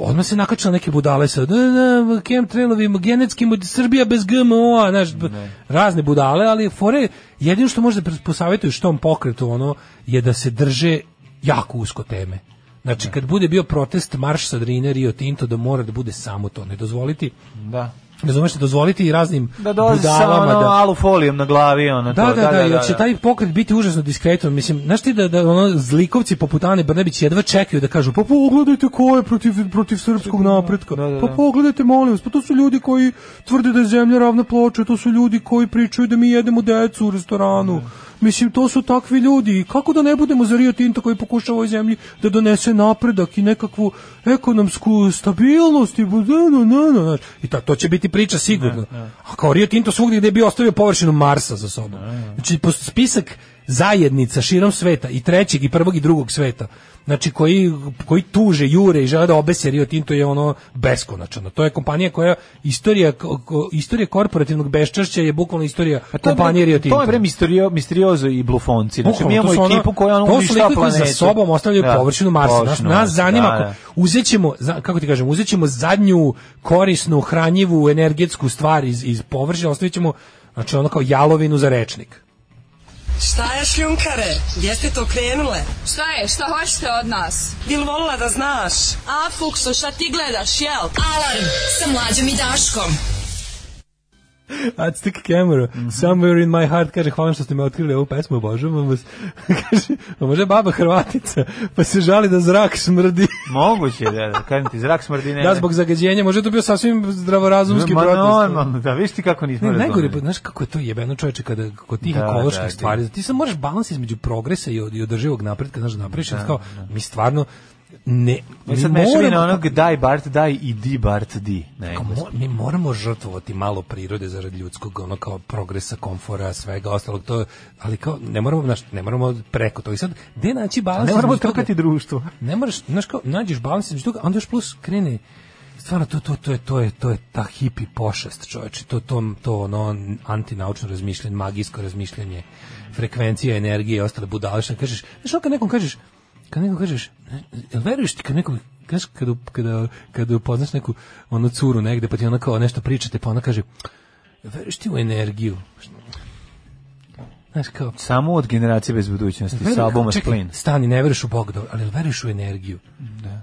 odmah se nakačila neke budale sa da, da, chemtrailovi, genetski mod- Srbija bez GMO-a, znaš, b- razne budale, ali fore, jedino što možda posavjetuješ tom pokretu, ono, je da se drže jako usko teme. Znači, kad bude bio protest Marš sa Drine, Rio Tinto, da mora da bude samo to, ne dozvoliti, Da. razumeš, ne dozvoliti i raznim Da dolazi sa budalama ono, da- alufolijom na glavi, ono da, to. da, da, jer će taj pokret biti užasno diskretan. Mislim, znaš ti da, da ono, zlikovci poput Ane Brnebić jedva čekaju da kažu, pa pogledajte ko je protiv, protiv srpskog napretka, da. pa pogledajte, molim vas, pa to su ljudi koji tvrde da je zemlja ravna ploča, to su ljudi koji pričaju da mi jedemo decu u restoranu. Mislim, to su takvi ljudi. I Kako da ne budemo za Rio Tinto koji pokušava ovoj zemlji da donese napredak i nekakvu ekonomsku stabilnost i bu- da, da, da, da, znaš. I ta, to će biti priča sigurno. A kao Rio Tinto svugdje gdje je bio ostavio površinu Marsa za sobom. Znači, pos- spisak zajednica širom sveta i trećeg i prvog i drugog sveta znači koji, koji tuže, jure i žele da obese Rio Tinto je ono beskonačno. To je kompanija koja istorija, ko- ko- istorija korporativnog beščašća je bukvalno istorija Pa kompanije Rio Tinto. To je bre misterio, misteriozo i blufonci. Znači, Bukvalno, mi imamo to su ono- ekipu koja ono to su uništava likovi koji planetu. za sobom ostavljaju Da, površinu Marsa. Nas, površinu nas Marsa, zanima, da, ako- da. uzet ćemo, za- kako ti kažem, uzet ćemo zadnju korisnu, hranjivu, energetsku stvar iz, iz površine, ostavit ćemo znači ono kao jalovinu za rečnik. Šta je šljunkare? Gdje ste to krenule? Šta je? Šta hoćete od nas? Bil volila da znaš? A, Fukso, šta ti gledaš, jel? Alarm sa mlađom i Daškom. I'd stick camera. Mhm. Somewhere in my heart, kaže, hvala što ste me otkrili ovu pesmu, obožavam vas. kaže, a možda je baba Hrvatica, pa se žali da zrak smrdi. Moguće, da, da, kažem ti, zrak smrdi ne. da, zbog zagađenja, možda je to bio sasvim zdravorazumski E. Ma, protest. normalno, da, viš ti kako nismo Ne, najgore, razumeli. pa, znaš kako je to jebeno čoveče kada kod tih Da, ekoloških da, da. stvari, ti samo moraš balans između progresa i, od- i održivog napretka, znaš, da napraviš, Da, kao, mi stvarno ne, Mi E, sad moramo- mešavina onog daj Bart daj i di Bart di. Ne, Kao mo- mi moramo žrtvovati malo prirode zarad ljudskog ono kao progresa, komfora, svega ostalog to, ali kao ne moramo znaš, ne moramo preko toga. I sad gde naći balans? Ne moramo između toga? trkati društvo. Ne moraš, znaš kao nađeš balans između toga, a onda još plus krene stvarno to to to je to je to je ta hipi pošast, čoveče. To to to ono antinaučno razmišljanje, magijsko razmišljanje, frekvencija energije i ostale budale što kažeš. Znaš ono kad nekom kažeš, kad nekom kažeš, jel veruješ ti kad nekom kažeš kad kada kada upoznaš neku onu curu negde pa ti ona kao nešto pričate pa ona kaže veruješ ti u energiju Znaš kao, Samo od generacije bez budućnosti, Veruj- sa albuma čekaj, Splin. Stani, ne veruješ u Bog, dobro, ali veruješ u energiju. Da.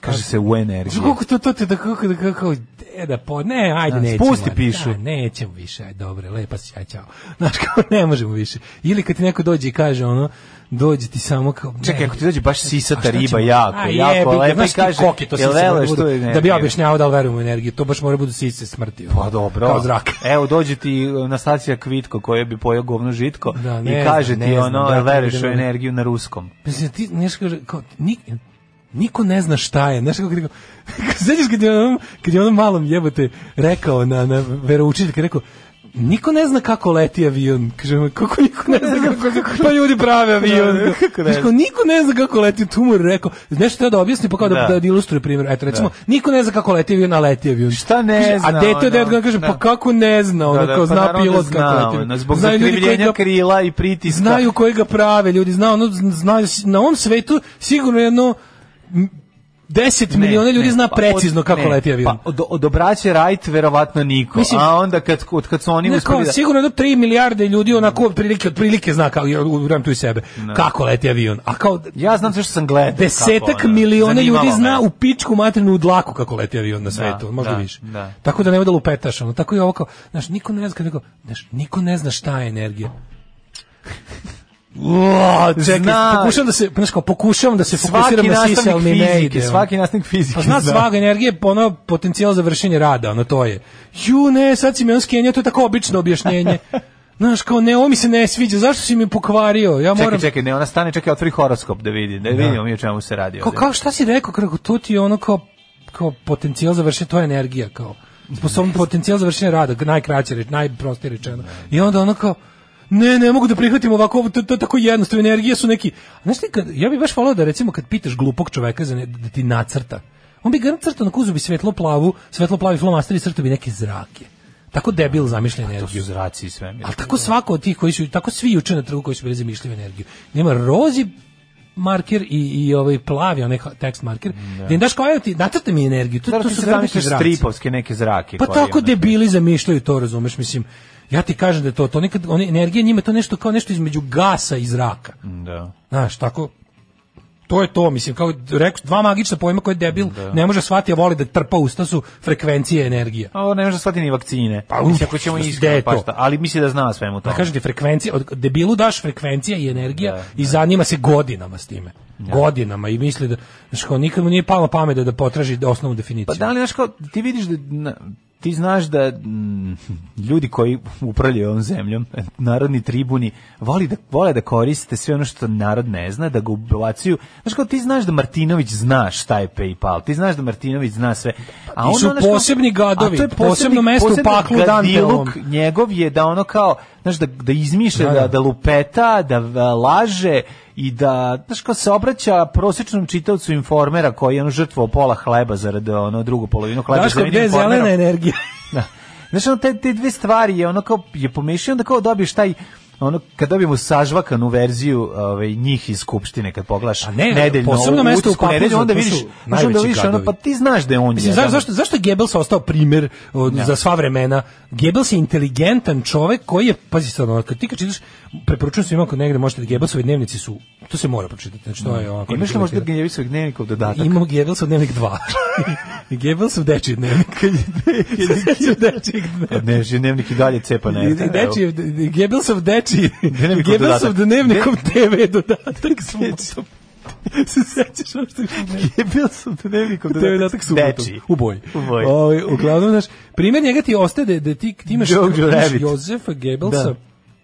Kaže se u energiji. Znaš koliko to, to ti da kako da kako e, da po, ne, ajde, Da, nećemo. spusti ajde, pišu. Da, nećemo više, ajde, dobro, lepa si, ajde, čao. Znaš, kao, ne možemo više. Ili kad ti neko dođe i kaže, ono, dođe ti samo kao... ne, Čekaj, ako ti dođe baš a sisata šta riba, ćemo? jako, A jako jebi ga, lepa i znaš ti kaže, koliko to jel sise mora vele da što budu? je Da bi ja energija? objašnjavao da li verujem u energiju, to baš mora da budu sise smrti. ono, Pa dobro. Kao zrak. Evo dođe ti Nastasija Kvitko koja bi pojeo govno žitko Da, ne i kaže znam, ti ne ono, znam, jel da, veruješ da, u da, da. energiju na ruskom. Mislim, ti znaš, kaže, kao, ni- niko ne zna šta je, znaš kako ti kao, sećaš kad je ono onom, ono kad je onom malom jebote rekao na, na veroučitelj, kad je rekao, Niko ne zna kako leti avion. Kaže, ma, kako niko ne zna kako, pa ljudi prave avion. Da, da, kako ne Znaš, kao, niko ne zna kako leti, tu mu je rekao, nešto treba da objasni, pa kao da, Da. da, ilustruje primjer. Eto, recimo, niko ne zna kako leti avion, a leti avion. Šta ne zna, A dete ono, od devet godina kaže, da. pa kako ne zna, ono, Da, da, kao pa zna naravno da pilot zna, kako leti avion. ono, zbog Znaju ljudi koji zakrivljenja ga- krila i pritiska. Znaju koji ga prave ljudi, zna, ono, zna, na ovom svetu sigurno jedno m, 10 miliona ljudi zna precizno kako leti avion. Pa, od, od obraće Wright verovatno niko, Mislim- a onda kad, od kad su oni Ne, uspeli kao, da... sigurno jedno 3 milijarde ljudi onako otprilike otprilike zna kako ja uverujem tu i sebe. Kako leti avion? A kao Ja znam sve što sam gledao. kako, Desetak ono, miliona zanimalo ljudi me. zna u pičku materinu u dlaku kako leti avion na svetu, možda da, više. da. Tako da nema da lupetaš, ono, tako je ovo kao, znaš, niko ne zna, kako, znaš, niko ne zna šta je energija. Uo, čekaj, Zna- Pa, pokušavam da se, znaš kao, pokušavam da se fokusiram na nastavnik sise, ali mi ne fizike, ide. ono. svaki nastavnik fizike Pa zna zna. svaga energija, pa ono potencijal za vršenje rada, ono to je. Ju ne, sad si me on skenio, to je tako obično objašnjenje. Znaš, kao ne, ovo mi se ne sviđa, zašto si mi pokvario? Ja moram... Čekaj, čekaj, ne, ona stane, čekaj, otvori horoskop da vidi, da vidimo mi o čemu se radi. Kao, ovde. kao šta si rekao, kako to ti je ono kao, kao potencijal za vršenje, to je energija, kao. Sposobno potencijal za vršenje rada, najkraće reč, najprostije rečeno. I onda ono kao, ne, ne mogu da prihvatim ovako, ovo, to, to je tako jednostavno, energije su neki... Znaš ti, kad, ja bih baš volao da recimo kad pitaš glupog čoveka za ne, da ti nacrta, on bi ga nacrtao, na kuzu bi svetlo plavu, svetlo plavi flomaster i crtao bi neke zrake. Tako debil zamišlja energiju. To su zraci i sve. Ali tako svako od tih koji su, tako svi juče na trgu koji su bili zamišljivi energiju. Nema rozi marker i, i ovaj plavi, onaj ha- tekst marker, da im daš kao, evo ti, nacrta mi energiju, to, Zašto to ti su se veliki zamišljaš zraci. stripovske neke zrake? Pa koje tako ono- debili zamišljaju to, razumeš, mislim, ja ti kažem da je to, to nekad, one, energija njima je to nešto kao nešto između gasa i zraka. Da. Znaš, tako, to je to, mislim, kao rekao, dva magična pojma koje debil ne može shvatiti, a voli da trpa usta su frekvencije energije. A ovo ne može da shvati ni vakcine. Pa, mislim, uf, ako ćemo gde iskreno, je pa to? Pa šta, ali misli da zna o svemu Da tome. kažem ti, frekvencija, od debilu daš frekvencija i energija i zanima se godinama s time. Godinama i misli da, znaš kao, nikad mu nije palo na pamet da, da potraži osnovnu definiciju. Pa da li, znaš, kao, ti vidiš da... na- ti znaš da mm, ljudi koji upravljaju ovom zemljom, narodni tribuni, voli da, vole da koriste sve ono što narod ne zna, da ga ubacuju. Znaš kao, ti znaš da Martinović zna šta je PayPal, ti znaš da Martinović zna sve. ono, Ti su znaš kao- posebni gadovi, a to je posebno mesto u posebni paklu gadiluk Dantelovom. njegov je da ono kao, znaš, da, da izmišlja, Da, da, da. da lupeta, da v- laže i da, znaš, kao se obraća prosječnom čitavcu informera koji je ono žrtvo pola hleba zarad ono drugu polovinu hleba. Daško, zarad gde je informera. zelena energija? Da. Znaš, ono, te, te dve stvari je ono kao, je pomešao, onda kao dobiješ taj ono kad dobijemo sažvakanu verziju ovaj njih iz skupštine kad pogledaš Pa ne, nedeljno posebno ovu mesto u utisku Papuznu, nedelju, onda to su vidiš znaš, onda najveći vidiš ono gadovi. pa ti znaš da je on Mislim, jedan. zašto, zašto, zašto je Goebbels ostao primjer od, za sva vremena? Goebbels je inteligentan čovek koji je, pazi sad, ono, kad ti kad čitaš, preporučujem svima ako negde možete da Goebbelsovi dnevnici su, to se mora pročitati, znači to je onako... Imaš li Mm. možda Gnjevićevog dnevnika u dodatak? Imamo Goebbelsov dnevnik 2. I Goebbelsov dečiji dnevnik. Goebbelsov dečiji A dnevnik. Pa Ne, že dnevnik i dalje cepa ne. I- i Dečiji, Goebbelsov dečiji, Dnevnikov Goebbelsov dodatak. dnevnikom TV dodatak subotom. Se sećaš ono što je Goebbelsov dnevnikom TV dodatak subotom. Dečiji. U boji. U boji. Ovaj, uglavnom, znaš, primjer njega ti ostaje da, da ti, ti imaš, Jojo ti imaš Rabbit. Jozefa Goebbelsa, Da.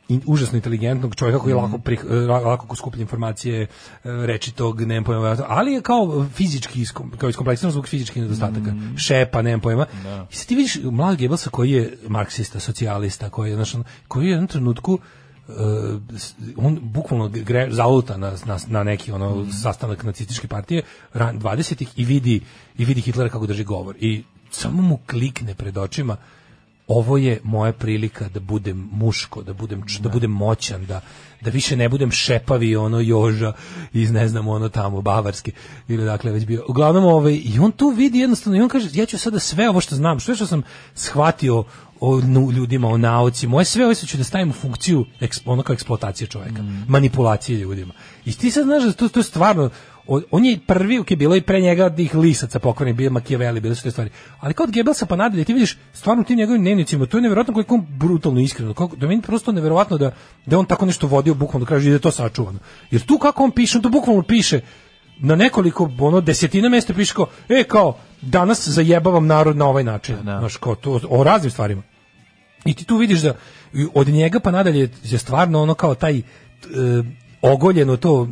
in, užasno inteligentnog čovjeka koji lako prih, lako skuplja informacije e, reči tog nemam pojma ali je kao fizički iskom, kao iskompleksiran zbog fizičkih nedostataka šepa nemam pojma i sad ti vidiš mladog Gebelsa koji je marksista socijalista koji je znaš, on- koji je u jednom trenutku e, s- on bukvalno gre, zaluta na, na, na neki ono sastanak nacističke partije ran 20-ih i vidi i vidi Hitlera kako drži govor i samo mu klikne pred očima ovo je moja prilika da budem muško, da budem č- da budem moćan, da da više ne budem šepavi ono joža iz ne znam ono tamo bavarski ili dakle već bio. Uglavnom ovaj i on tu vidi jednostavno i on kaže ja ću sada sve ovo što znam, sve što sam shvatio o nu- ljudima, o nauci, moje sve ovo sve ću da stavim u funkciju eks, ono kao eksploatacije čoveka, manipulacije ljudima. I ti sad znaš da to, to je stvarno, o- on je prvi, ok, bilo je i pre njega tih lisaca pokvarni, bio je Machiavelli, bile su te stvari. Ali kao od Goebbelsa pa nadalje, ti vidiš stvarno u tim njegovim dnevnicima, to je nevjerojatno koliko je on brutalno iskreno, kako, da je meni prosto nevjerojatno da, da je on tako nešto vodio bukvalno do kraja i da je to sačuvano. Jer tu kako on piše, on to bukvalno piše na nekoliko, ono, desetina mesta piše kao, e, kao, danas zajebavam narod na ovaj način, znaš, kao, to, o raznim stvarima. I ti tu vidiš da i od njega pa nadalje je stvarno ono kao taj e, ogoljeno to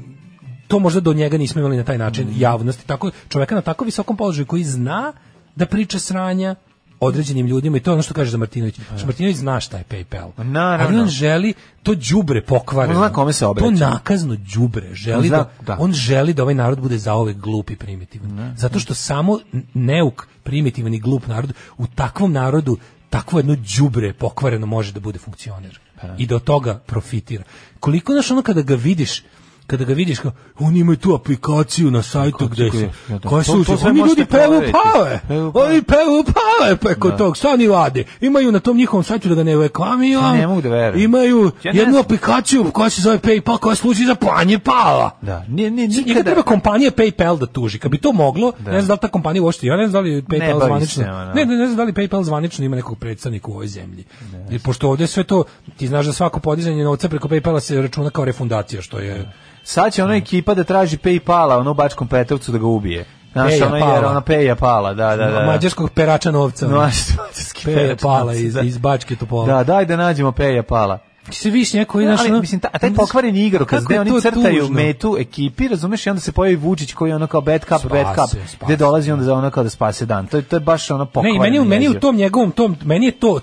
to možda do njega nismo imali na taj način Mhm. javnosti. Tako čoveka na tako visokom položaju koji zna da priča sranja određenim ljudima i to je ono što kaže za Martinović. Što Martinović zna šta je PayPal. Ali Pa naravno. on želi to đubre pokvareno. On zna kome se obraća. To nakazno đubre želi On zna- da, da. on želi da ovaj narod bude zaovek glup i primitivan. Zato što samo n- neuk, primitivan i glup narod u takvom narodu takvo jedno đubre Pa pokvareno može da bude funkcioner i da od toga profitira. Koliko znaš ono kada ga vidiš kada ga vidiš kao, oni imaju tu aplikaciju na sajtu gde Kako se, je? Ja, da. koja se To- to uči, sve oni možete ljudi pevu proveriti. pave, Pevu pave. oni pevu pave preko Da. tog, šta oni rade? Imaju na tom njihovom sajtu da ga ne reklamiram, Ja ne mogu da verujem. imaju Ja ne jednu znam. aplikaciju koja se zove PayPal koja služi za planje pava. Da, nije, nije, Njega nikada... treba kompanija PayPal da tuži. Kad bi to moglo, ne znam da li ta kompanija uopšte, ja ne znam da li PayPal bavi zvanično. se ona. ne, ne, ne znam da li PayPal zvanično ima nekog predstavnika u ovoj zemlji. Jer pošto ovdje sve to, ti znaš da svako podizanje novca preko PayPala se računa kao refundacija, što je Sad će ona ekipa da traži Paypala, ono u Bačkom Petrovcu da ga ubije. Znaš, Peja ono jer Pala. ona Peja Pala, da, da, da. mađarskog perača novca. No, ono. mađarski Peja perač pala novca, iz, da. iz Bačke Topole. Da, daj da nađemo Peja Pala. Ti se viš neko i Ne, naš... ali, ono- mislim, ta, a taj pokvaren igrokaz, Kako gde je oni to crtaju tužno? metu ekipi, razumeš, i onda se pojavi Vučić koji je ono kao bad cup, bad cup, Spase, spase. gde dolazi onda za ono kao da spase dan. To, je- to je baš ono Ne, i pokvareno. meni, u- meni u jezivo. tom njegovom tom, meni je to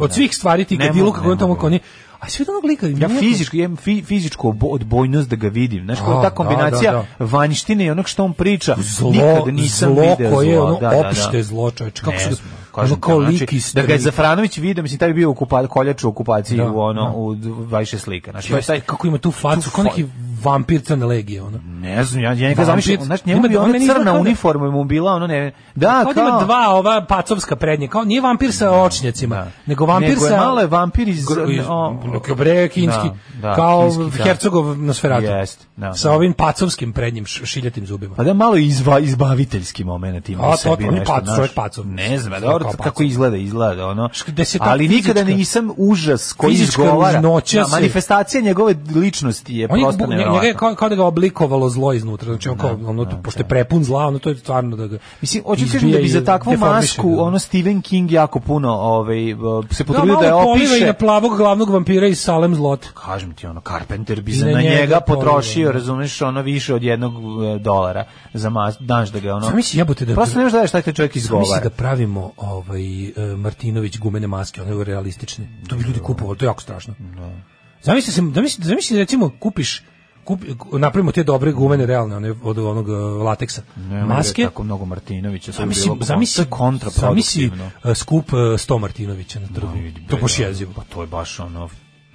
od svih stvari ti Ne kad bilo mogu, kako ne on tamo mogu. koni. A sve to onog lika. Ja nije- fizički, ja imam fi, fizičku obo- odbojnost da ga vidim. Znaš, kao A, ta da, kombinacija da, vanjštine i onog što on priča, zlo, nikad nisam zlo video koje je zlo. ono da, da, da. opšte zlo, čoveče. Kako Ne se znam, kažem ono ti, kao znači, lik iz da ga je Zafranović video, mislim taj bi bio okupa, koljač u okupaciji Da, u ono da. u vajše slika. Znači Jeste, taj kako ima tu facu, kao fa- neki vampir crne legije, ono. ne znam, ja, ja njega Vampir- zamišljam, znači njemu Ima- bi on ona meni izgleda crna kao da- uniforma mu bila, ono ne. Da, Kao da kao ima dva ova pacovska prednja, kao nije vampir sa očnjacima, nego vampir Nego je sa... malo je vampir iz- Gr- o- kao bre, kinski, Da, da, kao kinski, da. Hercogov Nosferatu. Jest, da. sa ovim pacovskim prednjim š- šiljatim zubima. Pa da malo izva, izbaviteljski moment ima A, u to- sebi. on je nešto, pac, znaš. čovjek pacov. Ne znam, Kao dobro, pac. kako izgleda, izgleda, ono. Gde se ta Ali nikada fizička- nisam užas koji Fizička izgovara. ružnoća Da, se- manifestacija njegove ličnosti je On je, prosto bu- nje- njega je nevjerovatna. kao, kao da ga oblikovalo zlo iznutra, znači on kao, ono, pošto je prepun zla, ono to je stvarno da ga Mislim, hoću ti kažem izbija da i bi za takvu deformiše masku, ga. ono Stephen King jako puno ovaj, se da, potrudio da, je malo poliva i na opiše. plavog glavnog vampira iz Salem zlot. Kažem ti, ono, Carpenter bi I za na na njega, njega potrošio, poliva, da. razumeš, ono više od jednog e, dolara za mas, daš da ga, ono... Samo misli jebote da Prosto nemaš da daješ šta taj čovjek Samo misli izgovara. da pravimo ovaj e, Martinović gumene maske, one realistične. To bi ljudi kupovali, to je jako strašno. Zamisli se, da misli, zamisli recimo kupiš kupi, napravimo te dobre gumene realne one od onog e, lateksa. Nema maske. Tako mnogo Martinovića. sad bi Zamisli, bilo kon- to zamisli, je kontraproduktivno. zamisli, e, skup e, 100 Martinovića na trgu. to je baš jezivo. Pa to je baš ono...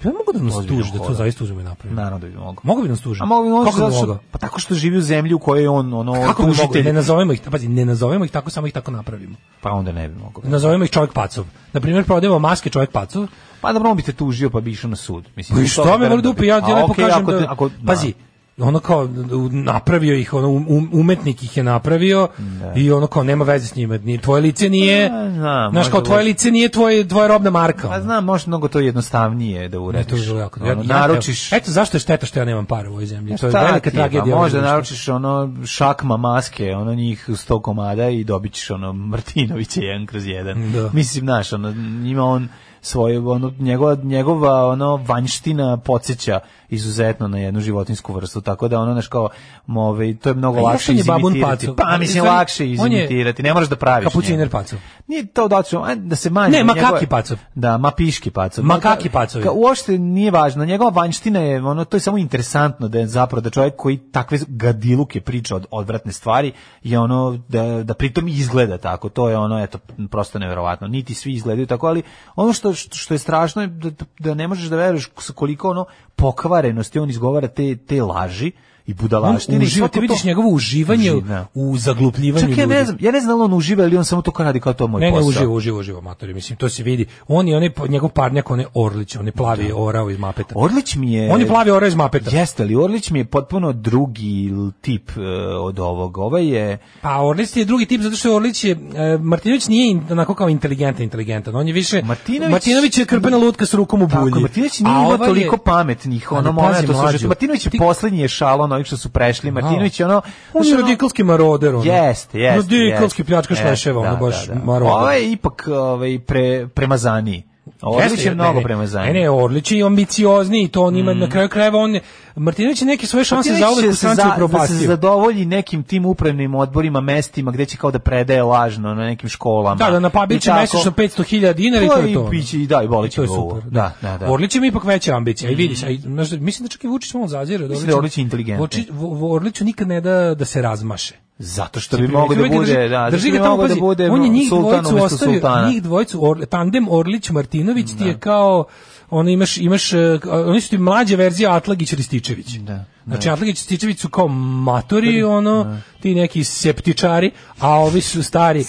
Ja mogu da nas Ozbiljno tuži, da to hoda. zaista uzmemo i napravimo. Naravno da bi mogao. Mogu bi nas tuži. A mogu bi Kako bi zato što, mogao? Pa pa tako što živi u zemlji u kojoj je on ono Kako bi mogao? tužitelj. Ne nazovemo ih, pazi, ne nazovemo ih tako, samo ih tako napravimo. Pa onda ne bi mogao. Nazovemo ih čovjek pacov. Na primjer, prodajemo maske čovjek pacov. Pa dobro, on bi te tužio pa bi išao na sud. Mislim, Pa i to šta me verujem voli da dupe, bi- ja A, ti lepo okej, kažem ako te- da... ako- Pazi, ono kao u- napravio ih, ono, um- umetnik ih je napravio i ono kao nema veze s njima, ni tvoje lice nije, A, znam, znaš kao možda tvoje bude. lice nije tvoje, tvoja robna marka. Pa znam, možda mnogo to jednostavnije da Ne, uradiš. to je bilo jako. Ono, Ja- ja- naručiš... Eto zašto je šteta što ja nemam para u ovoj zemlji. To je Šta velika ti je, pa tragedija. ovog Možda društva. naručiš ono šakma maske, ono njih 100 komada i dobit ćeš ono Martinovića jedan kroz jedan. Da. Mislim, znaš, ono, ima on svoje, ono, njegova, njegova ono, vanjština podsjeća izuzetno na jednu životinsku vrstu, tako da ono, znaš, kao, move, to je mnogo A lakše jasan je babun izimitirati. Pacov. Pa, mislim, On je- lakše on je izimitirati, ne moraš da praviš. Kapućiner njega. pacov. Nije to da ću, ajde da se manje... Ne, od njegove- makaki pacov. Da, mapiški pacov. Makaki No, ka- pacovi. ka- Uopšte nije važno, njegova vanjština je, ono, to je samo interesantno da je zapravo da čovjek koji takve gadiluke priča od odvratne stvari je ono, da, da pritom izgleda tako, to je ono, eto, prosto neverovatno. Niti svi izgledaju tako, ali ono što, što što je strašno je da, da ne možeš da veruješ sa koliko ono pokvarenosti on izgovara te, te laži i On budalaštine. i uživa, svako ti vidiš to- njegovo uživanje Uživ, da. u zaglupljivanju Čak ja ne ljudi. znam, ja ne znam da li on uživa ili on samo to kao radi kao to je moj Ne, ne, posao. uživo, uživo, uživo, matori, mislim, to se vidi. On i onaj, po- njegov parnjak, on je Orlić, on je plavi orao iz Mapeta. Orlić mi je... On je plavi orao iz Mapeta. Jeste li, Orlić mi je potpuno drugi l- tip e, od ovog. Ovaj je... Pa Orlić je drugi tip, zato što je Orlić je, e, Martinović nije in- onako kao inteligentan, inteligentan, on je više, Martinović- je krpena lutka s rukom u bulji. Tako, Martinović nije A imao ovaj je- toliko pametnih, ono Ali pazi, momenta su mlađo, što Martinović je ti- posljednji je šalon onih što su prešli, Martinović je ono... On znaš, je ono- radikalski maroder, on. Jeste, jeste. Radikalski jeste. pljačkaš Jeste, leševa, ono da, baš da, da. maroder. Ovo je ipak ovaj, pre, premazaniji. Orlić Jeste, je mnogo ne, ne. premazaniji. Ne, ne, Orlić je ambiciozniji, to on ima na kraju krajeva on je- Martinović je neke svoje šanse Martinović za će u se stranci za- da se upropastio. zadovolji nekim tim upravnim odborima, mestima gde će kao da predaje lažno na nekim školama. Da, da na I pabiće tako. mesečno 500.000 dinara i Pa to je i to. piće i da, i boliće To je ga ovo. super. Da, da, da. Mm. Orlić ima ipak veća ambicija, i vidiš, a i, znaš, mislim da čak i Vučić malo zazire. od Mislim da je Orlića. Orlić inteligentniji. Vučić- Vo- Vo- Orliću nikad ne da da se razmaše. Zato što bi mogao da bude, da, drži zato ga bi tamo, mogao da pazi, bude ono, on je njih sultan dvojicu umesto ostavio, sultana. njih dvojicu, Orl- tandem Orlić-Martinović ti je kao, ono imaš, imaš, e, k- oni su ti mlađa verzija Atlagić-Rističević. Znači, Atlagić-Rističević su kao matori, ono, ti neki septičari, a ovi su stari,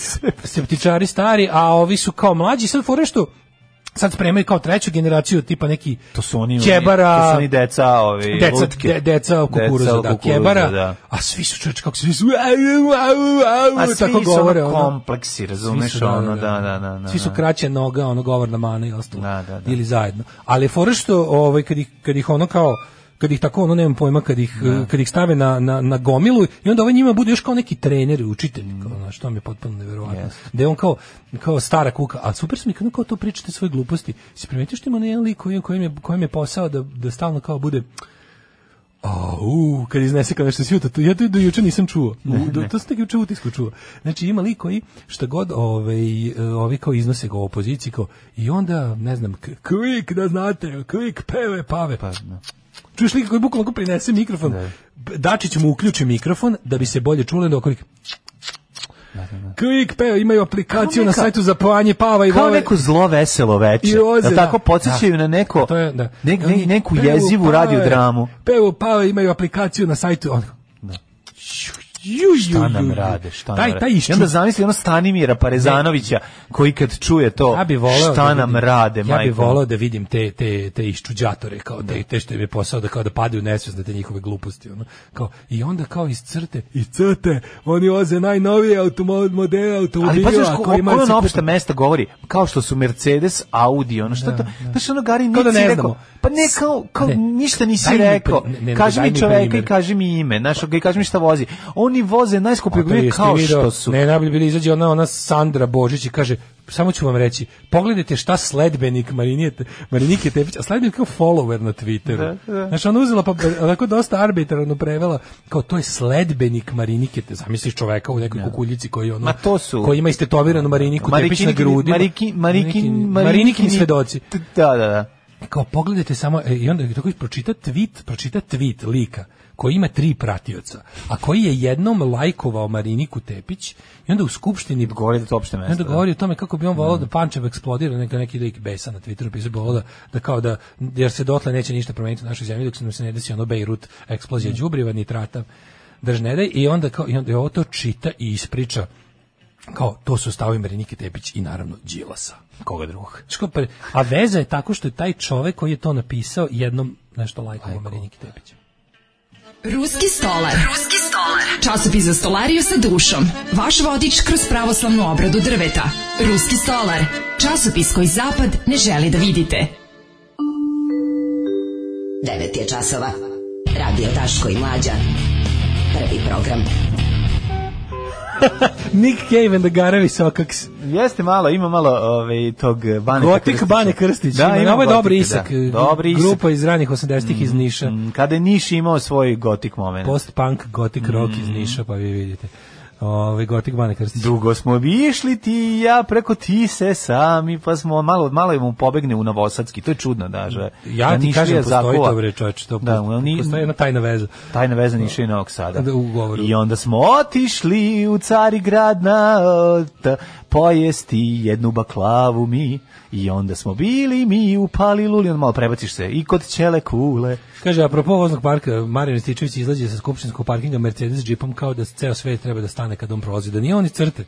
septičari stari, a ovi su kao mlađi, sad fore što, sad spremaju kao treću generaciju, tipa neki To su oni, ono, Kebara- to su oni deca, ovi, deca, lutke. de, deca kukuruza, da, kukuruza, kebara, da. a svi su čoveče kako se svi su, au, au, au, A svi tako su govore, ono ono. kompleksi, razumeš, Svi su, da, ono, da, da, da, da, da, Svi su da. kraće noga, ono govorna mana i ostalo. Ili zajedno. Ali je fora što ovaj kad ih kad ih ono kao kad ih tako ono nemam pojma kad ih eh, kad ih stave na, na, na gomilu i onda ovaj njima bude još kao neki trener i učitelj kao, znaš, to mi je potpuno neverovatno da je on kao kao stara kuka a super su mi kad on kao to pričate svoje gluposti se primetio što ima onaj jedan lik koji- kojem je kojem je posao da da stalno kao bude Au, kad iznese kao nešto sjuta, to ja to do juče nisam čuo. U, do, to sam tek juče u utisku čuo. Znači ima lik koji šta god ovaj e, ovi kao iznose ga u opoziciji kao i onda ne znam k- kvik da znate, kvik peve pave. Pa, Čuješ lika koji bukvalno ko prinese mikrofon. B- Dačić mu uključi mikrofon da bi se bolje čulo dok kvik Kvik peva, imaju aplikaciju Kao neka- na sajtu za planje pava i kao vole- neko zlo veselo veče. I roze, Jel da. tako podsjećaju na neko, To je, da. nek- I oni ne- neku pevu, jezivu pave, radiodramu. Pevu pave, imaju aplikaciju na sajtu. Ono. Ju, ju, Šta nam ju, ju. rade, šta taj, nam taj rade. I išču- onda zamisli ono Stanimira Parezanovića koji kad čuje to, Ja bi voleo šta da nam vidim- rade, Ja bi majko. voleo da vidim te te te iščuđatore kao te te što im je posao da kao da padaju nesvest na te njihove gluposti ono. Kao i onda kao iz crte, iz crte, oni oze najnovije automo- modele Ali automobila pa znaš, ko, ko koji imaju ono se opšte mesta govori, kao što su Mercedes, Audi, ono šta to, znaš ono Gari Kao da nisi ne rekao, znamo. pa ne kao, kao Ne. ništa nisi Daj mi rekao, pri- ne, ne, kaži daj mi mi čoveka i primer. kaži mi ime, znaš, i kaži mi šta vozi. Oni voze najskuplje Pa to automobile jeste kao video, što su. Ne, najbolje bilo izađe ona, ona Sandra Božić i kaže, samo ću vam reći, pogledajte šta sledbenik Marinije, Te- Marinike Tepić, a sledbenik je kao follower na Twitteru. Da, da. Znaš, ona uzela pa onako dosta arbitrarno prevela, kao to je sledbenik Marinike, te zamisliš čoveka u nekoj kukuljici koji ono, Ma to su- koji ima istetoviranu Mariniku Tepić na Marikinikini- grudi. Mariki- Marikin- Marinikini Marinikini- svedoci T- Da, da, da. kao pogledajte samo e, i onda tako pročita tweet, pročita tweet lika koji ima tri pratioca, a koji je jednom lajkovao Mariniku Tepić i onda u skupštini Govori da je to opšte i onda mesto. govori o tome kako bi on volao da Pančev eksplodira, neka neki lik besa na Twitteru pisao bi volao da, da kao da jer se dotle neće ništa promeniti u našoj zemlji dok se nam se ne desi ono Bejrut eksplozija đubriva nitrata drž ne daj i onda kao i onda ovo to čita i ispriča kao to su stavovi Marinike Tepić i naravno Đilasa. Koga drugog? Znaš kao pre- A veza je tako što je taj čovek koji je to napisao jednom nešto lajkovo Mariniki Tepić. Ruski stolar. Ruski stolar. Časopis za stolariju sa dušom. Vaš vodič kroz pravoslavnu obradu drveta. Ruski stolar. Časopis koji zapad ne želi da vidite. 9 je časova. Radio Taško i Mlađa. Prvi program. Nick Cave and the Garavi Sokaks. Jeste malo, ima malo ovaj, tog eh, Bane Gotik Krstića. Bane Krstić. Da, Ima- ima ovo je dobri Gotika, isak, Mhm. da. eh, Dobri isak. grupa iz ranih 80-ih iz Niša. Mm, Kada je Niš imao svoj gotik moment. Post-punk gothic rock iz Mm. Niša, pa vi vidite. Ovaj, Ove, gotik Bane Krstić. Dugo smo bi išli ti i ja preko tise sami, pa smo malo, malo mu pobegne u Novosadski. To je čudno, da, že. Ja da ti Nišlija kažem, postoji zakuva. to, bre, čoveče, to Da, postoji- oni- postoji jedna tajna veza. Tajna veza Niša i Novog Sada. Da, u govoru. I onda smo otišli u Carigrad na ot, pojesti jednu baklavu mi. I onda smo bili mi u Paliluli, onda malo prebaciš se i kod Ćele Kule. Kaže, apropo voznog parka, Marijan Stičević izlazi sa skupštinskog parkinga Mercedes džipom kao da ceo svet treba da stane kad on prolazi, da nije on iz crte.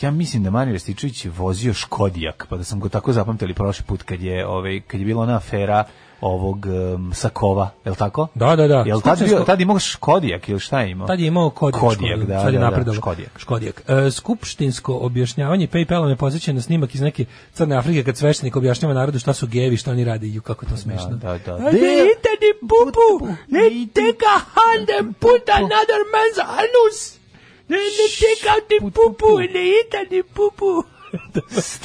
Ja mislim da Mario Rističević je vozio Škodijak, pa da sam ga tako zapamtili prošli put kad je, ovaj, kad je bila ona afera ovog em, Sakova, je li tako? Da, da, da. Jel tad, bio, Skupštinsko- tad imao Škodijak ili šta je imao? Tad je imao Kodijak, Kodijak, Škodijak, da, sad je da, da, napredovao. Škodijak. Škodijak. E, skupštinsko objašnjavanje PayPala me podsjeća na snimak iz neke Crne Afrike kad sveštenik objašnjava narodu šta su gevi, šta oni rade i ju, kako je to smešno. Da, da, Ajde, ite ni bubu, ne take a hand and put another man's anus. Ne, ne take out the pupu, ne ite ni pupu.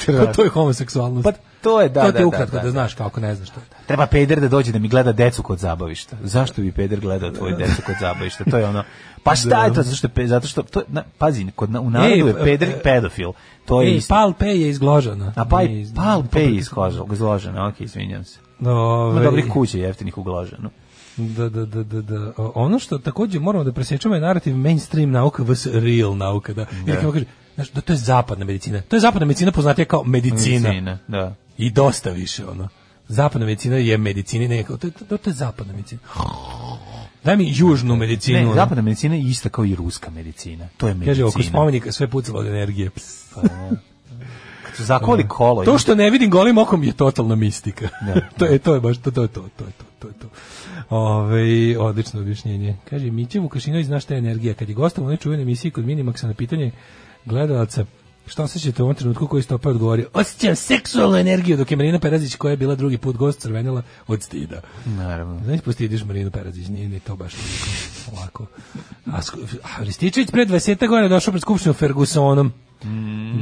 Pa to je homoseksualnost. Pa to je, da, to da, te da, ukratko da, da, da. znaš kako ne znaš što je. Treba peder da dođe da mi gleda decu kod zabavišta. Zašto bi peder gledao tvoju decu kod zabavišta? To je ono... Pa šta je to? Zato što, je pe- zato što to, je- na, pazi, kod, na- u narodu je Ej, peder e, pa, pedofil. To je Ej, isto. Pal P je izgložena. A pa, Nije i iz- pal pe izloženo, ok, izvinjam se. Ima Ovaj. dobrih kuća jeftinih u Gložanu. Da, da, da, da, da. O, Ono što takođe moramo da presječemo je narativ mainstream nauka vs. real nauka. Da. Jer kako kaže, znaš, da to je zapadna medicina. To je zapadna medicina poznatija kao medicina. Medicina, da. I dosta više, ono. Zapadna medicina je medicina, ne, to, je- to, to je zapadna medicina. Daj mi južnu medicinu. Ne, ono. zapadna medicina je ista kao i ruska medicina. To je medicina. Kaže, oko spomenika sve pucalo od energije. Ps. Kad su zakoli kolo. To što ne vidim golim okom je totalna mistika. Da. to je to je baš to to je to to je to to je to. Ove, odlično objašnjenje. Kaže Miće Vukašinović zna šta je energija. Kad je gostom u onoj čuvenoj emisiji kod Minimaxa na pitanje gledalaca šta osjećate u ovom trenutku koji stopa odgovorio osjećam seksualnu energiju dok je Marina Perazić koja je bila drugi put gost crvenila od stida. Naravno. Znaš, postidiš Marinu Perazić, nije ni to baš toliko lako. A, Sku- a Rističević pre 20. godina došao pred skupštinu Fergusonom.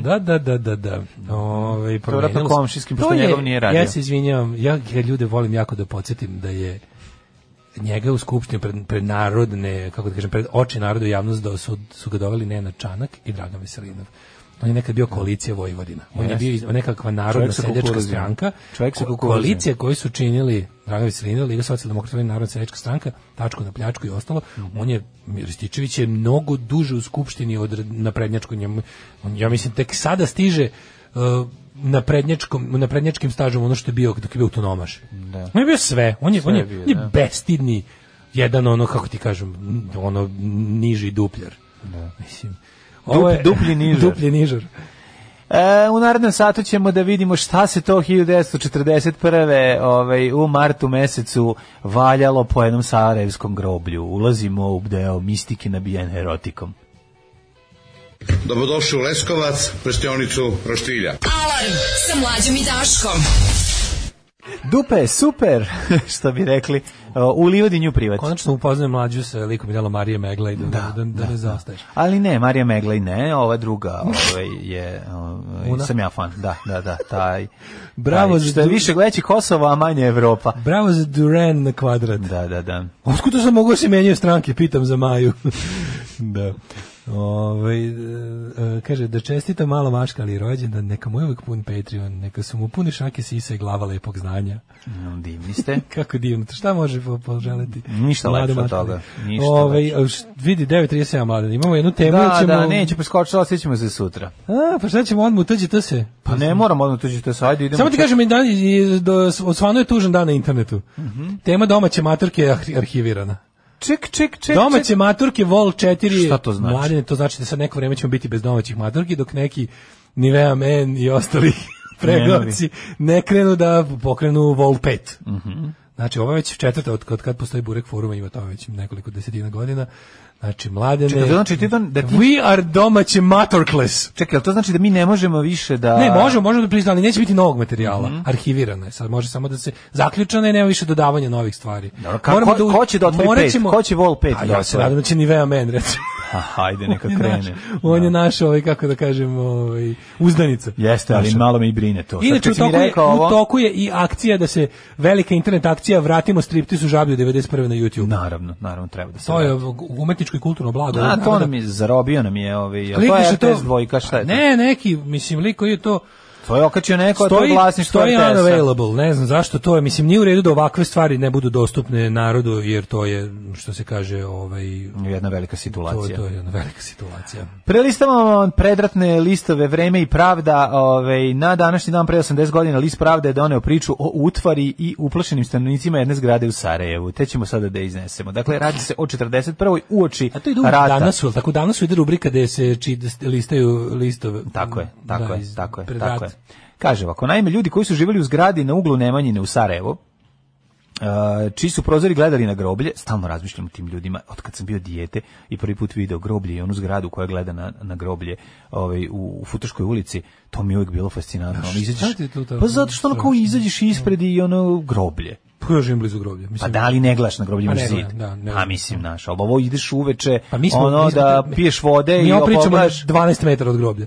Da, da, da, da, da. Ovaj, Ove, Mm. vratno komšijskim, pošto njegov nije radio. Ja se izvinjavam, ja ga ljude volim jako da podsjetim da je njega u skupštini pred, pred narodne, kako da kažem, pred oči naroda i javnost da su, su ga doveli Nenad Čanak i Dragan Veselinov. On je nekad bio koalicija Vojvodina. On je Jeste. bio iz- nekakva narodna Čovjek sa seljačka kukuruzima. stranka. Čovjek sa Ko- kukuruzima. koalicija koju su činili Dragan Veselinov, Liga socijaldemokrata i Narodna seljačka stranka, tačku na pljačku i ostalo. On je Rističević je mnogo duže u skupštini od na prednjačku njemu. On, ja mislim tek sada stiže uh, na prednjačkom na prednjačkim stažom ono što je bio dok je bio autonomaš. Da. On je bio sve. On je on je, Sve je bio, on je da. bestidni jedan ono kako ti kažem ono niži dupljar. Da. Mislim ovo je- duplji nižar. duplji nižar. E, u narednom satu ćemo da vidimo šta se to 1941. Ovaj, u martu mesecu valjalo po jednom sarajevskom groblju. Ulazimo u deo mistike nabijen erotikom. Dobrodošli u Leskovac, prštionicu Roštilja. Alarm sa mlađom i Daškom. Dupe, super, što bi rekli, o, u Livadinju privat. Konačno upoznajem mlađu sa likom i delom Marije Megla i da, da, da, da, ne zaostaješ. Ali ne, Marija Meglej ne, ova druga ovaj, je, ovaj, Una? sam ja fan, da, da, da, taj. Bravo taj, za što je du- više gledaći Kosovo, a manje Evropa. Bravo za Duran na kvadrat. Da, da, da. Otkud to sam mogao da se menjaju stranke, pitam za Maju. da. Ove, kaže, da čestita malo maška, ali rođendan, neka mu je uvek pun Patreon, neka su mu puni šake sisa i glava lepog znanja. Mm, Divni ste. Kako divno, šta može po- poželiti? Ništa Mlada lepše od maška. toga, ništa Ove, e, š- vidi, 9.37 mladen, imamo jednu temu. da, ćemo... da, neće preskočiti, osjećamo se sutra. A, pa šta ćemo odmah utođi, to se... Pa ne moramo odmah tuđi to se, ajde idemo. Samo ti čak- kažem, dan, osvano je tužan dan na internetu. Mhm. Tema domaće maturke je arhi- arhivirana. Ček, ček, ček. Domaće maturke Vol 4. Šta to znači? Mladine, to znači da sad neko vreme ćemo biti bez domaćih maturki, dok neki Nivea Men i ostali pregovci ne krenu da pokrenu Vol 5. Mhm. Znači, ovo je već četvrta, od kad, kad postoji Burek foruma, ima to već nekoliko desetina godina. Znači, mladene... Čekaj, to znači ti da- da ti- We are domaće maturkless. Čekaj, jel to znači da mi ne možemo više da... Mhm. Ne, možemo, možemo da priznamo, ali neće biti novog materijala. Arhivirana je sad, može samo da se zaključana je, nema više dodavanja novih stvari. Dobro, ka- ko- ko će da otvori morat pet? ćemo- Ko će Vol pet A da ja se otvori? nadam da će Nivea men, recimo. Ha, hajde, neka On je naš- krene. On je naš, ovaj, kako da kažem, ovaj, uzdanica. Jeste, ali malo me i brine to. Sad Inače, u kad si mi toku, je, rekao ovo- u toku je i akcija da se velika internet akcija Vratimo striptiz u žablju 91. na YouTube. Naravno, naravno, treba da se... To je umetničko i kulturno blago. A, to Tako da- nam je, zarobio nam je ovi... jel To Klikneš je na to- RTS dvojka, šta je to? Ne, neki, mislim, liko je to... To je okačio neko, a to je vlasništvo stoji ono RTS-a. unavailable, ne znam zašto to je, mislim nije u redu da ovakve stvari ne budu dostupne narodu jer to je što se kaže ovaj Jedna velika to, situacija. to je jedna velika situacija. Prelistamo predratne listove Vreme i pravda. Ove, na današnji dan pre 80 godina list pravda je doneo priču o utvari i uplašenim stanovnicima jedne zgrade u Sarajevu. Te ćemo sada da iznesemo. Dakle, radi se o 41. uoči A to ide uvijek rata. danas, jel tako danas ide rubrika gde se či, listaju listove. Tako je, tako Mm, da, je, iz- tako je, pred tako je. rat. Kaže ovako, naime, ljudi koji su živjeli u zgradi na uglu Nemanjine u Sarajevu, Uh, čiji su prozori gledali na groblje, stalno razmišljam o tim ljudima, od kad sam bio dijete i prvi put video groblje i onu zgradu koja gleda na, na groblje ovaj, u, u Futoškoj ulici, to mi je uvijek bilo fascinantno. Ono, izađeš, ti je tu tako pa zato što ono kao strašno? izađeš ispred i ono groblje. Pa ja živim blizu groblja, Pa mislim. da li ne glaš na groblju Pa imaš ne zid? gledam, da, ne pa gledam. mislim, naš, ali ovo ideš uveče, Pa mi smo, ono mi smo- da piješ vode mi i ovo pričamo na opogledaš 12 metara od groblja.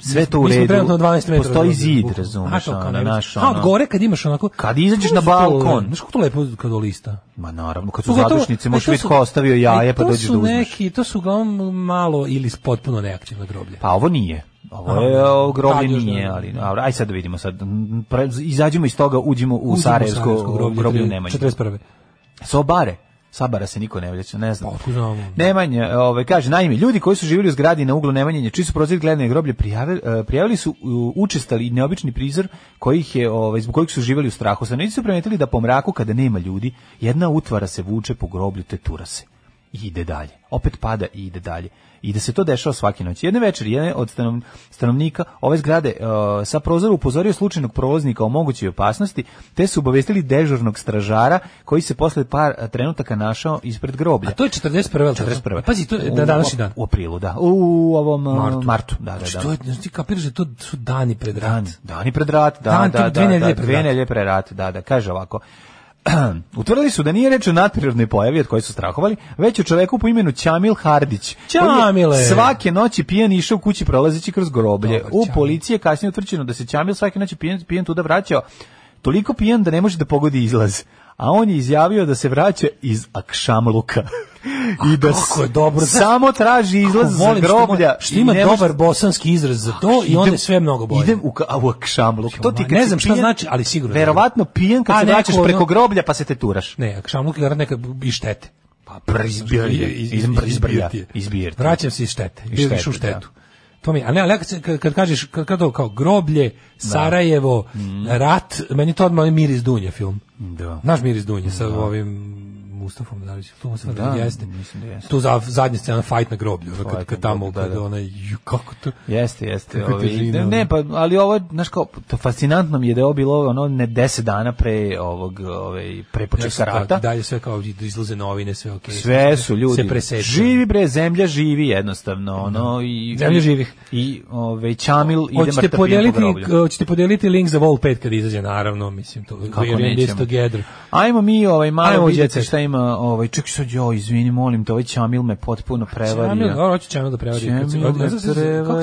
sve to u Mi redu. smo trenutno na 12 metara. od Postoji groblja, zid, bukvalno. razumeš, A, to kao ono, ne vidiš. naš, A, ono. od gore kad imaš onako... Kad izađeš Kako na su to balkon. le- Znaš kako to lepo kad lista? Ma naravno, pa kad su Pogotovo- zadušnice, ali e, možeš to vidjeti su- ko ostavio jaje, ali pa to dođeš su da uzmeš. neki, to su uglavnom malo ili potpuno neaktivno groblje. Pa ovo nije. Ovo Aha. je ovo Tad groblje još nije, ne. ali dobro, aj sad da vidimo sad. Pre, izađemo iz toga, uđimo u Uđemo u Sarajevsko Sarajevsko groblje, groblje tri- Nemanja. 41. Sobare. Sabara se niko ne vraća, ne znam. Nemanja, ovaj kaže naime, ljudi koji su živjeli u zgradi na uglu Nemanje, čiji su prozir gledane groblje prijavili, prijavili su u, učestali i neobični prizor kojih je ovaj zbog kojih su živjeli u strahu. Stanovnici su primetili da po mraku kada nema ljudi, jedna utvara se vuče po groblju te tura se i ide dalje. Opet pada i ide dalje. I da se to dešava svaki noć. Jedne večeri, jedan od stanov- stanovnika ove zgrade e, sa prozora upozorio slučajnog provoznika o mogućoj opasnosti, te su obavestili dežurnog stražara koji se posle par trenutaka našao ispred groblja. A to je 41. jel tako? Pa 41.. Pazi, to je na U- današnji dan. U aprilu, da. U ovom e, martu. Martu. da, da, Znači, da. to je, znači, ti kapiraš da to su dani pred rat. Dani pred rat, da, Dan, da, da, dve da, nedelje pred dve rat. nedelje pred rat, da, da, kaže ovako. Utvrdili su da nije reč o nadprirodnoj pojavi od koje su strahovali, već o čoveku po imenu Ćamil Hardić. koji je Ćamile! Svake noći pijan išao kući prolazeći kroz groblje. Dobar U Ćamil. policiji je kasnije utvrđeno da se Ćamil svake noći pijan, pijan tuda vraćao, toliko pijan da ne može da pogodi izlaz. A on je izjavio da se vraća iz Akšamluka. I da kako je dobro, znaš, samo traži izlaz Kako za volim što ima- groblja. Što ima i ne može- dobar bosanski izraz za to i onda je sve mnogo bolje. Idem u, ka- a, u Akšamluk. To ti ma, kad ne si znam šta pijan- znači, ali sigurno je Verovatno pijan kad A se neko vraćaš ono- preko groblja pa se te turaš. Ne, ako šamluk je garant neka b- i štete. Pa brzbir je, izbr- izbrlja, izbir ti. Vraćam se iz štete, Iz iz štete, u štetu. To mi, je- a ne, ali ja kad, se- kad, kad kažeš kad, kad to kao groblje, Sarajevo, rat, meni to odmah onaj mir iz Dunje film. Mm. Da. Znaš mir iz Dunje sa ovim Mustafom Dalić, tu Mustafom Da, Dalić jeste. mislim da jeste. Tu za, zadnja scena fight na groblju, ono kad, Fight na kad tamo, groblju, da, kad da. onaj, ju, kako to... Jeste, jeste. Kakva Ovi, težina, ne, ono. ne, pa, ali ovo, je, znaš kao, to fascinantno mi je da je ovo bilo ono ne 10 dana pre ovog, ovaj, pre početka Nešto tako, rata. Dalje sve kao izlaze novine, sve okej. Sve su ljudi. pa Se preseče. Živi bre, zemlja živi jednostavno, ono i Zemlja živih. I ovaj Čamil ide Hoćete mrtav pijan po podijeliti, groblju. hoćete podijeliti link za Vol 5 kad izađe, naravno, mislim to. Kako We are in this nećemo. together. Ajmo mi ovaj malo Ajmo u vidjeti Jet Set. šta ima, ovaj čekaj sad joj, izvini, molim te, ovaj Čamil me potpuno prevario. Čamil, dobro, hoću Čamil ono, da prevari. Čamil Kad se- od- me od- od- Kako se, čega se prevario.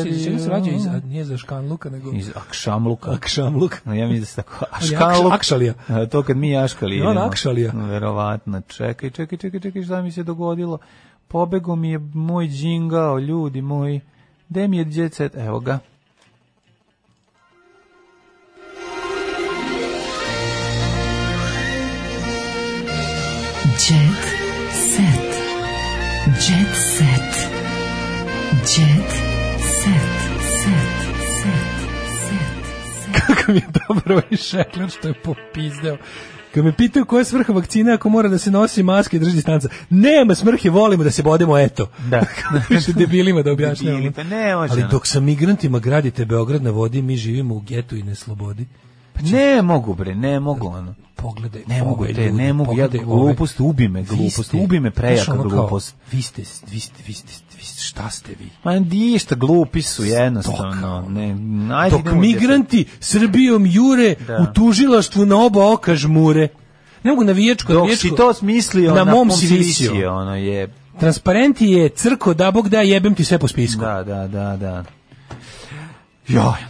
rađa iz, a nije za Škanluka, nego... Iz Akšamluka. Akšamluka. No, ja mislim da se tako Ali je Aškaluk. Akš- Akšalija. A, To kad mi Aškali I on Akšalija. Verovatno. Čekaj, čekaj, čekaj, čekaj, šta mi se dogodilo? Pobego mi je moj džingao, ljudi moji. Gde mi je djecet? Evo ga. Jet set. Jet set. Jet set. Set. Set. Kako mi je dobro ovaj šekler što je popizdeo. Kad me pitaju koja je svrha vakcine ako mora da se nosi maske i drži distanca. Nema smrhe, volimo da se bodemo, eto. Da. Više debilima da objašnjamo. Debili, pa ne može, Ali ono. dok sa migrantima gradite Beograd na vodi, mi živimo u getu i neslobodi. Pa Ne mogu bre, ne mogu ono. Pogledaj, Ne mogu ove te, ljude, ne mogu, ja pogledaj ove. glupost ubi me, Vi glupost, ste- ubi me znaš, prejaka ono kao, glupost. Vi ste, vi ste, vi ste, vi ste, šta ste vi? Ma ništa, glupi su jednostavno. Ne, ajde, Dok idemo u Jet Set. migranti Srbijom jure Da. u tužilaštvu na oba oka žmure. Ne mogu navijačko, Dok navijačko. si to smislio, na mom si si visio. visio, Ono je, Transparenti je crko da bog da jebem ti sve po spisku. da, da, da, da. Joj.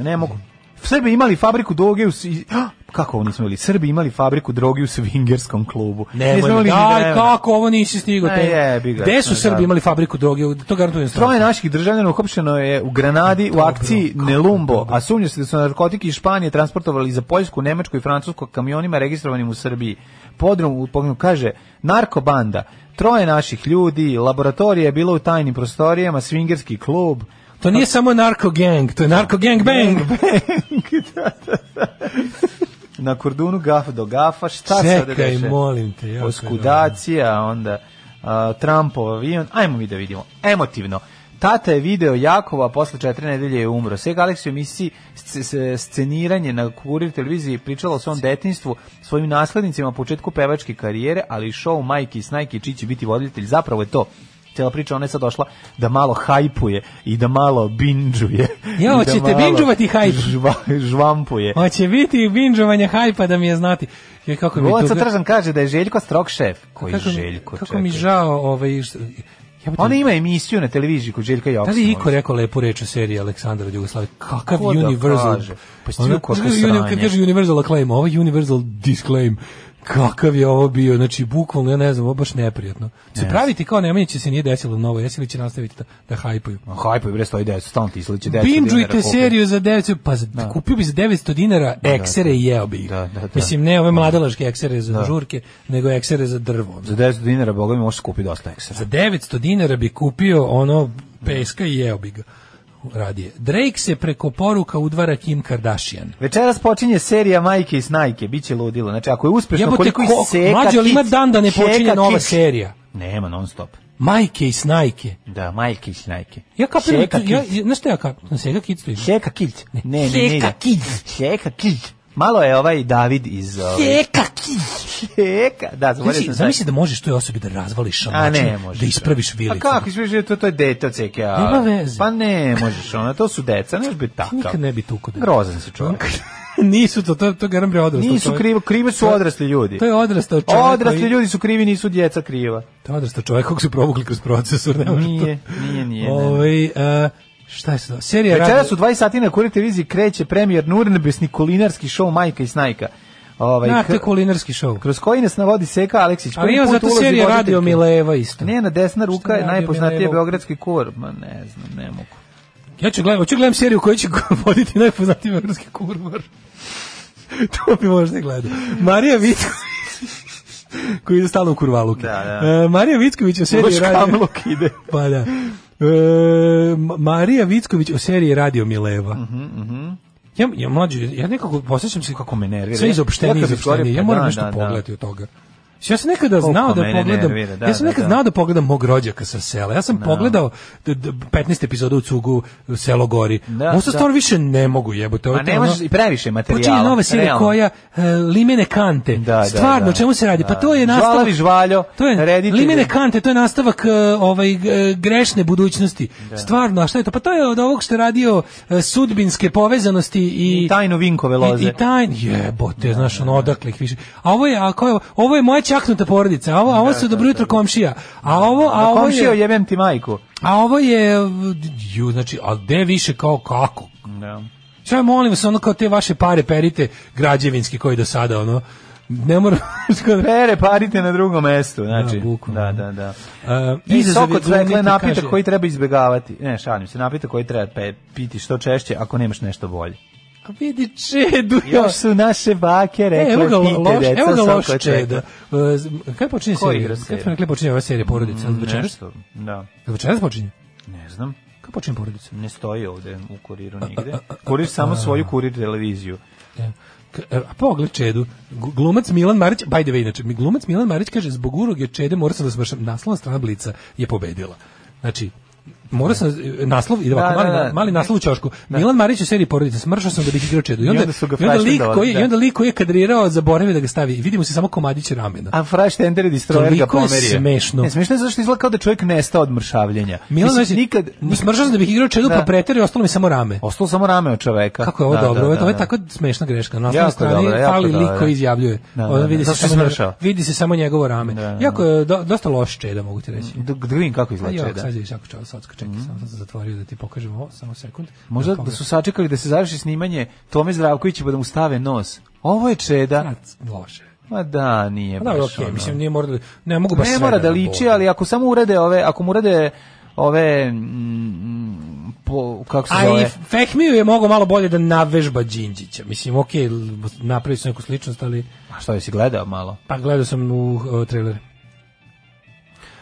Ne mogu. Srbi imali fabriku droge u... Svi- Ah, Kako ovo nismo imali? Srbi imali fabriku droge u svingerskom klubu. Nismo Nemoj mi, imali ni daj, vremena. kako ovo nisi stigao? Ma te- jebi ga, Gde su ma da. Srbi imali fabriku droge? To garantujem Troje strašno. naših državljana uhapšeno je u Granadi u akciji Nelumbo, a sumnja se da su narkotike iz Španije transportovali za Poljsku, Nemačku i Francusku kamionima registrovanim u Srbiji. Podrum u pogledu kaže narkobanda, troje naših ljudi, laboratorija je bila u tajnim prostorijama, svingerski klub. To pa- nije samo narko gang, to je narko gang bang. Na kordunu gaf do gafa, šta se da Čekaj, molim te. jako je Oskudacija, onda a, Trumpov avion. Ajmo mi da vidimo. Emotivno. Tata je video Jakova, posle četiri nedelje je umro. Seg Alex u emisiji sc- s- sceniranje na kurir televiziji pričala o svom detinstvu, svojim naslednicima, početku pevačke karijere, ali i show Majki i Snajki čiji će biti voditelj. Zapravo je to Cijela priča, ona je sad došla da malo hajpuje i da malo binđuje. Ja, hoćete binđovati hajp? Žva, žvampuje. dobro. Hoće Pa biti binđovanje hajpa da mi je znati. Je kako mi Golac to... Tržan kaže da je Željko Strok šef. Koji kako mi- Željko? Kako čekaj. mi žao, ovaj... što- jebote, Ona ima Pa emisiju na televiziji kod Željka ono. Da Joksimovića. li je Iko rekao lepu reč o seriji Aleksandra od Jugoslavije? Kakav Ko da universal... kaže? Pa si vidio kako Ono, znaš kako uni- sranje. Kad kaže universal acclaim, ovo je universal ovaj disclaim. kakav je ovo bio, znači bukvalno, ja ne znam, ovo baš neprijatno. Se praviti kao Nemanja će se nije desilo novo, jesi li će nastaviti da, da hajpuju? Hajpuju, bre, stoji 900, stalno ti izliče 900 Binđujte dinara koliko- seriju za 900, pa za, kupio bi za 900 dinara eksere i jeo bi ih. Mislim, ne ove mladalaške eksere za Da. žurke, nego eksere za drvo. Za 10 dinara, boga mi, možeš kupiti dosta ekstra. Za 900 dinara bi kupio ono peska i jeo bi ga radije. Drake se preko poruka udvara Kim Kardashian. Večeras počinje serija Majke i Snajke, bit će ludilo. Znači, ako je uspešno, Jebote, koliko i ko- seka mlađe, ali ima kiks, dan da ne seka počinje nova kiks. serija. Nema, non stop. Majke i Snajke. Da, Majke i Snajke. Ja kapiram, da Seka tu- ja, kiks. ja, znaš šta ja kapiram? Sega Kids tu ima. Seka Kids. Ne, ne, ne. Seka Kids. Seka Kids. Malo je ovaj David iz... Ovaj... Seka Kids. Seka, da, zaboravio Znači, sam. zamisli da možeš toj osobi da razvališ A šamačin, ne, možeš. da ispraviš A vilicu. kako ispraviš, to, to je dete od seke. a- Nema veze. Pa Pa ne, možeš, ona, to su deca, ne možeš biti takav. Nikad ne bi tuko dete. Grozan si čovjek. Nisu to, to, to garam bre odrastao. Nisu čovjek. krivi, krivi su To je- odrasli ljudi. To je odrastao čovjek. Odrasli koji- ljudi su krivi, nisu djeca kriva. To je odrastao čovjek kog su provukli kroz procesor. Ne može Nije, to. nije, nije, ne. Ovaj, e, šta je sada? Serija Večeras radi- u 20 sati na Kurir televiziji kreće premijer Nurnebesni kulinarski show Majka i Snajka. Ovaj, Na, to je kr- kulinarski show. Kroz koji nas navodi Seka Aleksić. Ali Prvi ima put zato ulozi serija voditeljke. Radio Mileva isto. Njena desna ruka je je Radio najpoznatija Milevo? beogradski kur. Ma ne znam, ne mogu. Ja ću gledam, hoću gledam seriju koju će voditi najpoznatiji beogradski kurvar. to bi možda gledao. Marija Vitković koji ide stalno u kurvaluke. Da, E, Marija Vicković u seriji Baš radio... kamluk ide. Pa da. E, Ma- Marija Vicković o seriji Radio Mileva. Mhm, Ja, ja mlađe, ja nekako posjećam se Kako me nervira. sve izopštenije, Ja kad bi izopštenije. govorio, pa Ja moram da, nešto da, da. pogledati od toga. Znači, Ja sam nekada Koliko znao da mene pogledam, nervira, da, ja sam da, nekad da. znao da pogledam mog rođaka sa sela. Ja sam pogledao d- d- 15 epizoda u cugu Selo Gori. Da, Ovo sad da. stvarno više ne mogu jebote. ovo Ma je ne ono- Pa možeš Pa i previše materijala. Počinje nova serija realno. koja e, limene kante. Da, da, Stvarno, da. o čemu se radi? Pa Da. to je nastavak... Žvalavi žvaljo, to je, reditelj- Limene kante, to je nastavak e, ovaj, e, grešne budućnosti. Stvarno, a šta je to? Pa to je od ovog što je radio e, sudbinske povezanosti i... I tajnu vinkove loze. I, i tajn, jebote, znaš, ono, odakle ih više. A ovo je, a ko je, ovo je moja čaknuta porodica, a ovo, a ovo su dobro jutro komšija. A ovo, a ovo Komšio, je, Pa jebem ti majku. a ovo je, ju, znači, a gde više kao kako? Da. Sve molim vas, ono kao te vaše pare perite građevinski koji do sada, ono, ne moram... Pere, parite na drugom mestu, znači. Da, bukvalno. Da, da, da. Uh, E, I sok od cvekle napitak koji treba izbegavati. Ne, šalim se, napitak koji treba pe, piti što češće ako nemaš nešto bolje. "Pa Vidi čedu, ja E, Još su naše bake rekle, evo ga pite loš, deca evo ga sok loš od cvekle. čeda. Kada počinje Ko serija? igra Kada seriju? smo rekli počinje ova serija porodica? Od večeras? Nešto, da. Od večeras počinje? Ne znam, Kada počinje porodica? ne stoji ovde u kuriru nigde. Kurir samo svoju kurir televiziju. K- e, A pogled Čedu. Gu- Glumac Milan Marić, by the way, inače, mi- glumac Milan Marić kaže, zbog uroge Čede morao sam da smršam, naslovna strana Blica je pobedila. Znači, Mora sam e, naslov i ovako, Da, mali, da, da. na- mali naslov u ćošku. Milan Marić u seriji porodica smršao sam da bih igrao čedu. I onda, onda su ga i onda lik flashbackovali, koji je, da. i onda lik koji je kadrirao zaboravio da ga stavi. Vidimo se samo komadić ramena. A Fraš Tender i Destroyer ga Toliko je pomerio. smešno. Ne, smešno je zašto izgleda kao da čovjek nestao od mršavljenja. Milan Mislim, Marić je- nikad, smršao sam da bih igrao čedu, Da. pa preterio, ostalo mi samo rame. Ostalo samo rame od čoveka. Kako je ovo Da, dobro, da, ovo je- da, ovo je da. tako smešna greška. Na osnovnoj Jako strani dobro, jako fali lik dobro, koji da. izjavljuje. Da, da, Ovo da. vidi, se Zato što je samo, smršao. vidi se samo njegovo rame. da. Jako je do- dosta loš čeda, mogu ti reći. Da, da vidim kako Aj, izgleda jo, čeda. sad je jako čao, sad čekaj, samo sam zatvorio da ti pokažem ovo, samo sekund. Možda da su sačekali da se završi snimanje Tome Zdravkovića pa da mu stave nos. Ovo je čeda. pogledam. Loše. Ma da, nije Pa da, baš. okej, ono. Pa mislim, nije mora da, ne mogu baš ne sve mora da nam liči, bude. ali ako samo urade ove, ako mu urade ove mm, po, kako se A i zove? Fehmiju je mogao malo bolje da navežba Đinđića. Mislim, okej, napravio sam neku sličnost, ali A što jesi gledao malo? pa gledao sam u o, trailer.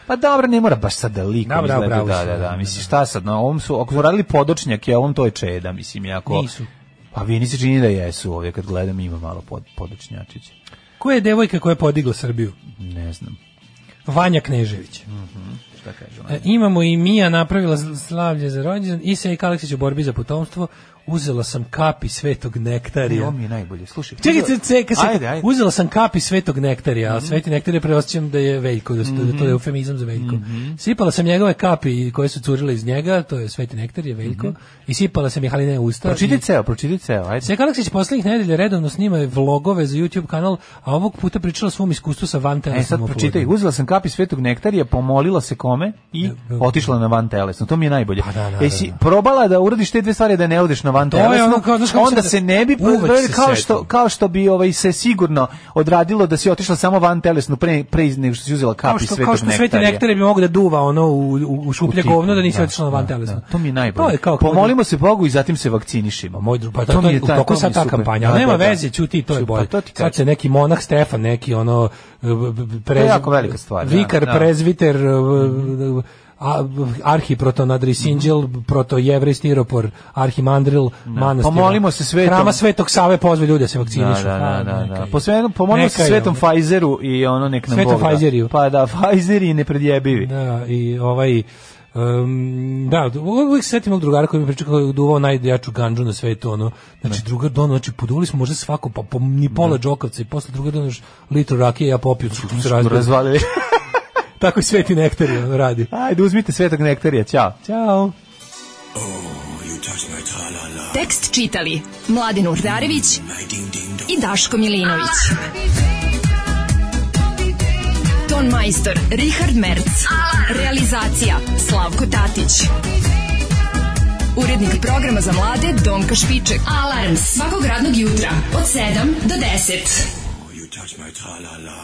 Pa dobro, ne mora baš sad da likom Da, da, izgleda. bravo si, da, da, da, da, da, mislim šta sad, na ovom su, ako su radili podočnjak, ja ovom to je čeda, mislim, jako. Nisu. Pa vi nisi čini da jesu ovdje, kad gledam ima malo pod, podočnjačića. Koja je devojka koja je podigla Srbiju? Ne znam, Vanja Knežević. šta kažu. E, Imamo i Mija napravila sl- slavlje za rođendan i Sejka Aleksić u borbi za potomstvo. Uzela sam kapi svetog Ali nektarija. on mi je najbolje, slušaj. Čekaj, ce- ceka se. Ajde, ajde. Mhm. Uzela sam kapi svetog nektarija, a sveti nektar je preosjećam da je veljko, da, su- da to je eufemizam za veljko. Mhm. Sipala sam njegove kapi koje su curile iz njega, to je sveti nektar, je veljko, i sipala sam ih, ali ne u usta. Mhm. Pročitaj I- ceo, pročitaj ceo, ajde. Seka Aleksić poslednjih nedelja redovno snima vlogove za YouTube kanal, a ovog puta pričala o svom iskustvu sa vantelesnom E sad pročitaj, oplodnjom. uzela sam kapi svetog nektarija, pomolila se kome i otišla na van telesno. To mi je najbolje. Pa da, da, Jesi probala da uradiš te dve stvari da ne odeš na van To je ono telesno, kao, znaš kako onda se- se ne bi Uvek pogledali se kao setim. što, kao što bi ovaj, se sigurno odradilo da si otišla samo van telesno pre, pre nego što si uzela Kao kapi što, svetog kao što sveti nektarija. nektar bi mogo da duva ono u, u, u šuplje U tipu, govno da nisi da, otišla na van telesno. To mi je najbolje. To je kao- Pomolimo se Bogu i zatim se vakcinišimo. Moj drugi, Pa to, mi je ta, to sad ta kampanja, ali nema veze, ćuti, to je bolje. Pa to ti sad kažem. se neki monah Stefan, neki ono b- b- b- To je jako velika stvar, da, Vikar, da. Mhm. prezviter, e, arhiprotonadrisinđel, protojevrej stiropor, arhimandril, manastir. Pomolimo se svetom- Hrama Svetog Save pozve ljude da se Da, vakcinišu. da, da, A, da, neka da. je. Po svemu, pomolimo Neka se je, pa svetom ono. Pfizeru i ono nek nam Svetom Bog da. Pfizeriju. Pa da, Pfizer i nepredjebivi. Da, i ovaj Um, da, uvijek se setim ovog drugara koji mi priča kako je duvao najjaču ganđu na svetu, ono, znači drugar don, znači poduvali smo možda svako, pa po, ni pola džokavca i posle drugar don još litru rakije, ja popiju, tu se razbio. Razvalili. Tako i sveti nektar je, ono, radi. Ajde, uzmite svetog nektarija, ćao. Ćao. Tekst čitali Mladin Urdarević i Daško Milinović. Ton majstor Richard Merc. Realizacija Slavko Tatić. Urednik programa za mlade Donka Špiček. Alarms svakog radnog jutra od 7 do 10. You touch my tra-la-la.